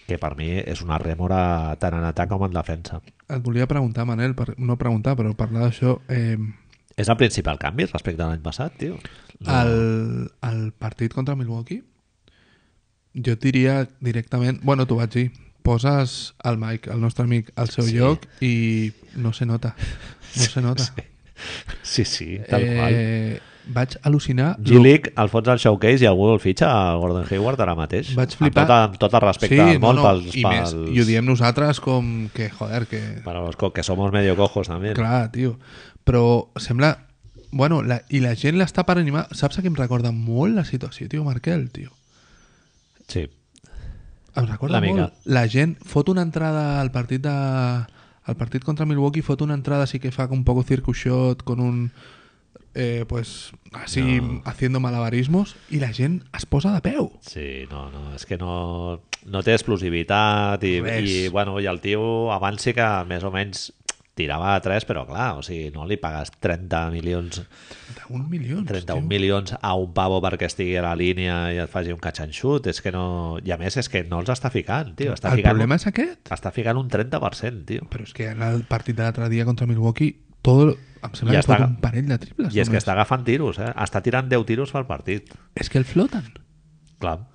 Speaker 1: Que per mi és una rèmora tant en atac com en defensa.
Speaker 2: Et volia preguntar, Manel, per... no preguntar, però parlar d'això... Eh...
Speaker 1: És el principal canvi respecte a l'any passat, tio.
Speaker 2: al, al partit contra Milwaukee, jo et diria directament... Bueno, t'ho vaig dir. Poses el Mike, el nostre amic, al seu sí. lloc i no se nota. No se nota. Sí,
Speaker 1: Sí, sí, tal eh... qual.
Speaker 2: Vaig al·lucinar...
Speaker 1: G-League el fots al showcase i algú el fitxa a Gordon Hayward ara mateix.
Speaker 2: Vaig flipar.
Speaker 1: Amb tot, amb tot el respecte del món pels...
Speaker 2: i més,
Speaker 1: pels...
Speaker 2: i ho diem nosaltres com que, joder, que...
Speaker 1: Para los co- que somos medio cojos també.
Speaker 2: Clar, tio. Però sembla... Bueno, la, i la gent l'està per animar... Saps a què em recorda molt la situació, tio, Markel, tio?
Speaker 1: Sí.
Speaker 2: Em recorda
Speaker 1: Una mica.
Speaker 2: molt. La gent fot una entrada al partit de... al partit contra Milwaukee fot una entrada sí que fa un poco circus shot con un eh, pues así haciendo malabarismos y la gent es posa de peu.
Speaker 1: Sí, no, no, és que no, no té explosivitat i,
Speaker 2: Res.
Speaker 1: i, bueno, i el tio abans sí que més o menys tirava a 3, però clar, o sigui, no li pagues 30 milions,
Speaker 2: 31 milions.
Speaker 1: 31
Speaker 2: Doncs, tio.
Speaker 1: milions a un pavo perquè estigui a la línia i et faci un catxanxut, és que no... I a més és que no els està ficant, tio, està
Speaker 2: El
Speaker 1: ficant...
Speaker 2: problema és aquest.
Speaker 1: Està ficant un 30%, tio.
Speaker 2: Però és que en el partit de l'altre dia contra Milwaukee tot, em sembla
Speaker 1: Ja
Speaker 2: que està...
Speaker 1: està.
Speaker 2: un parell de triples.
Speaker 1: I és que
Speaker 2: només.
Speaker 1: està agafant tiros, eh? Està tirant 10 tiros pel partit.
Speaker 2: és que el floten.
Speaker 1: Clar.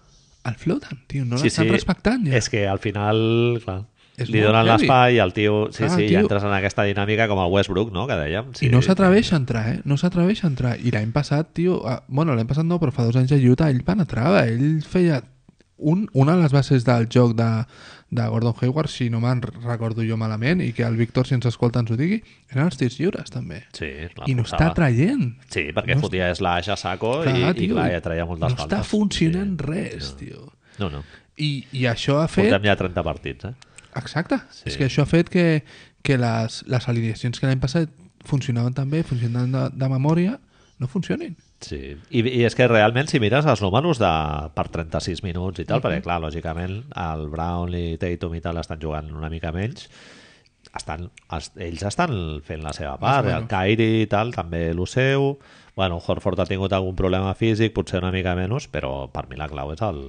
Speaker 2: El floten, tio. No l'estan respectant ja.
Speaker 1: És que al final, clar,
Speaker 2: És
Speaker 1: li
Speaker 2: molt
Speaker 1: donen
Speaker 2: heavy.
Speaker 1: l'espai i el tio... Sí,
Speaker 2: Clar,
Speaker 1: sí,
Speaker 2: tio.
Speaker 1: i entres en aquesta dinàmica com el Westbrook, no?, que dèiem. Sí,
Speaker 2: I no s'atreveix a entrar, eh? No s'atreveix a entrar. I l'any passat, tio... A... Bueno, l'any passat no, però fa dos anys a Utah ell penetrava. Ell feia un, una de les bases del joc de, de Gordon Hayward, si no me'n recordo jo malament, i que el Víctor, si ens escolta, ens ho digui, eren els tirs lliures, també.
Speaker 1: Sí, clar,
Speaker 2: I no
Speaker 1: forçava.
Speaker 2: està traient.
Speaker 1: Sí, perquè
Speaker 2: no
Speaker 1: fotia slash a saco i, i, clar, ja traia moltes
Speaker 2: no està
Speaker 1: faltes.
Speaker 2: funcionant res, tio.
Speaker 1: Sí. No, no.
Speaker 2: I, I això ha fet...
Speaker 1: Portem ja 30 partits, eh?
Speaker 2: Exacte. És que això ha fet que, que les, les alineacions que l'any passat funcionaven tan bé, funcionaven de, de memòria, no funcionin.
Speaker 1: Sí, I, i és que realment si mires els números de, per 36 minuts i tal, perquè clar, lògicament el Brown i Tatum i tal estan jugant una mica menys, estan, es, ells estan fent la seva part,
Speaker 2: Més o
Speaker 1: el Kairi i tal també el seu, bueno, Horford ha tingut algun problema físic, potser una mica menys, però per mi la clau és el,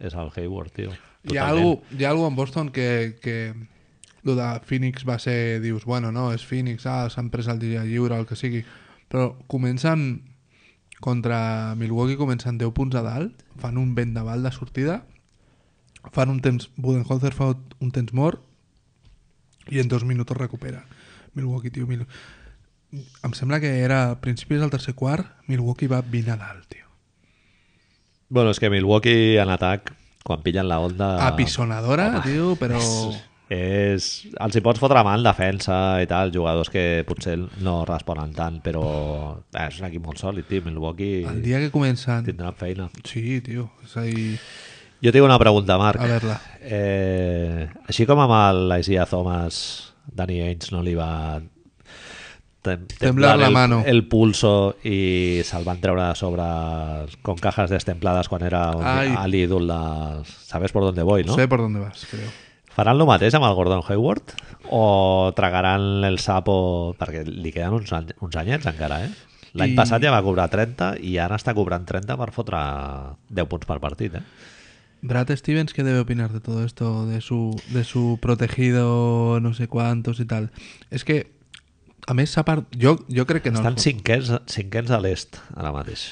Speaker 1: és el Hayward, tio.
Speaker 2: Hi ha, algú, hi ha algú en Boston que, que lo de Phoenix va ser, dius, bueno, no, és Phoenix, ah, s'han pres el dia lliure, el que sigui, però comencen contra Milwaukee, comencen 10 punts a dalt, fan un vent de bal de sortida, fan un temps, Budenholzer fa un temps mort i en dos minuts recupera. Milwaukee, tio, Mil... em sembla que era a principis del tercer quart, Milwaukee va 20 a dalt, tio.
Speaker 1: Bueno, és que Milwaukee en atac, quan pillen la onda...
Speaker 2: Ah, Apisonadora, tio, però...
Speaker 1: és, els hi pots fotre mal en defensa i tal, jugadors que potser no responen tant, però eh, és un equip molt sòlid, tio, Milwaukee
Speaker 2: El dia que comencen...
Speaker 1: tindran feina.
Speaker 2: Sí, tio. És a dir...
Speaker 1: Jo tinc una pregunta, Marc.
Speaker 2: A veure-la.
Speaker 1: Eh, així com amb l'Isaiah Thomas, Danny Ainge no li va tem
Speaker 2: Temblar la
Speaker 1: el,
Speaker 2: mano.
Speaker 1: el pulso i se'l van treure de sobre con cajas destemplades quan era un-
Speaker 2: Ai.
Speaker 1: a l'ídol de... Sabes por dónde voy, no?
Speaker 2: No sé per on vas, creo.
Speaker 1: Faran el mateix amb el Gordon Hayward? O tragaran el sapo... Perquè li queden uns, any, uns anyets encara, eh? L'any
Speaker 2: I-
Speaker 1: passat ja va cobrar 30 i ara està cobrant 30 per fotre 10 punts per partit, eh?
Speaker 2: Brad Stevens, ¿qué debe opinar de todo esto? De su, de su protegido, no sé cuántos y tal. Es que, a més, s'ha part... Jo, jo crec que no.
Speaker 1: Estan cinquens, cinquens a l'est ara mateix.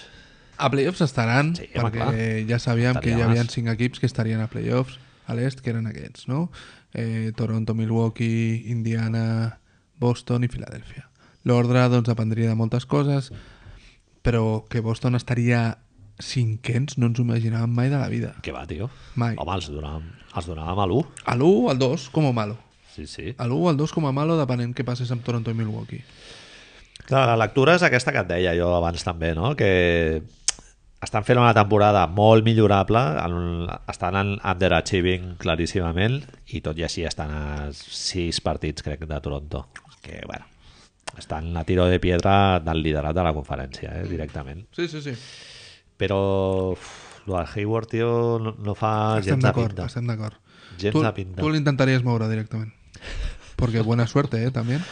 Speaker 2: A playoffs estaran,
Speaker 1: Sí,
Speaker 2: sí,
Speaker 1: home,
Speaker 2: perquè
Speaker 1: clar.
Speaker 2: ja sabíem
Speaker 1: Estaria
Speaker 2: que hi
Speaker 1: mas.
Speaker 2: havia cinc equips que estarien a playoffs a l'est, que eren aquests, no? Eh, Toronto, Milwaukee, Indiana, Boston i Filadèlfia. L'ordre, doncs, dependria de moltes coses, però que Boston estaria cinquens no ens ho imaginàvem mai de la vida.
Speaker 1: Què va, tio?
Speaker 2: Mai.
Speaker 1: Home, els donàvem, els donàvem a l'1.
Speaker 2: A l'1 al 2 com a malo.
Speaker 1: Sí, sí.
Speaker 2: A l'1 al 2 com a malo depenent què passés amb Toronto i Milwaukee.
Speaker 1: Clar, la lectura és aquesta que et deia jo abans també, no? Que estan fent una temporada molt millorable, en, estan en underachieving claríssimament i tot i així estan a sis partits, crec, de Toronto. Que, bueno, estan a tiro de piedra del liderat de la conferència, eh, directament.
Speaker 2: Sí, sí, sí.
Speaker 1: Però uf, lo del Hayward, tio, no, no fa
Speaker 2: estem
Speaker 1: Ah, gens de
Speaker 2: d'acord,
Speaker 1: pinta.
Speaker 2: estem d'acord.
Speaker 1: Gens
Speaker 2: tu,
Speaker 1: de pinta.
Speaker 2: Tu l'intentaries moure directament. Porque buena suerte, ¿eh? También.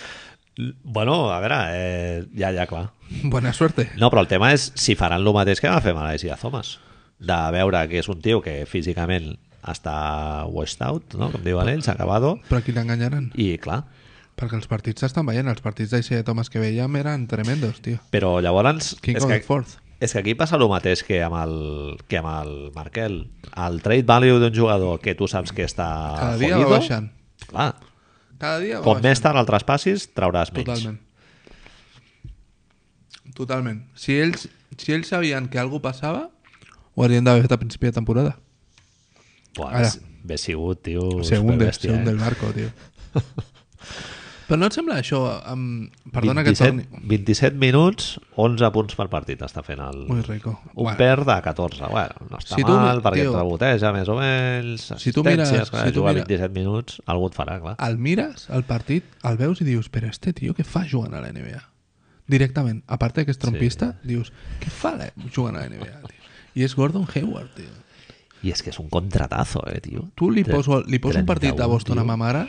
Speaker 1: L- Bueno, a veure, eh, ja, ja, clar.
Speaker 2: Buena suerte.
Speaker 1: No, però el tema és si faran el mateix que va fer Malaysia Thomas. De veure que és un tio que físicament està washed out, no? com diuen ells, acabado,
Speaker 2: Però aquí l'enganyaran.
Speaker 1: i clar.
Speaker 2: Perquè els partits s'estan veient. Els partits d'Aixer Thomas que veiem eren tremendos, tio.
Speaker 1: Però llavors...
Speaker 2: King
Speaker 1: és
Speaker 2: of
Speaker 1: que,
Speaker 2: the fourth.
Speaker 1: És que aquí passa el mateix que amb el, que amb el Markel. El trade value d'un jugador que tu saps que està...
Speaker 2: Cada dia va
Speaker 1: jodido,
Speaker 2: baixant.
Speaker 1: Clar,
Speaker 2: Cada dia va
Speaker 1: com més
Speaker 2: baixant.
Speaker 1: tard el traspassis, trauràs menys.
Speaker 2: Totalment. Totalment. Si ells, si ells sabien que algo passava, ho haurien d'haver fet a principi de temporada.
Speaker 1: Buah,
Speaker 2: Ara.
Speaker 1: Ara. Bé sigut, tio.
Speaker 2: se hunde,
Speaker 1: superbèstia,
Speaker 2: se hunde
Speaker 1: eh?
Speaker 2: el barco, tio. Però no et sembla això... Amb... Perdona que
Speaker 1: 27,
Speaker 2: torni...
Speaker 1: 27 minuts, 11 punts per partit està fent el,
Speaker 2: Muy rico.
Speaker 1: Un
Speaker 2: Bueno,
Speaker 1: perd de 14. Bueno, no està
Speaker 2: Si
Speaker 1: si
Speaker 2: tu-
Speaker 1: tu, mal, perquè
Speaker 2: tio,
Speaker 1: et reboteja més o menys.
Speaker 2: si tu
Speaker 1: assistències,
Speaker 2: mires-
Speaker 1: Clar,
Speaker 2: si tu
Speaker 1: jugar
Speaker 2: mira-
Speaker 1: 27
Speaker 2: Ah.
Speaker 1: minuts, algú et farà, clar.
Speaker 2: el mires, el partit, el veus i dius, però este tio què fa jugant a la NBA? directament, a part de que és trompista, dius, què fa la- jugant a la NBA, tio? I és Gordon Hayward, tio.
Speaker 1: I és que és un contratazo, eh, tio.
Speaker 2: Tu li
Speaker 1: Tre-
Speaker 2: poso, li poso un partit a
Speaker 1: 31,
Speaker 2: Boston
Speaker 1: tio.
Speaker 2: a ma mare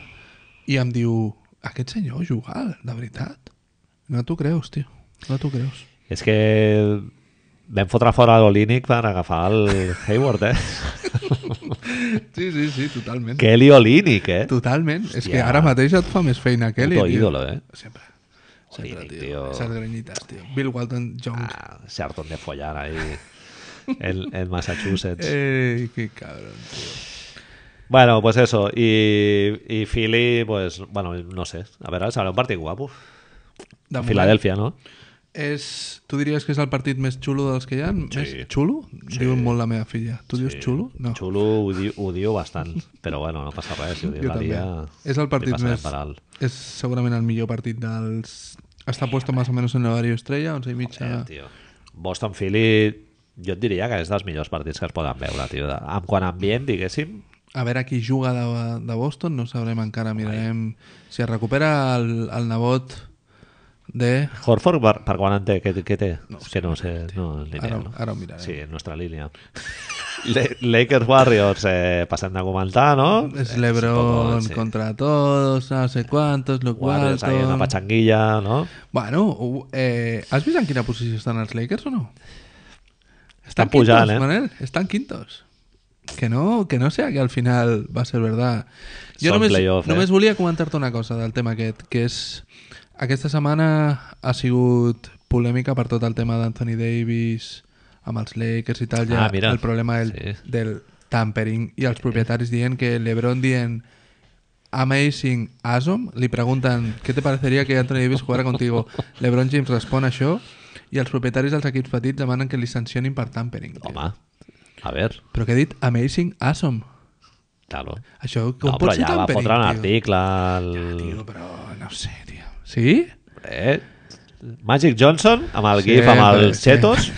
Speaker 2: i em diu, aquest senyor jugar, de veritat. No t'ho creus, tio. No t'ho creus.
Speaker 1: És que vam fotre fora l'Olínic per agafar el Hayward, eh?
Speaker 2: Sí, sí, sí, totalment.
Speaker 1: Kelly Olínic, eh?
Speaker 2: Totalment. És que
Speaker 1: Hòstia.
Speaker 2: ara mateix et fa més feina que ell.
Speaker 1: Puto
Speaker 2: tio.
Speaker 1: ídolo, eh?
Speaker 2: Sempre. Sempre,
Speaker 1: Olínic,
Speaker 2: tio.
Speaker 1: tio.
Speaker 2: Esas granyitas, tio. Bill Walton Jones.
Speaker 1: Ah, se hartón de follar ahí en, en Massachusetts.
Speaker 2: Ey, qué cabrón, tío.
Speaker 1: Bueno, pues eso. Y, y Philly, pues, bueno, no sé. A ver, será un partido guapo.
Speaker 2: De
Speaker 1: Filadelfia, ¿no?
Speaker 2: moment, És, tu diries que és el partit més xulo dels que hi ha? Sí. Més xulo? Sí. Diu molt la meva filla. Tu sí. dius xulo? No.
Speaker 1: Chulo udio bastante. Pero bueno, no pasa res. Si ho diu la tia,
Speaker 2: És el
Speaker 1: li
Speaker 2: partit
Speaker 1: passarem
Speaker 2: més...
Speaker 1: per alt.
Speaker 2: És segurament el millor partit dels... Està puesto más o menos en l'horari estrella, 11 i mitja...
Speaker 1: Eh, tio. Boston Philly, jo et diria que és dels millors partits que es poden veure, tio. De- Amb quan ambient, diguéssim,
Speaker 2: A veure qui juga de, de Boston, no sabrem encara, mirarem... Si es recupera el, el nebot de...
Speaker 1: Horford, per, per quan en té, què, què té? No, que no sé, no, ni idea,
Speaker 2: Ara,
Speaker 1: no?
Speaker 2: ara ho mirarem.
Speaker 1: Sí, en nuestra línea. Le- Lakers Warriors, eh, passem de comentar, no?
Speaker 2: Es
Speaker 1: Eh,
Speaker 2: Lebron
Speaker 1: sí.
Speaker 2: contra todos, no sé cuántos, Luke
Speaker 1: Warriors, ahí una
Speaker 2: Walton.
Speaker 1: patxanguilla, no?
Speaker 2: Bueno, ho- eh, has vist en quina posició estan els Lakers o no?
Speaker 1: Estan pujant,
Speaker 2: quintos,
Speaker 1: eh?
Speaker 2: Manel, estan quintos. Que no, que no sea que al final va a ser verdad. Jo
Speaker 1: Són
Speaker 2: només,
Speaker 1: playoff, eh?
Speaker 2: només volia comentar-te una cosa del tema aquest, que és... Aquesta setmana ha sigut polèmica per tot el tema d'Anthony Davis amb els Lakers i tal, ja
Speaker 1: Ah, mira.
Speaker 2: el problema del,
Speaker 1: Sí.
Speaker 2: del tampering i els propietaris dient que LeBron dient Amazing Asom li pregunten què te pareceria que Anthony Davis jugara contigo LeBron James respon això i els propietaris dels equips petits demanen que li sancionin per tampering tio.
Speaker 1: Home, a veure,
Speaker 2: però que he dit Amazing Asom
Speaker 1: claro.
Speaker 2: això com
Speaker 1: No,
Speaker 2: pot
Speaker 1: però
Speaker 2: ser
Speaker 1: ja va
Speaker 2: tampering
Speaker 1: fotre un
Speaker 2: tio?
Speaker 1: article... El...
Speaker 2: Tio, però no sé tio. sí?
Speaker 1: Eh? Magic Johnson, amb el
Speaker 2: Sí,
Speaker 1: gif, amb
Speaker 2: hombre,
Speaker 1: els
Speaker 2: sí.
Speaker 1: chetos,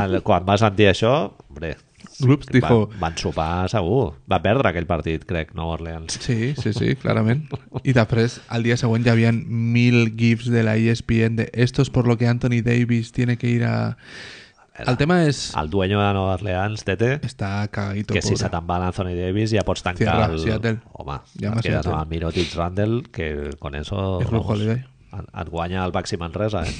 Speaker 1: el, quan va sentir això, hombre,
Speaker 2: Groups dijo
Speaker 1: van, van sopar segur. Va perdre aquell partit, crec, Nova Orleans.
Speaker 2: Sí, sí, sí, clarament. I després, al dia següent ja havien mil gifs de la E ESPN de esto es por lo que Anthony Davis tiene que ir a... El tema és...
Speaker 1: El dueño de Nova Orleans, Tete,
Speaker 2: Està cagadito,
Speaker 1: que si
Speaker 2: pobre.
Speaker 1: se te'n va l'Anthony Davis ja pots tancar
Speaker 2: Cierra,
Speaker 1: el...
Speaker 2: Seattle.
Speaker 1: Home, ja
Speaker 2: Llama
Speaker 1: et quedes
Speaker 2: Seattle.
Speaker 1: amb el Mirotic Randall, que con eso...
Speaker 2: És Ruth
Speaker 1: vamos,
Speaker 2: Holiday.
Speaker 1: Et, et guanya el Baxi Manresa, eh?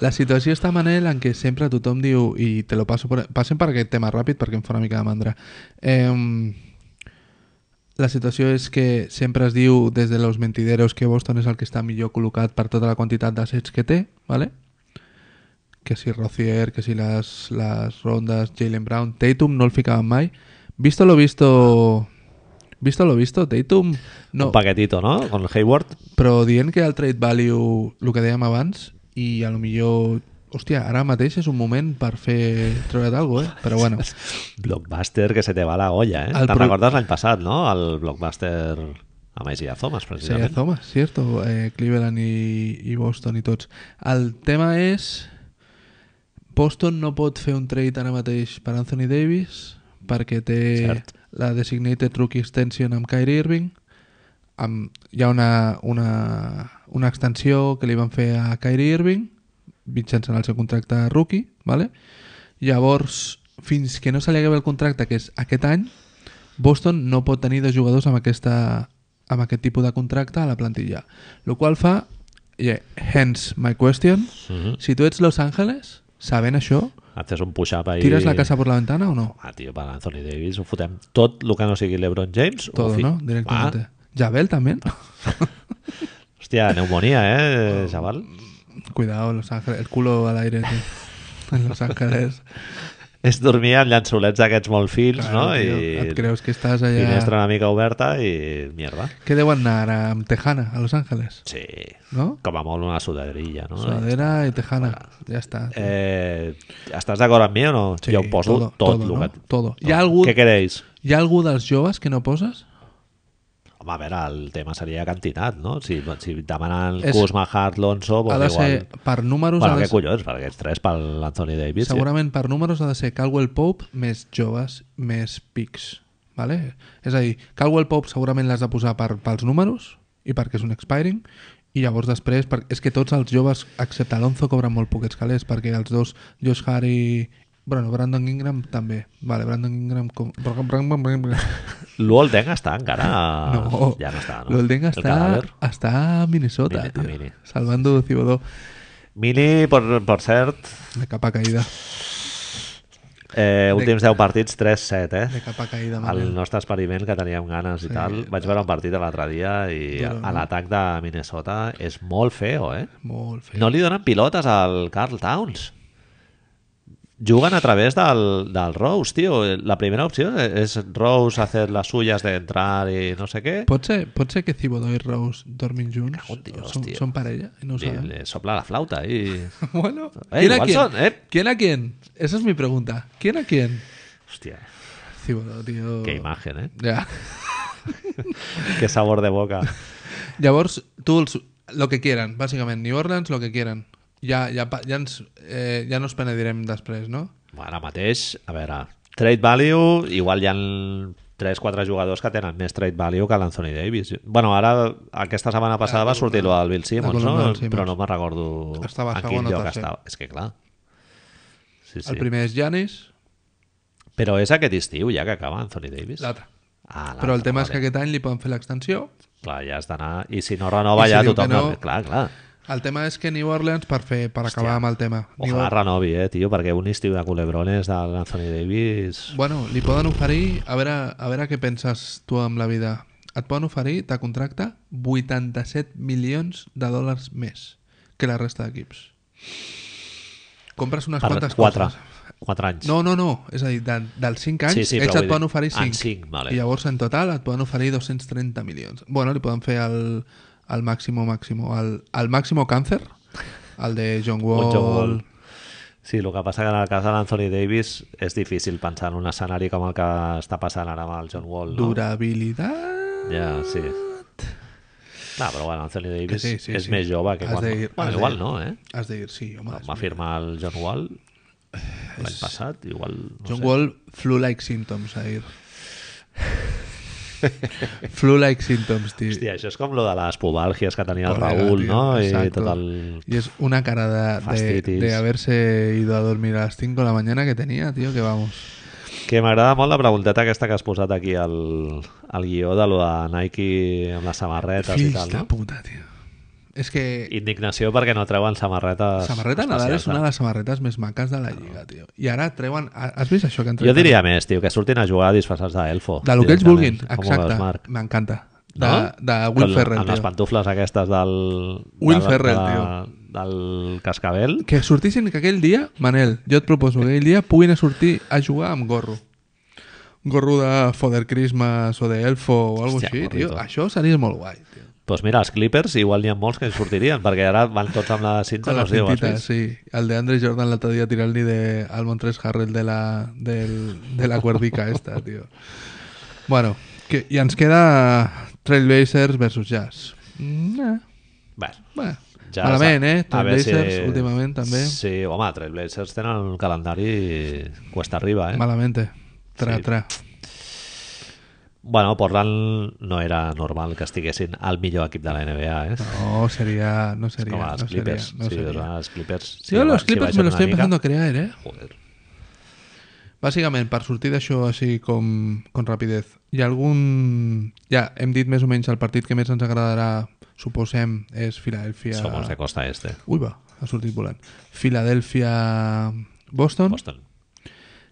Speaker 2: La situació està, Manel, en què sempre tothom diu, i te lo passo per... Passem per aquest tema ràpid perquè em fa una mica de mandra. Eh, la situació és que sempre es diu des de los mentideros que Boston és el que està millor col·locat per tota la quantitat d'assets que té, ¿vale? que si Rozier, que si les, les rondes, Jalen Brown, Tatum no el ficaven mai. Visto lo visto... Visto lo visto, Tatum... No,
Speaker 1: Un paquetito, no? Con Hayward.
Speaker 2: però dient que el trade value, el que dèiem abans, i a lo millor... Hòstia, ara mateix és un moment per fer treure't alguna cosa, eh? Però bueno,
Speaker 1: Blockbuster que se te va la olla, eh?
Speaker 2: El
Speaker 1: Te'n
Speaker 2: pro-
Speaker 1: recordes l'any passat, no? El Blockbuster amb Isaiah Thomas,
Speaker 2: seria
Speaker 1: precisament.
Speaker 2: Thomas, cierto? Eh, Cleveland i, i Boston i tots. El tema és... Boston no pot fer un trade ara mateix per Anthony Davis perquè té
Speaker 1: Cert.
Speaker 2: la designated rookie extension amb Kyrie Irving amb, hi ha una, una, una extensió que li van fer a Kyrie Irving mitjançant el seu contracte rookie vale? llavors fins que no se li acabi el contracte que és aquest any Boston no pot tenir dos jugadors amb, aquesta, amb aquest tipus de contracte a la plantilla el qual fa yeah, hence my question
Speaker 1: Mhm.
Speaker 2: si tu ets Los Angeles sabent això
Speaker 1: Haces un push-up ahí...
Speaker 2: ¿Tiras la casa por la ventana o no?
Speaker 1: Ah, tio, per Anthony Davis ho fotem tot el que no sigui LeBron James. ho
Speaker 2: Todo,
Speaker 1: fi-
Speaker 2: ¿no? Directamente. Jabel también.
Speaker 1: Ah, hòstia, pneumonia, eh, xaval?
Speaker 2: Cuidado, Los Ángeles. El culo al aire, tío. En Los Ángeles.
Speaker 1: Es dormia amb llançolets d'aquests molt fins, no?
Speaker 2: Claro, tío,
Speaker 1: I
Speaker 2: et creus que estás
Speaker 1: Finestra
Speaker 2: allá...
Speaker 1: una mica oberta i mierda.
Speaker 2: ¿Qué debo andar? A Tejana, a Los Ángeles.
Speaker 1: Sí.
Speaker 2: ¿No?
Speaker 1: Com a molt una sudadrilla, no?
Speaker 2: Sudadera y Tejana. Ya está.
Speaker 1: Eh, estàs d'acord amb mi o no?
Speaker 2: Sí,
Speaker 1: jo ho poso
Speaker 2: todo,
Speaker 1: tot,
Speaker 2: todo,
Speaker 1: lo
Speaker 2: no?
Speaker 1: que...
Speaker 2: Todo. Hi ha algú-
Speaker 1: Què queréis?
Speaker 2: ¿Y algo de los que no posas?
Speaker 1: Home, a veure, el tema seria quantitat, no? Si, si demanen
Speaker 2: És-
Speaker 1: es... Kuzma, Hart, Lonzo,
Speaker 2: Ha
Speaker 1: pues
Speaker 2: de
Speaker 1: igual...
Speaker 2: ser, per números,
Speaker 1: Bueno,
Speaker 2: ha de
Speaker 1: què
Speaker 2: ser-
Speaker 1: collons, per aquests tres, per l'Anthony Davis. sí.
Speaker 2: Segurament per números ha de ser Caldwell Pope més joves, més pics. Vale? És a dir, Caldwell Pope segurament l'has de posar per, pels números i perquè és un expiring I llavors després, per- és que tots els joves, excepte Alonso, cobren molt poquets calés, perquè els dos, Josh Hart i... Bueno, Brandon Ingram també. Vale, Brandon Ingram... Com...
Speaker 1: L'Olden està encara...
Speaker 2: No,
Speaker 1: Ah, Ja no està, no?
Speaker 2: L'Olden
Speaker 1: El
Speaker 2: està,
Speaker 1: cadàver.
Speaker 2: està a Minnesota,
Speaker 1: Mini- a
Speaker 2: tio.
Speaker 1: Mini.
Speaker 2: Salvando Cibodó.
Speaker 1: Mini, per, per cert,
Speaker 2: De capa caïda.
Speaker 1: eh, últims 10 partits, 3-7,
Speaker 2: De
Speaker 1: eh?
Speaker 2: capa caïda,
Speaker 1: El
Speaker 2: Manel.
Speaker 1: nostre experiment que teníem ganes i tal. Vaig veure un partit l'altre dia i
Speaker 2: Duro,
Speaker 1: a l'atac de Minnesota és molt feo, eh?
Speaker 2: Molt feo.
Speaker 1: No li donen pilotes al Carl Towns. Juguen a través del, del Rose, tio. La primera opció és Rose hacer las suyas de entrar i no sé què.
Speaker 2: Pot ser, pot ser que Cibodó i Rose dormin junts?
Speaker 1: Cago en Dios,
Speaker 2: són,
Speaker 1: tio.
Speaker 2: són parella? i No ho
Speaker 1: Li,
Speaker 2: sabem.
Speaker 1: li sopla la flauta i...
Speaker 2: Bueno,
Speaker 1: Ey,
Speaker 2: ¿quién a
Speaker 1: Watson,
Speaker 2: quién?
Speaker 1: eh.
Speaker 2: ¿Quién a quién? Esa es mi pregunta. ¿Quién a quién?
Speaker 1: Hòstia,
Speaker 2: Cibodó, tío.
Speaker 1: que imagen, eh?
Speaker 2: Ya.
Speaker 1: Que sabor de boca.
Speaker 2: Llavors, tu els, lo que quieran, bàsicament. New Orleans, lo que quieran. Ja, ja, pa- ja, ens, eh, ja no es penedirem després, no?
Speaker 1: Ara mateix, a veure, trade value, igual hi ha 3-4 jugadors que tenen més trade value que l'Anthony Davis. bueno, ara, aquesta setmana passada va sortir lo del Bill Simmons,
Speaker 2: columna
Speaker 1: no?
Speaker 2: del Simmons.
Speaker 1: Però no me'n recordo
Speaker 2: Estava
Speaker 1: en
Speaker 2: segon
Speaker 1: quin
Speaker 2: o
Speaker 1: lloc
Speaker 2: tercer.
Speaker 1: estava. És que clar. Sí,
Speaker 2: Sí.
Speaker 1: sí.
Speaker 2: El primer és Giannis,
Speaker 1: Però és aquest estiu ja que acaba Anthony Davis?
Speaker 2: l'altre.
Speaker 1: Ah,
Speaker 2: Però el tema és que aquest any li poden fer l'extensió.
Speaker 1: Clar, ja has d'anar... I si no renova
Speaker 2: I si
Speaker 1: ja
Speaker 2: diu
Speaker 1: tothom...
Speaker 2: que no-
Speaker 1: No... Clar, clar.
Speaker 2: El tema és que New Orleans, per fer per acabar amb el tema... New
Speaker 1: Ojalà renovi, eh, tio, perquè un estiu de culebrones de l'Anthony Davis...
Speaker 2: Bueno, li poden oferir, a veure, a veure què penses tu amb la vida. Et poden oferir, de contracte, 87 milions de dòlars més que la resta d'equips. Compres unes
Speaker 1: Per
Speaker 2: quantes
Speaker 1: 4,
Speaker 2: coses.
Speaker 1: 4 anys.
Speaker 2: No, no, no. És a dir, de, dels 5 anys,
Speaker 1: Sí, sí,
Speaker 2: ells
Speaker 1: però
Speaker 2: et
Speaker 1: vull
Speaker 2: poden
Speaker 1: dir, Ah,
Speaker 2: oferir
Speaker 1: en
Speaker 2: 5.
Speaker 1: cinc, vale.
Speaker 2: I llavors, en total, et poden oferir 230 milions. Bueno, li poden fer el, el màximo, màximo, el, el màximo càncer, el de John Wall...
Speaker 1: Un joc molt- Sí, el que passa que en el cas de l'Anthony Davis és difícil pensar en un escenari com el que està passant ara amb el John Wall. No?
Speaker 2: Durabilitat...
Speaker 1: Ja, sí. No, però bueno, Anthony Davis
Speaker 2: sí, sí,
Speaker 1: és
Speaker 2: sí.
Speaker 1: més jove que
Speaker 2: Has
Speaker 1: quan...
Speaker 2: de dir- has
Speaker 1: bueno,
Speaker 2: de
Speaker 1: igual
Speaker 2: dir.
Speaker 1: no, eh?
Speaker 2: Has de dir, sí, home.
Speaker 1: Quan
Speaker 2: és
Speaker 1: va firmar el John Wall l'any passat, igual... No
Speaker 2: John
Speaker 1: sé.
Speaker 2: Wall, flu-like symptoms, Air. flu-like symptoms, tio.
Speaker 1: Hòstia, això és com lo de les pobàlgies que tenia el
Speaker 2: Colega,
Speaker 1: Raül,
Speaker 2: tio,
Speaker 1: no? I
Speaker 2: exacto.
Speaker 1: tot el...
Speaker 2: Y es una cara de- de,
Speaker 1: Fastitis.
Speaker 2: de haberse ido a dormir a las 5 de la mañana que tenía, tío, que vamos.
Speaker 1: Que m'agrada molt la pregunteta aquesta que has posat aquí al, al guió de lo de Nike amb les samarretes i
Speaker 2: Fills
Speaker 1: tal,
Speaker 2: de
Speaker 1: no?
Speaker 2: puta, tío. Es que
Speaker 1: Indignació perquè no treuen samarretes...
Speaker 2: samarreta Nadal
Speaker 1: especials
Speaker 2: es una de las samarretas más macas de la liga, tío. Y ahora treuen... Has visto això que han
Speaker 1: Jo
Speaker 2: tret?
Speaker 1: diria més, tio, que surtin a jugar disfressats d'elfo.
Speaker 2: De lo que ells vulguin,
Speaker 1: directament. Com ho veus,
Speaker 2: exacte.
Speaker 1: Marc?
Speaker 2: Me encanta. De,
Speaker 1: No?
Speaker 2: de Will
Speaker 1: Con-
Speaker 2: Ferrell,
Speaker 1: Amb les
Speaker 2: tío.
Speaker 1: pantufles aquestes del...
Speaker 2: Will
Speaker 1: del-
Speaker 2: Ferrell,
Speaker 1: de- Del cascabel.
Speaker 2: Que sortissin que aquell dia, Manel, jo et proposo que aquell dia puguin sortir a jugar amb gorro. Un gorro de Father Christmas o de Elfo o algo
Speaker 1: Hòstia,
Speaker 2: així, tio.
Speaker 1: gorrito.
Speaker 2: Això seria molt guai, tio.
Speaker 1: Doncs mira, els Clippers igual n'hi ha molts que en sortirien, perquè ara van tots amb la cinta,
Speaker 2: Con la
Speaker 1: no sé, ho has
Speaker 2: cintita,
Speaker 1: vist?
Speaker 2: sí. El de Andre Jordan la otro día tiró el ni de al Montrés Harrell de la, del, de la cuerdica esta, tío. Bueno, que, y nos queda Trailblazers versus Jazz. Nah,
Speaker 1: Bueno,
Speaker 2: bueno.
Speaker 1: ja
Speaker 2: Malament, eh?
Speaker 1: a veure
Speaker 2: Trailblazers, últimament, també.
Speaker 1: Sí, home, Trailblazers tenen un calendari cuesta arriba, eh?
Speaker 2: Malamente. Tra,
Speaker 1: Sí.
Speaker 2: tra.
Speaker 1: Bueno, Portland no era normal que estiguessin al millor equip de la NBA, eh?
Speaker 2: No, sería... No sería,
Speaker 1: Com a els
Speaker 2: no sería,
Speaker 1: Clippers.
Speaker 2: no
Speaker 1: sí,
Speaker 2: sería.
Speaker 1: o sea, els Clippers... sí,
Speaker 2: Yo
Speaker 1: va-
Speaker 2: los
Speaker 1: sí
Speaker 2: Clippers me
Speaker 1: baixen
Speaker 2: lo
Speaker 1: una
Speaker 2: estoy
Speaker 1: mica.
Speaker 2: empezando a creer, eh?
Speaker 1: Joder.
Speaker 2: Bàsicament, per sortir d'això així com, com rapidez, hi ha algun... Ja, hem dit més o menys el partit que més ens agradarà, suposem, és Filadèlfia...
Speaker 1: Somos de costa este.
Speaker 2: Ui, va, ha sortit volant. Filadèlfia... Boston.
Speaker 1: Boston.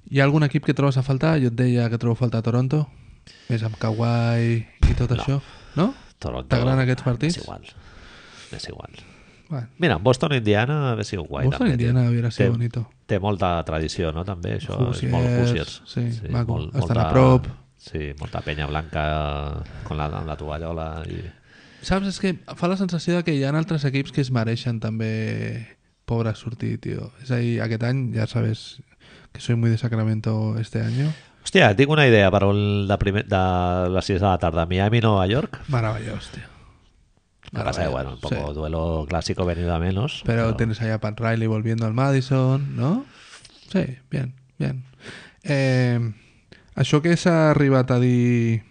Speaker 2: Hi ha algun equip que trobes a faltar? Jo et deia que trobo a faltar a Toronto. Més amb Kawhi i tot no. això. No?
Speaker 1: Toronto.
Speaker 2: T'agraden aquests partits?
Speaker 1: És igual. És igual.
Speaker 2: Bueno,
Speaker 1: Mira, Boston, Indiana, hauria sigut guai.
Speaker 2: Boston
Speaker 1: també, tio.
Speaker 2: Indiana hauria sigut
Speaker 1: Té-
Speaker 2: bonito.
Speaker 1: Té molta tradició, no? També, això. és molt Hoosiers.
Speaker 2: Hoosiers, sí, maco. Estan a prop.
Speaker 1: Sí, molta penya blanca con la, amb la tovallola. I...
Speaker 2: Saps? És que fa la sensació de que hi ha altres equips que es mereixen també pobre sortir, tio. És a dir, aquest any ja sabes que soy muy de Sacramento este año.
Speaker 1: Hòstia, tinc una idea per un de, primer, de les 6 de la tarda. Miami, Nova York.
Speaker 2: Maravillós, tio.
Speaker 1: Que passa, que, bueno, un poco
Speaker 2: Sí.
Speaker 1: duelo clásico venido a menos.
Speaker 2: Pero tienes ahí a Pat Riley volviendo al Madison, ¿no? Sí, bien, bien. Eh, això que s'ha arribat a dir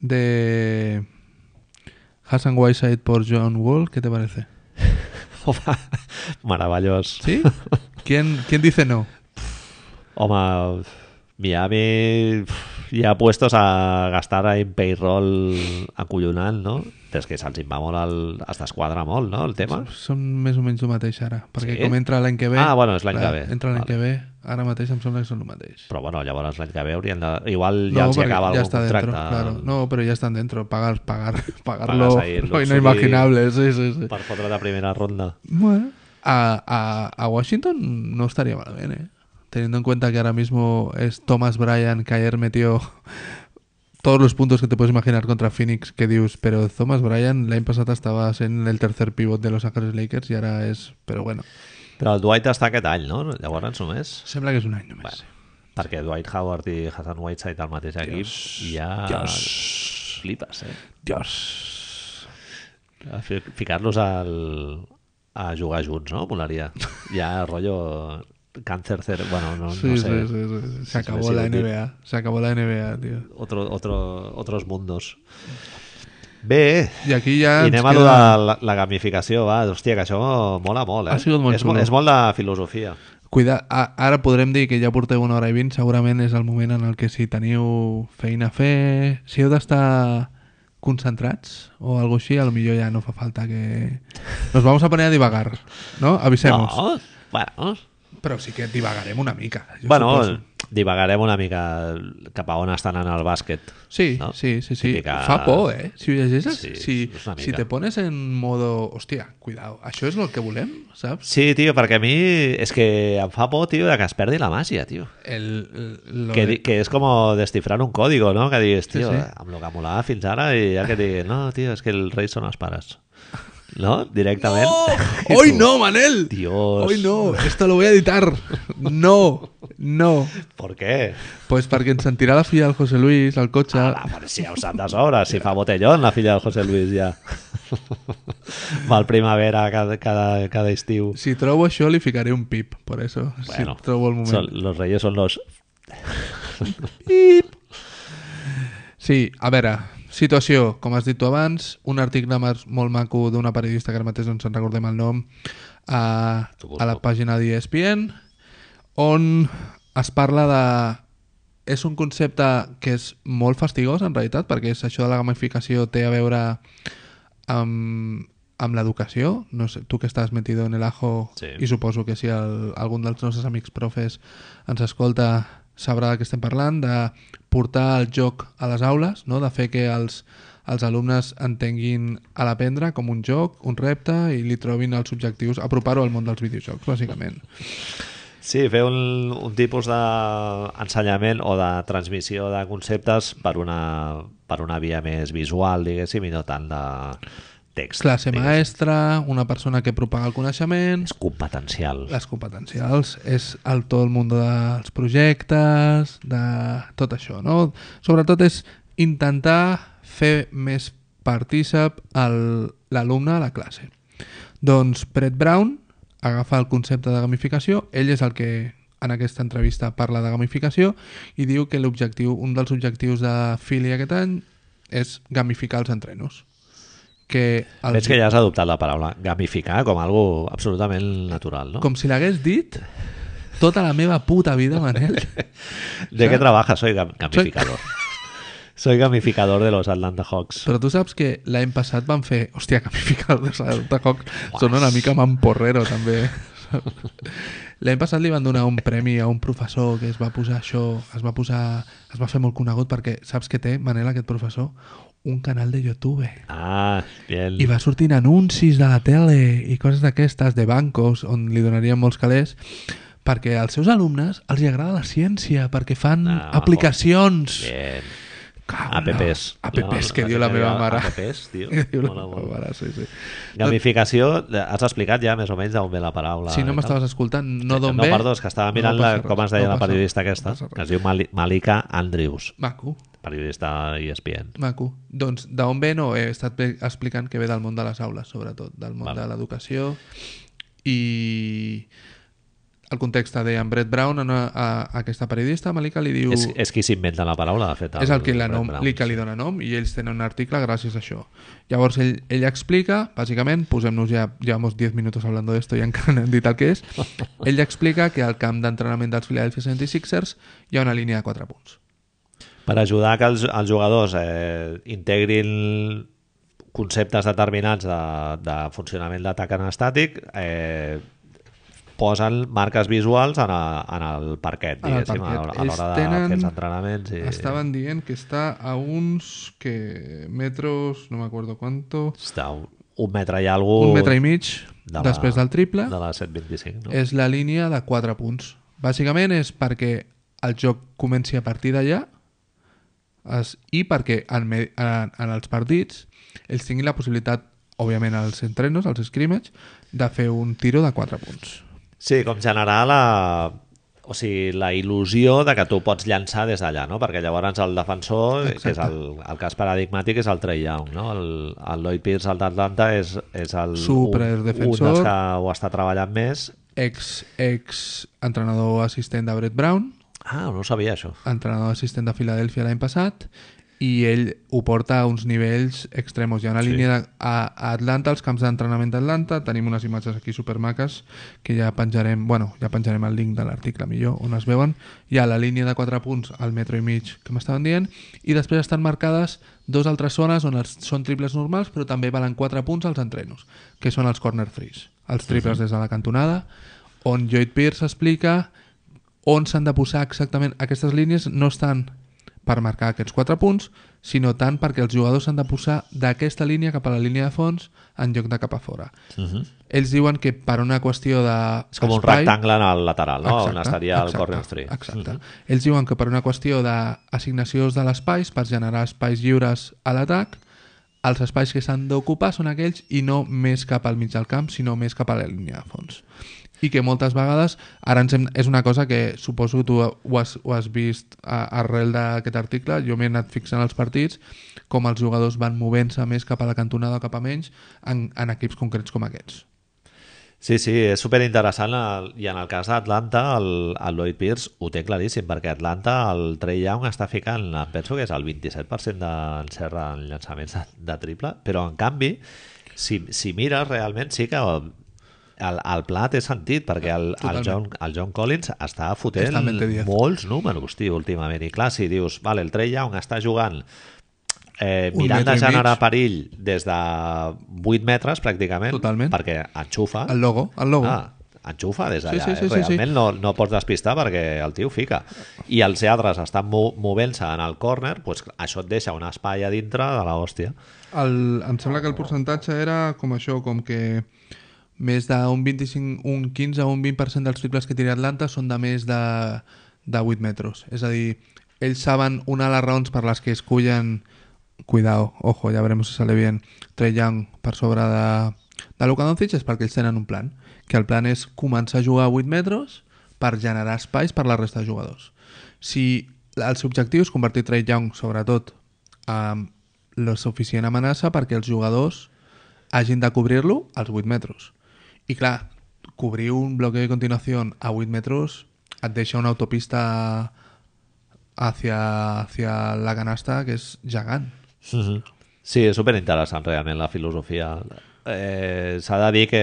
Speaker 2: de Hassan Whiteside por John Wall, ¿qué te parece?
Speaker 1: Home, meravellós.
Speaker 2: ¿Sí? ¿Quién, quién dice no?
Speaker 1: Home, Miami pf, ja puestos a gastar en payroll acollonant, no? Però és que se'ls va molt el... es desquadra molt, no, el tema?
Speaker 2: Són més o menys el mateix ara, perquè
Speaker 1: Sí?
Speaker 2: com entra l'any que ve...
Speaker 1: Ah, bueno, és l'any
Speaker 2: clar,
Speaker 1: que ve.
Speaker 2: Entra l'any
Speaker 1: Vale.
Speaker 2: que ve, ara mateix em sembla que són el mateix.
Speaker 1: Però bueno, llavors l'any que ve haurien de... Igual ja els hi
Speaker 2: perquè
Speaker 1: acaba algun
Speaker 2: està
Speaker 1: contracte.
Speaker 2: Dentro, claro.
Speaker 1: no.
Speaker 2: No, pero ya están dentro. Pagar, pagar, pagarlo.
Speaker 1: ahí el
Speaker 2: no,
Speaker 1: luxury.
Speaker 2: inimaginable, sí, sí, sí.
Speaker 1: Per fotre de primera ronda.
Speaker 2: Bueno, a, a- a Washington no estaría mal bien, ¿eh? Teniendo en cuenta que ahora mismo es Thomas Bryan que ayer metió todos los puntos que te puedes imaginar contra Phoenix que Dios, pero Thomas Bryan la pasada estabas en el tercer pivot de los Ángeles Lakers y ahora es, pero bueno,
Speaker 1: Però el Dwight està aquest any, no? Llavors només.
Speaker 2: sembla que es un año más.
Speaker 1: Perquè Dwight Howard i Hassan Whiteside al mateix equip ja... Flipes, eh?
Speaker 2: Dios.
Speaker 1: A fi- Ficar-los al... a jugar junts, no? Molaria. Ja, rotllo... Cáncer cere- Bueno, no,
Speaker 2: Sí,
Speaker 1: no
Speaker 2: sí,
Speaker 1: sé.
Speaker 2: sí, sí, sí. Se
Speaker 1: Sí,
Speaker 2: acabó
Speaker 1: sí,
Speaker 2: la
Speaker 1: sí, sí.
Speaker 2: NBA. Se acabó la NBA, tío.
Speaker 1: Otro, otro, otros mundos. Bé,
Speaker 2: I aquí ja
Speaker 1: i
Speaker 2: ens
Speaker 1: anem a lo de la, la gamificació, va. Hòstia, que això mola molt, eh?
Speaker 2: Ha sigut molt
Speaker 1: és, mo-
Speaker 2: xulo.
Speaker 1: és molt de filosofia.
Speaker 2: Cuida, a- ara podrem dir que ja porteu una hora i vint, segurament és el moment en el que si teniu feina a fer, si heu d'estar concentrats o algo així, a lo millor ja no fa falta que... Nos vamos a poner a divagar, ¿no? Avisemos.
Speaker 1: No, bueno,
Speaker 2: Però sí que divagarem una mica. jo
Speaker 1: bueno
Speaker 2: suposo.
Speaker 1: divagarem una mica cap a on estan en el bàsquet.
Speaker 2: Sí,
Speaker 1: no?
Speaker 2: sí, sí, sí.
Speaker 1: Típica-
Speaker 2: Fa por, eh? Si ho llegeixes,
Speaker 1: Sí,
Speaker 2: si,
Speaker 1: és una mica.
Speaker 2: si te pones en modo... Hòstia, cuidao, això és el que volem, saps?
Speaker 1: Sí, tio, perquè a mi és que em fa por, tio, de que es perdi la màgia, tio.
Speaker 2: El, el, lo
Speaker 1: Que,
Speaker 2: de-
Speaker 1: di- que és com descifrar un código, no? Que diguis, tio,
Speaker 2: sí.
Speaker 1: sí, sí. amb lo que molava fins ara i ja que diguis, no, tio, és que els reis són els pares. No? Directament. I
Speaker 2: ¡Oh! ¡Hoy
Speaker 1: tu,
Speaker 2: no, Manel!
Speaker 1: Dios.
Speaker 2: Hoy no, esto lo voy a editar. No, no.
Speaker 1: Per què?
Speaker 2: Pues perquè ens sentirà la filla del José Luis al cotxe.
Speaker 1: Ah, va, però si ja ho sap de sobre, si fa botellón la filla del José Luis ja. Va al primavera cada, cada, cada estiu.
Speaker 2: Si trobo això li ficaré un pip, por eso.
Speaker 1: Bueno,
Speaker 2: si trobo el moment.
Speaker 1: Son, los reyes son los...
Speaker 2: Sí, a veure, situació, com has dit tu abans, un article mas- molt maco d'una periodista que ara mateix no ens en recordem el nom a,
Speaker 1: T'ho
Speaker 2: a la
Speaker 1: busco.
Speaker 2: pàgina d'ESPN on es parla de... És un concepte que és molt fastigós en realitat perquè és això de la gamificació té a veure amb, amb l'educació. No sé, tu que estàs metido en el ajo
Speaker 1: Sí.
Speaker 2: i suposo que si el, algun dels nostres amics profes ens escolta sabrà de què estem parlant, de portar el joc a les aules, no? de fer que els, els alumnes entenguin a l'aprendre com un joc, un repte i li trobin els objectius, apropar-ho al món dels videojocs, bàsicament.
Speaker 1: Sí, fer un, un tipus d'ensenyament o de transmissió de conceptes per una, per una via més visual, diguéssim, i no tant de text.
Speaker 2: Classe
Speaker 1: diguéssim.
Speaker 2: maestra, una persona que propaga el coneixement,
Speaker 1: És competencial.
Speaker 2: les competencials, és el, tot el món dels projectes, de tot això, no? Sobretot és intentar fer més partícip el- l'alumne a la classe. Doncs Brett Brown agafa el concepte de gamificació, ell és el que en aquesta entrevista parla de gamificació i diu que l'objectiu, un dels objectius de Philly aquest any és gamificar els entrenos. Que els...
Speaker 1: Veig que ja has adoptat la paraula gamificar com algo absolutament natural, no?
Speaker 2: Com si l'hagués dit tota la meva puta vida, Manel.
Speaker 1: ¿De qué trabajas? Soy gam- gamificador. Soy gamificador de los Atlanta Hawks.
Speaker 2: Però tu saps que l'any passat van fer... Hòstia, que ficar de Salta Hawk són una mica mamporrero, també. L'any passat li van donar un premi a un professor que es va posar això, es va posar... Es va fer molt conegut perquè saps que té, Manel, aquest professor? Un canal de YouTube.
Speaker 1: Ah, bien.
Speaker 2: I va sortint anuncis de la tele i coses d'aquestes, de bancos, on li donarien molts calés, perquè als seus alumnes els hi agrada la ciència, perquè fan
Speaker 1: Ah, maco.
Speaker 2: aplicacions.
Speaker 1: Bien.
Speaker 2: Cago en la-
Speaker 1: APPs.
Speaker 2: APPs,
Speaker 1: No,
Speaker 2: que diu la meva mare.
Speaker 1: APPs, tio.
Speaker 2: Que diu la
Speaker 1: Mola
Speaker 2: meva
Speaker 1: molt.
Speaker 2: mare, sí, sí.
Speaker 1: Gamificació, has explicat ja més o menys d'on ve la paraula.
Speaker 2: Si no
Speaker 1: i
Speaker 2: m'estaves
Speaker 1: tal.
Speaker 2: escoltant, no d'on
Speaker 1: no,
Speaker 2: ve...
Speaker 1: perdó, és que estava mirant la,
Speaker 2: passa res,
Speaker 1: com es deia la
Speaker 2: no passa
Speaker 1: periodista
Speaker 2: res,
Speaker 1: aquesta,
Speaker 2: no passa
Speaker 1: que
Speaker 2: res.
Speaker 1: es diu Mali- Malika Andrews,
Speaker 2: Maco,
Speaker 1: periodista ESPN.
Speaker 2: maco. Doncs d'on ve no he estat pe- explicant que ve del món de les aules, sobretot, del món
Speaker 1: Val.
Speaker 2: de l'educació i el context de en Brett Brown, a, una- a, a aquesta periodista, Malika, li diu...
Speaker 1: És, és qui s'inventa la paraula, de fet.
Speaker 2: és el que, la
Speaker 1: Brett
Speaker 2: nom,
Speaker 1: Brown.
Speaker 2: li, que li dona nom i ells tenen un article gràcies a això. Llavors ell, ell explica, bàsicament, posem-nos ja, llevamos 10 minuts hablando de esto i encara no hem dit el que és, ell explica que al camp d'entrenament dels Philadelphia 76ers hi ha una línia de 4 punts.
Speaker 1: Per ajudar que els, els jugadors eh, integrin conceptes determinats de, de funcionament d'atac anestàtic, eh, posen marques visuals en, a, en el parquet,
Speaker 2: En el
Speaker 1: diguéssim,
Speaker 2: parquet.
Speaker 1: a, l'hora- a
Speaker 2: Ells
Speaker 1: l'hora de
Speaker 2: tenen-
Speaker 1: fer els entrenaments. I...
Speaker 2: Estaven dient que està a uns que metros, no m'acuerdo quanto,
Speaker 1: Està un, un metre i alguna
Speaker 2: un metre i mig
Speaker 1: de la-
Speaker 2: després del triple,
Speaker 1: De la 7.25, no?
Speaker 2: és la línia de 4 punts. Bàsicament és perquè el joc comenci a partir d'allà es, i perquè en, me, en, en els partits ells tinguin la possibilitat, òbviament als entrenos, als scrimmage, de fer un tiro de 4 punts.
Speaker 1: Sí, com generar la... O sigui, la il·lusió de que tu pots llançar des d'allà, no? Perquè llavors el defensor, que és el, el cas paradigmàtic, és el Trey Young, no? El, el Lloyd Pierce, el d'Atlanta, és, és el,
Speaker 2: Superdefensor.
Speaker 1: un dels que ho està treballant més.
Speaker 2: Ex, ex entrenador assistent de Brett Brown,
Speaker 1: Ah, no ho sabia, això.
Speaker 2: entrenador assistent de Filadèlfia l'any passat i ell ho porta a uns nivells extremos. Hi ha una
Speaker 1: Sí.
Speaker 2: línia de, a, a Atlanta, als camps d'entrenament d'Atlanta, tenim unes imatges aquí supermaques que ja penjarem, bueno, ja penjarem el link de l'article millor, on es veuen. Hi ha la línia de 4 punts al metro i mig que m'estaven dient, i després estan marcades dues altres zones on els, són triples normals, però també valen 4 punts als entrenos, que són els corner threes, els triples des de la cantonada, on Lloyd Pierce explica on s'han de posar exactament aquestes línies no estan per marcar aquests 4 punts, sinó tant perquè els jugadors s'han de posar d'aquesta línia cap a la línia de fons en lloc de cap a fora.
Speaker 1: Uh -huh.
Speaker 2: Ells diuen que per una qüestió de
Speaker 1: És com un rectangle al lateral, no? Exacte, On estaria el
Speaker 2: exacte,
Speaker 1: corner free.
Speaker 2: Exacte. Ells diuen que per una qüestió d'assignacions de l'espai, per generar espais lliures a l'atac, els espais que s'han d'ocupar són aquells i no més cap al mig del camp, sinó més cap a la línia de fons. I que moltes vegades, ara ens hem, és una cosa que suposo que tu ho has, ho has vist a, arrel d'aquest article, jo m'he anat fixant als partits, com els jugadors van movent-se més cap a la cantonada o cap a menys en, en equips concrets com aquests.
Speaker 1: Sí, sí, és superinteressant el- i en el cas d'Atlanta el, el Lloyd Pierce ho té claríssim perquè Atlanta, el Trey Young està ficant em penso que és el 27% d'encert en llançaments de, de triple però en canvi, si, si mires realment sí que el, el pla té sentit perquè el, el,
Speaker 2: Totalment.
Speaker 1: John, el John Collins està fotent
Speaker 2: Està mente 10.
Speaker 1: molts números tio, últimament i clar, si dius, vale, el Trey Young està jugant eh,
Speaker 2: Un
Speaker 1: mirant
Speaker 2: metre
Speaker 1: de
Speaker 2: i mig.
Speaker 1: generar perill des de 8 metres pràcticament
Speaker 2: Totalment.
Speaker 1: perquè enxufa
Speaker 2: El logo, el logo.
Speaker 1: Ah, enxufa des
Speaker 2: Sí,
Speaker 1: d'allà.
Speaker 2: sí,
Speaker 1: Sí,
Speaker 2: sí,
Speaker 1: sí,
Speaker 2: sí, sí.
Speaker 1: Realment No, no pots despistar perquè el tio fica. I els lladres estan mo movent-se en el córner, doncs això et deixa un espai a dintre de la hòstia.
Speaker 2: El, em sembla que el percentatge era com això, com que més d'un 25, un 15 o un 20% dels triples que tira Atlanta són de més de, de 8 metres. És a dir, ells saben una de les raons per les que escullen cuidao, ojo, ja veurem si sale bien Trey Young per sobre de, de Luka Doncic és perquè ells tenen un plan que el plan és començar a jugar a 8 metres per generar espais per la resta de jugadors si el seu objectiu és convertir Trey Young sobretot amb la suficient amenaça perquè els jugadors hagin de cobrir-lo als 8 metres. I clar, cobrir un bloqueo de continuació a 8 metres et deixa una autopista hacia, hacia la canasta que és gegant.
Speaker 1: Sí, és superinteressant realment la filosofia. Eh, S'ha de dir que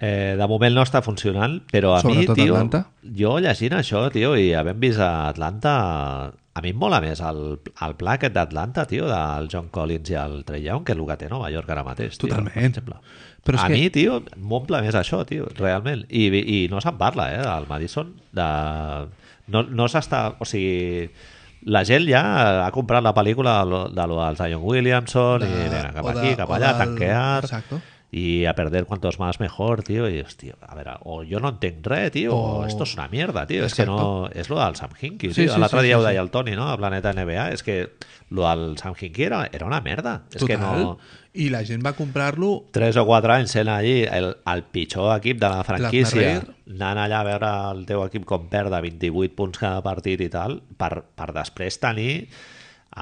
Speaker 1: eh, de moment no està funcionant, però a
Speaker 2: Sobretot
Speaker 1: mi, tio,
Speaker 2: Atlanta.
Speaker 1: jo llegint això, tio, i havent vist a Atlanta, a mi em mola més el, el pla aquest d'Atlanta, tio, del John Collins i el Trey Young, que el que té Nova York ara mateix, tio, per
Speaker 2: Totalment.
Speaker 1: exemple.
Speaker 2: Però és
Speaker 1: a
Speaker 2: que-
Speaker 1: mi, tio, m'omple més això, tio, realment. I, i no se'n parla, eh, del Madison. De... No, no s'està... O sigui, la gent ja ha comprat la pel·lícula de lo, de lo del Zion Williamson i
Speaker 2: De-
Speaker 1: venga, cap
Speaker 2: o de-
Speaker 1: aquí, cap
Speaker 2: o
Speaker 1: allà,
Speaker 2: del-
Speaker 1: tanquear
Speaker 2: Exacto.
Speaker 1: y a perder cuantos más mejor, tío. Y hostia, a ver, o yo no entenc res, tío, o,
Speaker 2: O-
Speaker 1: esto es una mierda, tío. És que
Speaker 2: Exacto.
Speaker 1: no... És lo del Sam Hinkie,
Speaker 2: Sí,
Speaker 1: tío.
Speaker 2: sí,
Speaker 1: L'altre
Speaker 2: sí,
Speaker 1: dia
Speaker 2: sí,
Speaker 1: ho
Speaker 2: sí.
Speaker 1: deia el Toni, no?, a Planeta NBA. És que lo del Sam Hinkie era, era una merda. És que
Speaker 2: Total.
Speaker 1: no...
Speaker 2: I la gent va comprar-lo
Speaker 1: Tres o quatre anys sent allí el, el pitjor equip de la franquícia,
Speaker 2: Ferrer.
Speaker 1: anant allà a veure el teu equip com perd de 28 punts cada partit i tal, per, per després tenir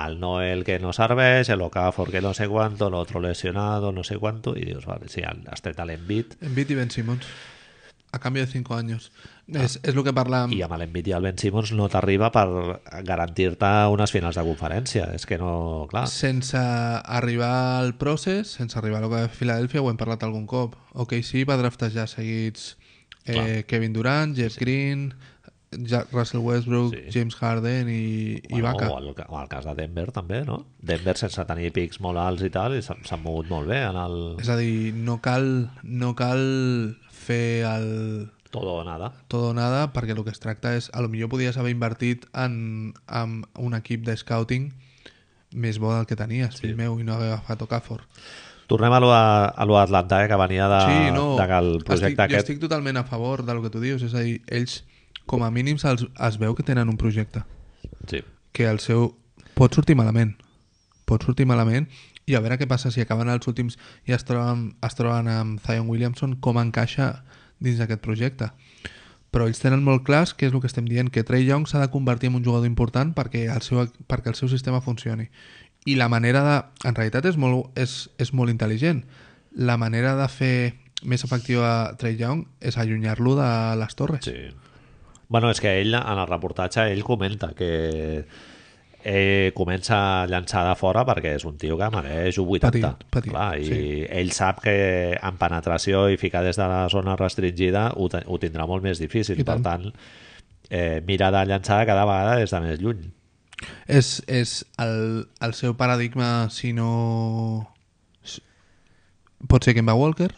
Speaker 1: el Noel que no serveix, el Okafor que no sé cuánto, l'altre lesionado, no sé cuánto, i dius, vale, sí, has tret l'envit,
Speaker 2: en Bit i Ben Simmons. a cambio de 5 años. Es, es lo que parla...
Speaker 1: Ah. I amb l'Envit i el Ben Simmons no t'arriba per garantir-te unes finals de conferència. És que no... Clar,
Speaker 2: Sense arribar al procés, sense arribar a lo que de Filadèlfia, ho hem parlat algun cop. Ok, sí, va draftejar seguits eh, Kevin Durant, Jeff Green, Ja- Russell Westbrook,
Speaker 1: Sí.
Speaker 2: James Harden i, i Ibaka.
Speaker 1: O el, o el cas de Denver també, no? Denver sense tenir pics molt alts i tal, i s'han s'han mogut molt bé en el
Speaker 2: És a dir, no cal, no cal fer el
Speaker 1: todo o nada.
Speaker 2: todo o nada perquè el que es tracta és, a lo millor podies haver invertit en, en un equip de scouting més bo del que tenies, fill meu, i no haver agafat Okafor.
Speaker 1: Tornem a lo, a, a lo Atlanta, eh, que venia de,
Speaker 2: sí, no,
Speaker 1: de que el
Speaker 2: estic,
Speaker 1: projecte
Speaker 2: jo
Speaker 1: aquest...
Speaker 2: estic totalment a favor del que tu dius, és a dir, ells com a mínims els, es veu que tenen un projecte,
Speaker 1: Sí.
Speaker 2: que el seu pot sortir malament, pot sortir malament, i a veure què passa si acaben els últims i es troben, es troben amb Zion Williamson, com encaixa dins d'aquest projecte. Però ells tenen molt clars que és el que estem dient, que Trey Young s'ha de convertir en un jugador important perquè el seu, perquè el seu sistema funcioni. I la manera de... En realitat és molt, és, és molt intel·ligent. La manera de fer més efectiva Trey Young és allunyar-lo de les torres.
Speaker 1: sí. Bueno, és que ell, en el reportatge, ell comenta que eh, comença a llançar de fora perquè és un tio que mereix un 80.
Speaker 2: Petit, petit,
Speaker 1: Clar, I
Speaker 2: sí.
Speaker 1: ell sap que en penetració i ficar des de la zona restringida ho, te- ho tindrà molt més difícil.
Speaker 2: I
Speaker 1: Per
Speaker 2: tant.
Speaker 1: tant, eh, mira de llançar cada vegada des de més lluny.
Speaker 2: És, és el, el seu paradigma, si no... s- Pot ser Kemba Walker,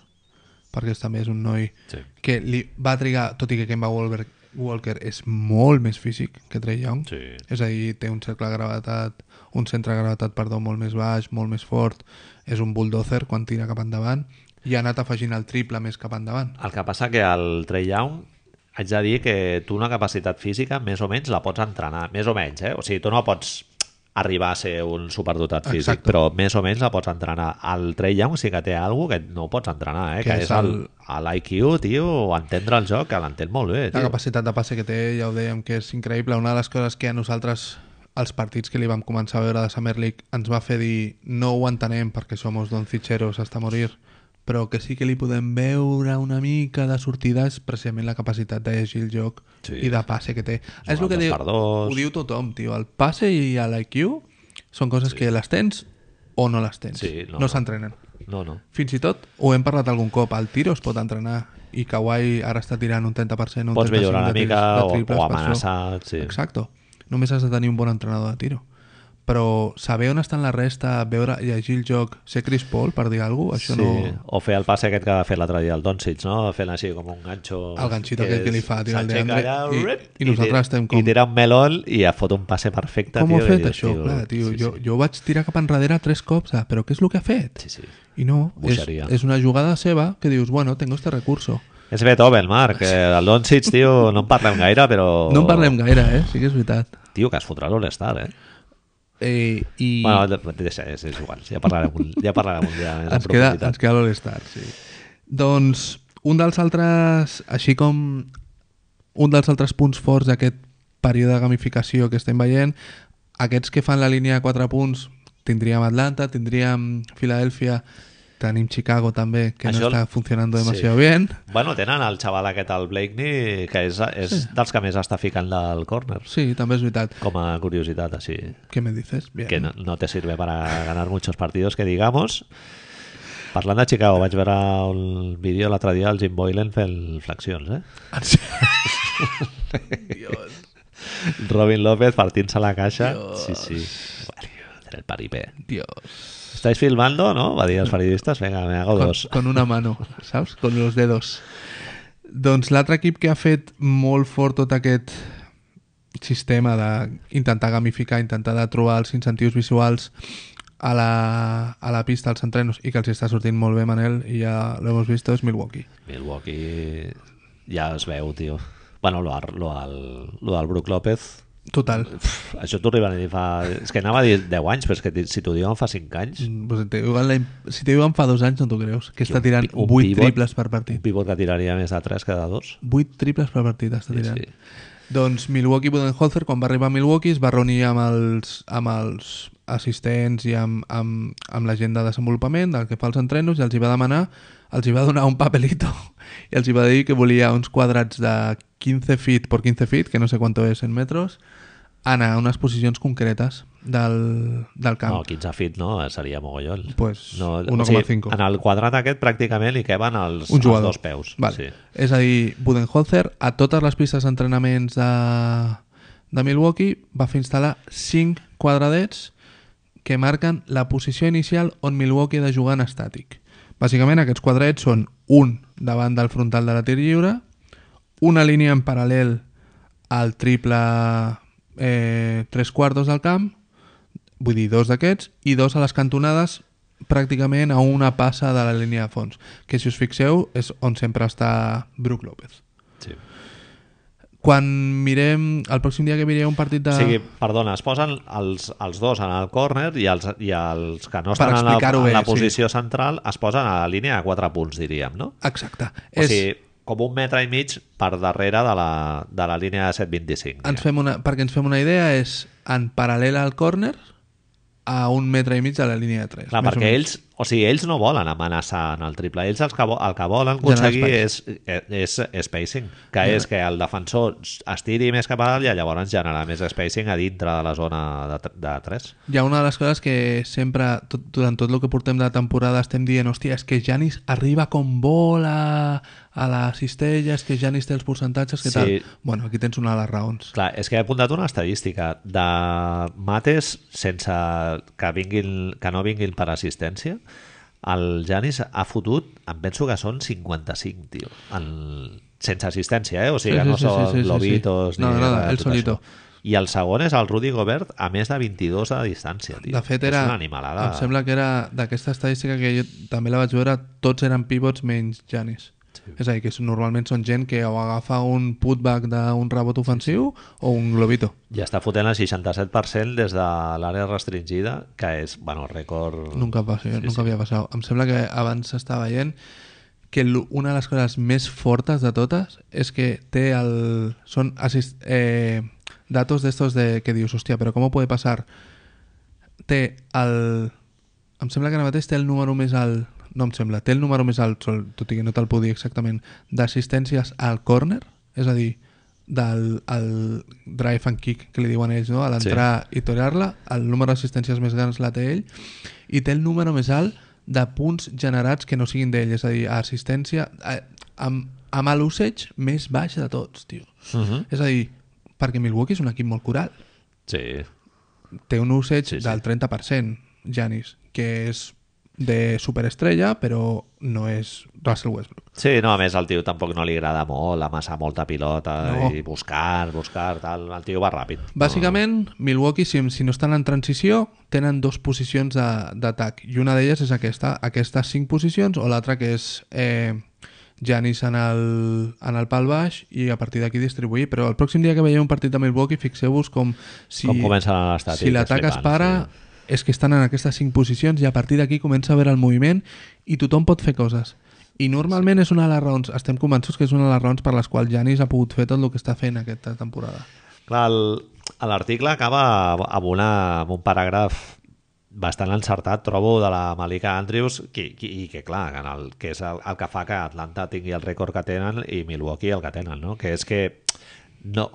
Speaker 2: perquè és- també és un noi
Speaker 1: Sí.
Speaker 2: que li va trigar, tot i que Kemba Walker, Walker és molt més físic que Trey Young.
Speaker 1: Sí.
Speaker 2: És a dir, té un cercle de gravetat, un centre de gravetat, perdó, molt més baix, molt més fort. És un bulldozer quan tira cap endavant i ha anat afegint el triple més cap endavant.
Speaker 1: El que passa que el Trey Young haig de dir que tu una capacitat física més o menys la pots entrenar, més o menys, eh? O sigui, tu no pots arribar a ser un superdotat físic,
Speaker 2: Exacte.
Speaker 1: però més o menys la pots entrenar. El Trey Young sí que té alguna que no pots entrenar, eh? Que, que és el- l'IQ, tio, o entendre el joc, que l'entén molt bé,
Speaker 2: La
Speaker 1: tio.
Speaker 2: capacitat de passe que té, ja ho dèiem, que és increïble. Una de les coses que a nosaltres, els partits que li vam començar a veure de Summer League, ens va fer dir no ho entenem perquè som don Cicheros hasta morir, però que sí que li podem veure una mica de sortida és precisament la capacitat de llegir el joc
Speaker 1: Sí.
Speaker 2: i de passe que té. és el que
Speaker 1: dos
Speaker 2: diu,
Speaker 1: per dos.
Speaker 2: ho diu tothom, tio. El passe i l'IQ són coses que les tens o no les tens.
Speaker 1: Sí, no,
Speaker 2: no
Speaker 1: no.
Speaker 2: s'entrenen.
Speaker 1: No, no.
Speaker 2: Fins i tot, ho hem parlat algun cop, el tiro es pot entrenar i Kawhi ara està tirant un 30%, un
Speaker 1: Pots
Speaker 2: 35%
Speaker 1: millorar una
Speaker 2: de tirs-
Speaker 1: mica
Speaker 2: de
Speaker 1: o,
Speaker 2: triples
Speaker 1: o
Speaker 2: per
Speaker 1: amenaçar, sí.
Speaker 2: Exacte. Només has de tenir un bon entrenador de tiro. Però saber on estan la resta, veure, llegir el joc, ser Chris Paul, per dir alguna cosa, això
Speaker 1: Sí,
Speaker 2: no...
Speaker 1: o fer el passe aquest que va fer l'altre dia el Doncic, no? Fent així com un ganxo...
Speaker 2: El ganxito aquest que li fa, tio, el
Speaker 1: s'aixeca
Speaker 2: Deandre,
Speaker 1: allà,
Speaker 2: i-
Speaker 1: rip,
Speaker 2: i nosaltres
Speaker 1: tira-
Speaker 2: estem com-
Speaker 1: I tira un melón i ha fot un passe perfecte,
Speaker 2: Com
Speaker 1: tio.
Speaker 2: ho ha
Speaker 1: i
Speaker 2: fet,
Speaker 1: dius,
Speaker 2: això? Clar, tio,
Speaker 1: sí,
Speaker 2: jo, jo ho vaig tirar cap enrere tres cops, ah, però què és el que ha fet?
Speaker 1: Sí, sí.
Speaker 2: I no, és,
Speaker 1: Bogeria.
Speaker 2: és una jugada seva que dius, bueno, tengo este recurso.
Speaker 1: És Beethoven, Marc. eh, El Doncic, tio, no en parlem gaire, però...
Speaker 2: No en parlem gaire, eh? Sí que és veritat.
Speaker 1: Tio, que es fotrà l'All-Star, eh?
Speaker 2: Eh, i...
Speaker 1: Bueno, de- deixa, és, és igual. Ja parlarem, un- ja parlarem un dia més en
Speaker 2: ens queda,
Speaker 1: profunditat.
Speaker 2: ens queda l'All-Star, sí. Doncs un dels altres, així com un dels altres punts forts d'aquest període de gamificació que estem veient, aquests que fan la línia de 4 punts, tindríem Atlanta, tindríem Filadèlfia, tenim Chicago també, que
Speaker 1: Això-
Speaker 2: no està funcionant
Speaker 1: sí.
Speaker 2: demasiado bien.
Speaker 1: Bueno, tenen el xaval aquest, el Blakeney, que és, és sí. dels que més està ficant del córner.
Speaker 2: Sí, també és veritat.
Speaker 1: Com a curiositat, així.
Speaker 2: Què me dices? Bien.
Speaker 1: que no, no te sirve para ganar muchos partidos, que digamos. Parlant de Chicago, vaig veure un vídeo l'altre dia del Jim Boylan fent flexions, eh?
Speaker 2: Dios.
Speaker 1: Robin López partint-se la caixa. Sí, sí. Bueno, en el paripé.
Speaker 2: Dios.
Speaker 1: ¿Estáis filmando, no? Va dir als periodistes. Vinga, me hago
Speaker 2: Mm. con,
Speaker 1: dos.
Speaker 2: con una mano, saps? Con los dedos. Doncs l'altre equip que ha fet molt fort tot aquest sistema d'intentar gamificar, intentar de trobar els incentius visuals a la, a la pista, als entrenos, i que els està sortint molt bé, Manel, i ja lo hemos visto, és Milwaukee.
Speaker 1: Milwaukee ja es veu, tio. Bueno, lo, ar- lo, al, lo del Brook López,
Speaker 2: Total.
Speaker 1: pf, això t'ho arriben a dir fa... És que anava a dir 10 anys, però és que ti- si t'ho diuen fa 5 anys...
Speaker 2: Pues te diuen la, im- si te diuen fa dos anys, no t'ho creus, que està tirant
Speaker 1: pi- un
Speaker 2: 8
Speaker 1: pivot-
Speaker 2: triples per
Speaker 1: Un
Speaker 2: partit.
Speaker 1: pivot que tiraria més de 3 que de 2.
Speaker 2: 8 triples per partit està tirant.
Speaker 1: sí.
Speaker 2: Doncs Milwaukee Budenholzer, quan va arribar a Milwaukee, es va reunir amb els, amb els assistents i amb, amb, amb la gent de desenvolupament del que fa els entrenos i els hi va demanar els hi va donar un papelito i els hi va dir que volia uns quadrats de 15 feet por 15 feet, que no sé quanto és en metres, anar a unes posicions concretes del, del camp.
Speaker 1: No, 15 feet no, eh, seria mogollón.
Speaker 2: Pues
Speaker 1: Oh, no,
Speaker 2: 1,5.
Speaker 1: en el quadrat aquest pràcticament li queben els,
Speaker 2: un jugador.
Speaker 1: els dos peus.
Speaker 2: Vale.
Speaker 1: Sí.
Speaker 2: És a dir, Budenholzer a totes les pistes d'entrenaments de, de Milwaukee va fer instal·lar 5 quadradets que marquen la posició inicial on Milwaukee ha de jugar en estàtic. Bàsicament aquests quadradets són un davant del frontal de la tir lliure, una línia en paral·lel al triple eh, tres quartos del camp, vull dir, dos d'aquests, i dos a les cantonades pràcticament a una passa de la línia de fons, que si us fixeu és on sempre està Brook López.
Speaker 1: Sí.
Speaker 2: Quan mirem, el pròxim dia que mireu un partit de...
Speaker 1: O sigui, perdona, es posen els, els dos en el córner i els, i els que no
Speaker 2: Per
Speaker 1: estan en la,
Speaker 2: explicar-ho
Speaker 1: en la
Speaker 2: bé, sí.
Speaker 1: posició central es posen a la línia de 4 punts, diríem, no?
Speaker 2: Exacte.
Speaker 1: O sigui, com un metre i mig per darrere de la, de la línia de 725.
Speaker 2: ens fem una, perquè ens fem una idea, és en paral·lel al córner a un metre i mig de la línia de 3.
Speaker 1: Clar, perquè ells, o sigui, ells no volen amenaçar en el triple. Ells els que, vo- el que volen aconseguir és, és, eh, és spacing, que és que el defensor es tiri més cap a dalt i llavors generar més spacing a dintre de la zona de, tr- de 3.
Speaker 2: Hi ha una de les coses que sempre, tot, durant tot el que portem de temporada, estem dient, hòstia, és que Janis arriba com vola a la cistella, és que Janis té els percentatges, que
Speaker 1: Sí.
Speaker 2: tal? Bueno, aquí tens una de les raons.
Speaker 1: Clar, és que he apuntat una estadística de mates sense que, vinguin, que no vinguin per assistència. El Janis ha fotut, em penso que són 55, tio, en, sense assistència, eh? O sigui, sí, no
Speaker 2: Sí, sí, sí,
Speaker 1: són
Speaker 2: sí, sí, sí, sí.
Speaker 1: lobitos...
Speaker 2: No,
Speaker 1: ni
Speaker 2: nada,
Speaker 1: res de
Speaker 2: él
Speaker 1: tot
Speaker 2: solito.
Speaker 1: això. I el segon és el Rudy Gobert a més de 22 de distància, tio.
Speaker 2: De fet, era...
Speaker 1: És una animalada.
Speaker 2: Em sembla que era d'aquesta estadística que jo també la vaig veure, tots eren pivots menys Janis. Sí. És a dir, que normalment són gent que o agafa un putback d'un rebot ofensiu o un globito.
Speaker 1: I està fotent el 67% des de l'àrea restringida, que és, bueno, rècord...
Speaker 2: Nunca, passi, nunca havia passat. Em sembla que abans s'està veient que l- una de les coses més fortes de totes és que té el... Són assist, eh, datos d'estos de, que dius, hòstia, però com ho pot passar? Té el... Em sembla que ara mateix té el número més alt... No em sembla, té el número més alt, sol- tot i que no te'l puc dir exactament, d'assistències al córner, és a dir, del el drive and kick que li diuen ells, no? a l'entrar sí. i torear-la, el número d'assistències més grans la té ell, i té el número més alt de punts generats que no siguin d'ell, és a dir, assistència eh, amb, amb l'usage més baix de tots, tio.
Speaker 1: Uh -huh.
Speaker 2: És a dir, perquè Milwaukee és un equip molt coral.
Speaker 1: Sí,
Speaker 2: Té un usage
Speaker 1: Sí, sí.
Speaker 2: del 30%, Janis, que és de superestrella, però no és Russell Westbrook.
Speaker 1: Sí, no, a més el tio tampoc no li agrada molt amassar molta pilota
Speaker 2: No.
Speaker 1: no. i buscar, buscar, tal. El tio va ràpid.
Speaker 2: Bàsicament, Milwaukee, si, si no estan en transició, tenen dos posicions de- d'atac. I una d'elles és aquesta, aquestes cinc posicions, o l'altra que és eh, Janis en el, en el pal baix i a partir d'aquí distribuir. Però el pròxim dia que veieu un partit de Milwaukee, fixeu-vos com si,
Speaker 1: Com comencen a l'estat,
Speaker 2: si
Speaker 1: és
Speaker 2: l'atac es
Speaker 1: flipant,
Speaker 2: para...
Speaker 1: sí.
Speaker 2: És que estan en aquestes cinc posicions i a partir d'aquí comença a veure el moviment i tothom pot fer coses. I normalment és una de les raons, estem convençuts que és una de les raons per les quals Janis ha pogut fer tot el que està fent aquesta temporada.
Speaker 1: Clar, el- l'article acaba amb, una, amb un paràgraf bastant encertat, trobo, de la Malika Andrews, que, que, i que, clar, que, en el, que és el, el que fa que Atlanta tingui el rècord que tenen i Milwaukee el que tenen, no? Que és que no,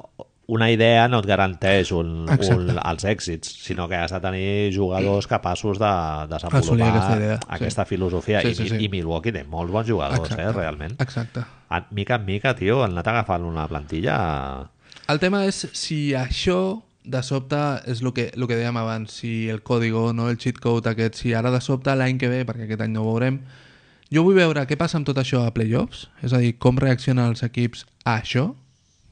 Speaker 1: una idea no et garanteix un, un,
Speaker 2: Exacte.
Speaker 1: els èxits, sinó que has de tenir jugadors capaços de,
Speaker 2: Assolir
Speaker 1: desenvolupar
Speaker 2: aquesta idea, sí.
Speaker 1: aquesta filosofia.
Speaker 2: Sí,
Speaker 1: I,
Speaker 2: sí, sí.
Speaker 1: I Milwaukee té molts bons jugadors, eh, realment.
Speaker 2: Exacte.
Speaker 1: A- Mica en mica, tio, han anat agafant una plantilla...
Speaker 2: El tema és si això de sobte és el que, el que dèiem abans, si el código, no el cheat code aquest, si ara de sobte l'any que ve, perquè aquest any no ho veurem, jo vull veure què passa amb tot això a playoffs, és a dir, com reaccionen els equips a això,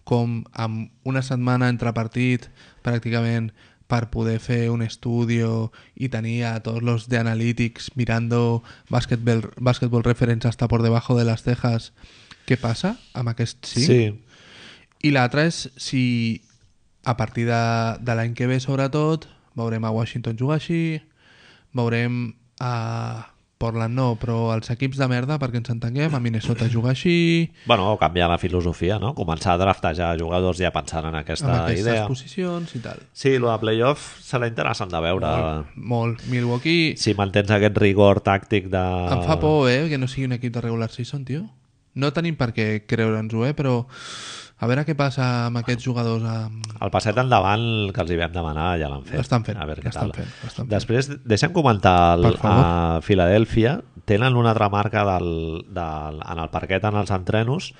Speaker 2: com amb una setmana entre partit, pràcticament, per poder fer un estudi i tenir a tots los de analytics mirando basketball, basketball reference hasta por debajo de las cejas, què passa amb aquests cinc? I l'altra és si a partir de, de l'any que ve, sobretot, veurem a Washington jugar així, veurem a Portland no, però els equips de merda, perquè ens entenguem, a Minnesota juga així,
Speaker 1: Bueno, canviar la filosofia, no? Començar a draftejar jugadors ja pensant en
Speaker 2: amb
Speaker 1: aquesta
Speaker 2: aquestes
Speaker 1: Ah, idea.
Speaker 2: posicions i tal.
Speaker 1: Sí, el de playoff serà interessant de veure.
Speaker 2: Molt. Milwaukee
Speaker 1: Si mantens aquest rigor tàctic de...
Speaker 2: em fa por, eh, que no sigui un equip de regular season, tio. No tenim per què creure'ns-ho, eh, però a veure què passa amb aquests jugadors amb...
Speaker 1: El passet endavant que els hi vam demanar ja l'han fet.
Speaker 2: L'estan fent,
Speaker 1: A veure què
Speaker 2: l'estan
Speaker 1: tal.
Speaker 2: fent, l'estan fent.
Speaker 1: Després, deixem comentar el,
Speaker 2: Per favor.
Speaker 1: a Filadèlfia. Tenen una altra marca del, del, en el parquet, en els entrenos,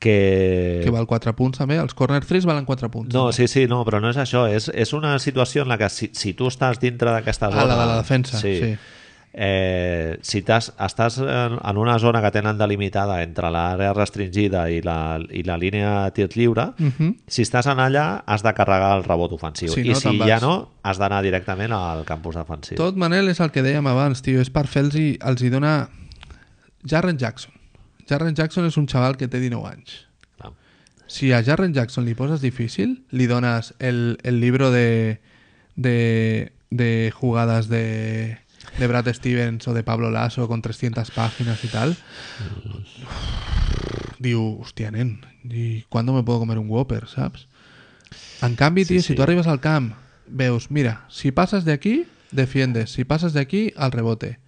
Speaker 1: que...
Speaker 2: que val 4 punts també, els corner 3 valen 4 punts
Speaker 1: Eh. No, sí, sí, no, però no és això. És, és una situació en la que si, si tu estàs dintre d'aquesta
Speaker 2: Ah,
Speaker 1: zona...
Speaker 2: la de la defensa, sí.
Speaker 1: Eh, si t'has- estàs en, en una zona que tenen delimitada entre l'àrea restringida i la, i la línia a tir lliure,
Speaker 2: Mhm.
Speaker 1: si estàs en allà has de carregar el rebot ofensiu
Speaker 2: Si
Speaker 1: i
Speaker 2: no,
Speaker 1: si
Speaker 2: te'n
Speaker 1: ja
Speaker 2: vas.
Speaker 1: no has d'anar directament al campus defensiu
Speaker 2: Tot, Manel, és el que dèiem abans, tio. És per fer-los... Els hi dona... Jarren Jackson. Jarren Jackson és un xaval que té 19 anys.
Speaker 1: Clar.
Speaker 2: Si a Jarren Jackson li poses difícil, li dones el, el libro de, de, de jugadas de, de Brad Stevens o de Pablo Lasso con 300 páginas y tal,
Speaker 1: Mm.
Speaker 2: diu, hòstia, nen, i quan me puedo comer un Whopper, saps? En canvi, tio, si tu arribes al camp, veus, mira, si passes d'aquí, defiendes, si passes d'aquí, al rebote.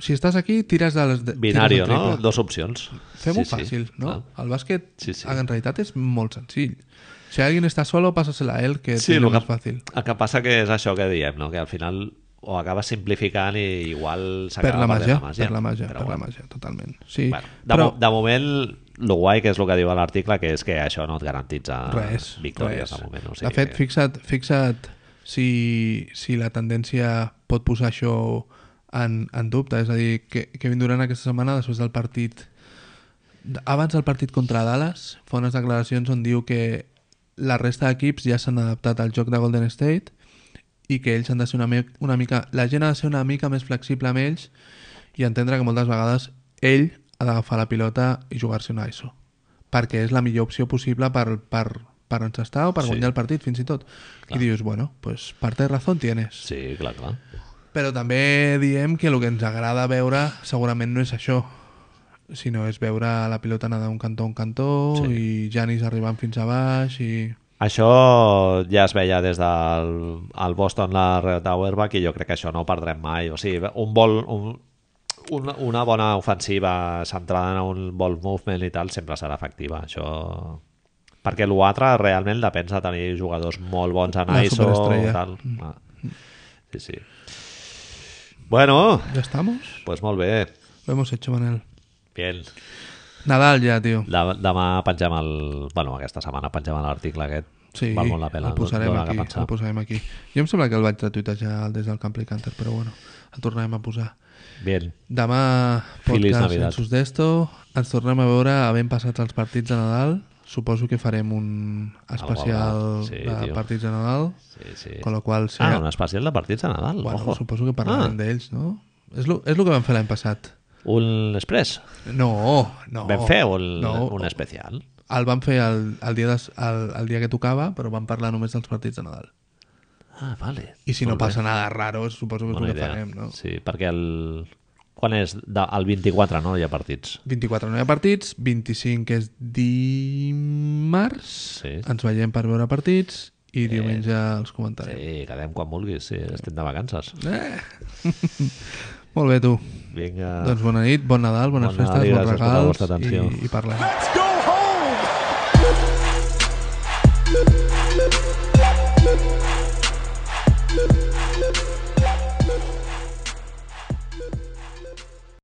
Speaker 2: Si estàs aquí, tires de les... de- tires
Speaker 1: binario,
Speaker 2: del
Speaker 1: no?
Speaker 2: triple.
Speaker 1: Dos opcions
Speaker 2: Fem-ho
Speaker 1: Sí, sí,
Speaker 2: fàcil, no?
Speaker 1: clar.
Speaker 2: El bàsquet,
Speaker 1: Sí, sí.
Speaker 2: en realitat, és molt senzill. Si alguien està solo, pásasela a él, que
Speaker 1: Sí,
Speaker 2: sí,
Speaker 1: lo
Speaker 2: és
Speaker 1: que-
Speaker 2: Eh, més fàcil.
Speaker 1: el que passa que és això que diem no? que al final o acabes simplificant i igual
Speaker 2: Per
Speaker 1: s'acaba
Speaker 2: la màgia,
Speaker 1: perdent
Speaker 2: per la màgia,
Speaker 1: Però
Speaker 2: per la
Speaker 1: bueno.
Speaker 2: màgia, totalment. Sí,
Speaker 1: Bueno, de,
Speaker 2: però
Speaker 1: mo de moment, el guai que és el que diu a l'article, que és que això no et garantitza
Speaker 2: res,
Speaker 1: victòries
Speaker 2: res.
Speaker 1: de moment. O sigui
Speaker 2: De
Speaker 1: que...
Speaker 2: fet, fixa't, fixa't si, si la tendència pot posar això en, en dubte. És a dir, que Kevin Durant aquesta setmana, després del partit... Abans del partit contra Dallas, fa unes declaracions on diu que la resta d'equips ja s'han adaptat al joc de Golden State i que ells han de ser una, mi- una mica... La gent ha de ser una mica més flexible amb ells i entendre que moltes vegades ell ha d'agafar la pilota i jugar-se una ISO. Perquè és la millor opció possible per, per, per encestar o per
Speaker 1: Sí.
Speaker 2: guanyar el partit, fins i tot. I dius, bueno, pues parte de razón tienes.
Speaker 1: Sí, clar, clar.
Speaker 2: Però també diem que el que ens agrada veure segurament no és això, sinó és veure la pilota anar d'un cantó a un cantó
Speaker 1: Sí.
Speaker 2: i Janis arribant fins a baix i...
Speaker 1: Això ja es veia des del el Boston, la Red Auerbach, i jo crec que això no ho perdrem mai. O sigui, un vol... Un, una, una bona ofensiva centrada en un ball movement i tal sempre serà efectiva. Això... Perquè l'altre realment depèn de tenir jugadors molt bons en
Speaker 2: Una
Speaker 1: ISO o
Speaker 2: superestrella.
Speaker 1: tal. Ah. Sí, sí. Bueno,
Speaker 2: Ja estamos?
Speaker 1: Pues molt bé.
Speaker 2: Lo hemos hecho, Manel.
Speaker 1: Bien.
Speaker 2: Nadal ja, tio.
Speaker 1: De, demà pengem el... Bueno, aquesta setmana pengem l'article aquest.
Speaker 2: Sí,
Speaker 1: Val molt la pena.
Speaker 2: el posarem
Speaker 1: dona que
Speaker 2: aquí,
Speaker 1: pensar.
Speaker 2: el posarem aquí. Jo em sembla que el vaig retuitejar des del Camp Canter, però bueno, el tornarem a posar.
Speaker 1: Bien.
Speaker 2: Demà,
Speaker 1: Feliç
Speaker 2: podcast
Speaker 1: Navidad.
Speaker 2: en sus d'esto, ens tornem a veure havent passat els partits de Nadal. Suposo que farem un especial
Speaker 1: guardat. Sí,
Speaker 2: de
Speaker 1: tio.
Speaker 2: partits de Nadal,
Speaker 1: Sí, sí.
Speaker 2: con lo qual... Si
Speaker 1: Ah, un especial de partits de Nadal.
Speaker 2: bueno,
Speaker 1: Ojo. Ah,
Speaker 2: suposo que parlarem d'ells, no? És lo, és lo que vam fer l'any passat.
Speaker 1: Un express.
Speaker 2: No, no.
Speaker 1: Vam fer un,
Speaker 2: no,
Speaker 1: un especial.
Speaker 2: El vam fer el, el, dia des, el, el dia que tocava, però vam parlar només dels partits de Nadal.
Speaker 1: Ah, vale.
Speaker 2: I si
Speaker 1: Molt
Speaker 2: no
Speaker 1: bé.
Speaker 2: passa nada raro, suposo que és
Speaker 1: Bona
Speaker 2: el que
Speaker 1: idea.
Speaker 2: farem, no?
Speaker 1: Sí, perquè el... Quan és? De, el 24, no? Hi ha partits.
Speaker 2: 24 no hi ha partits, 25 és dimarts,
Speaker 1: Sí. Eh,
Speaker 2: ens veiem per veure partits i diumenge els comentarem.
Speaker 1: Sí, quedem quan vulguis. Sí, estem de vacances.
Speaker 2: Molt bé, tu.
Speaker 1: Vinga.
Speaker 2: Doncs bona nit, bon Nadal, bones
Speaker 1: Bon Nadal
Speaker 2: festes,
Speaker 1: i
Speaker 2: bons
Speaker 1: gràcies per la
Speaker 2: regals
Speaker 1: vostra atenció.
Speaker 2: i, i parlem.
Speaker 3: Let's go!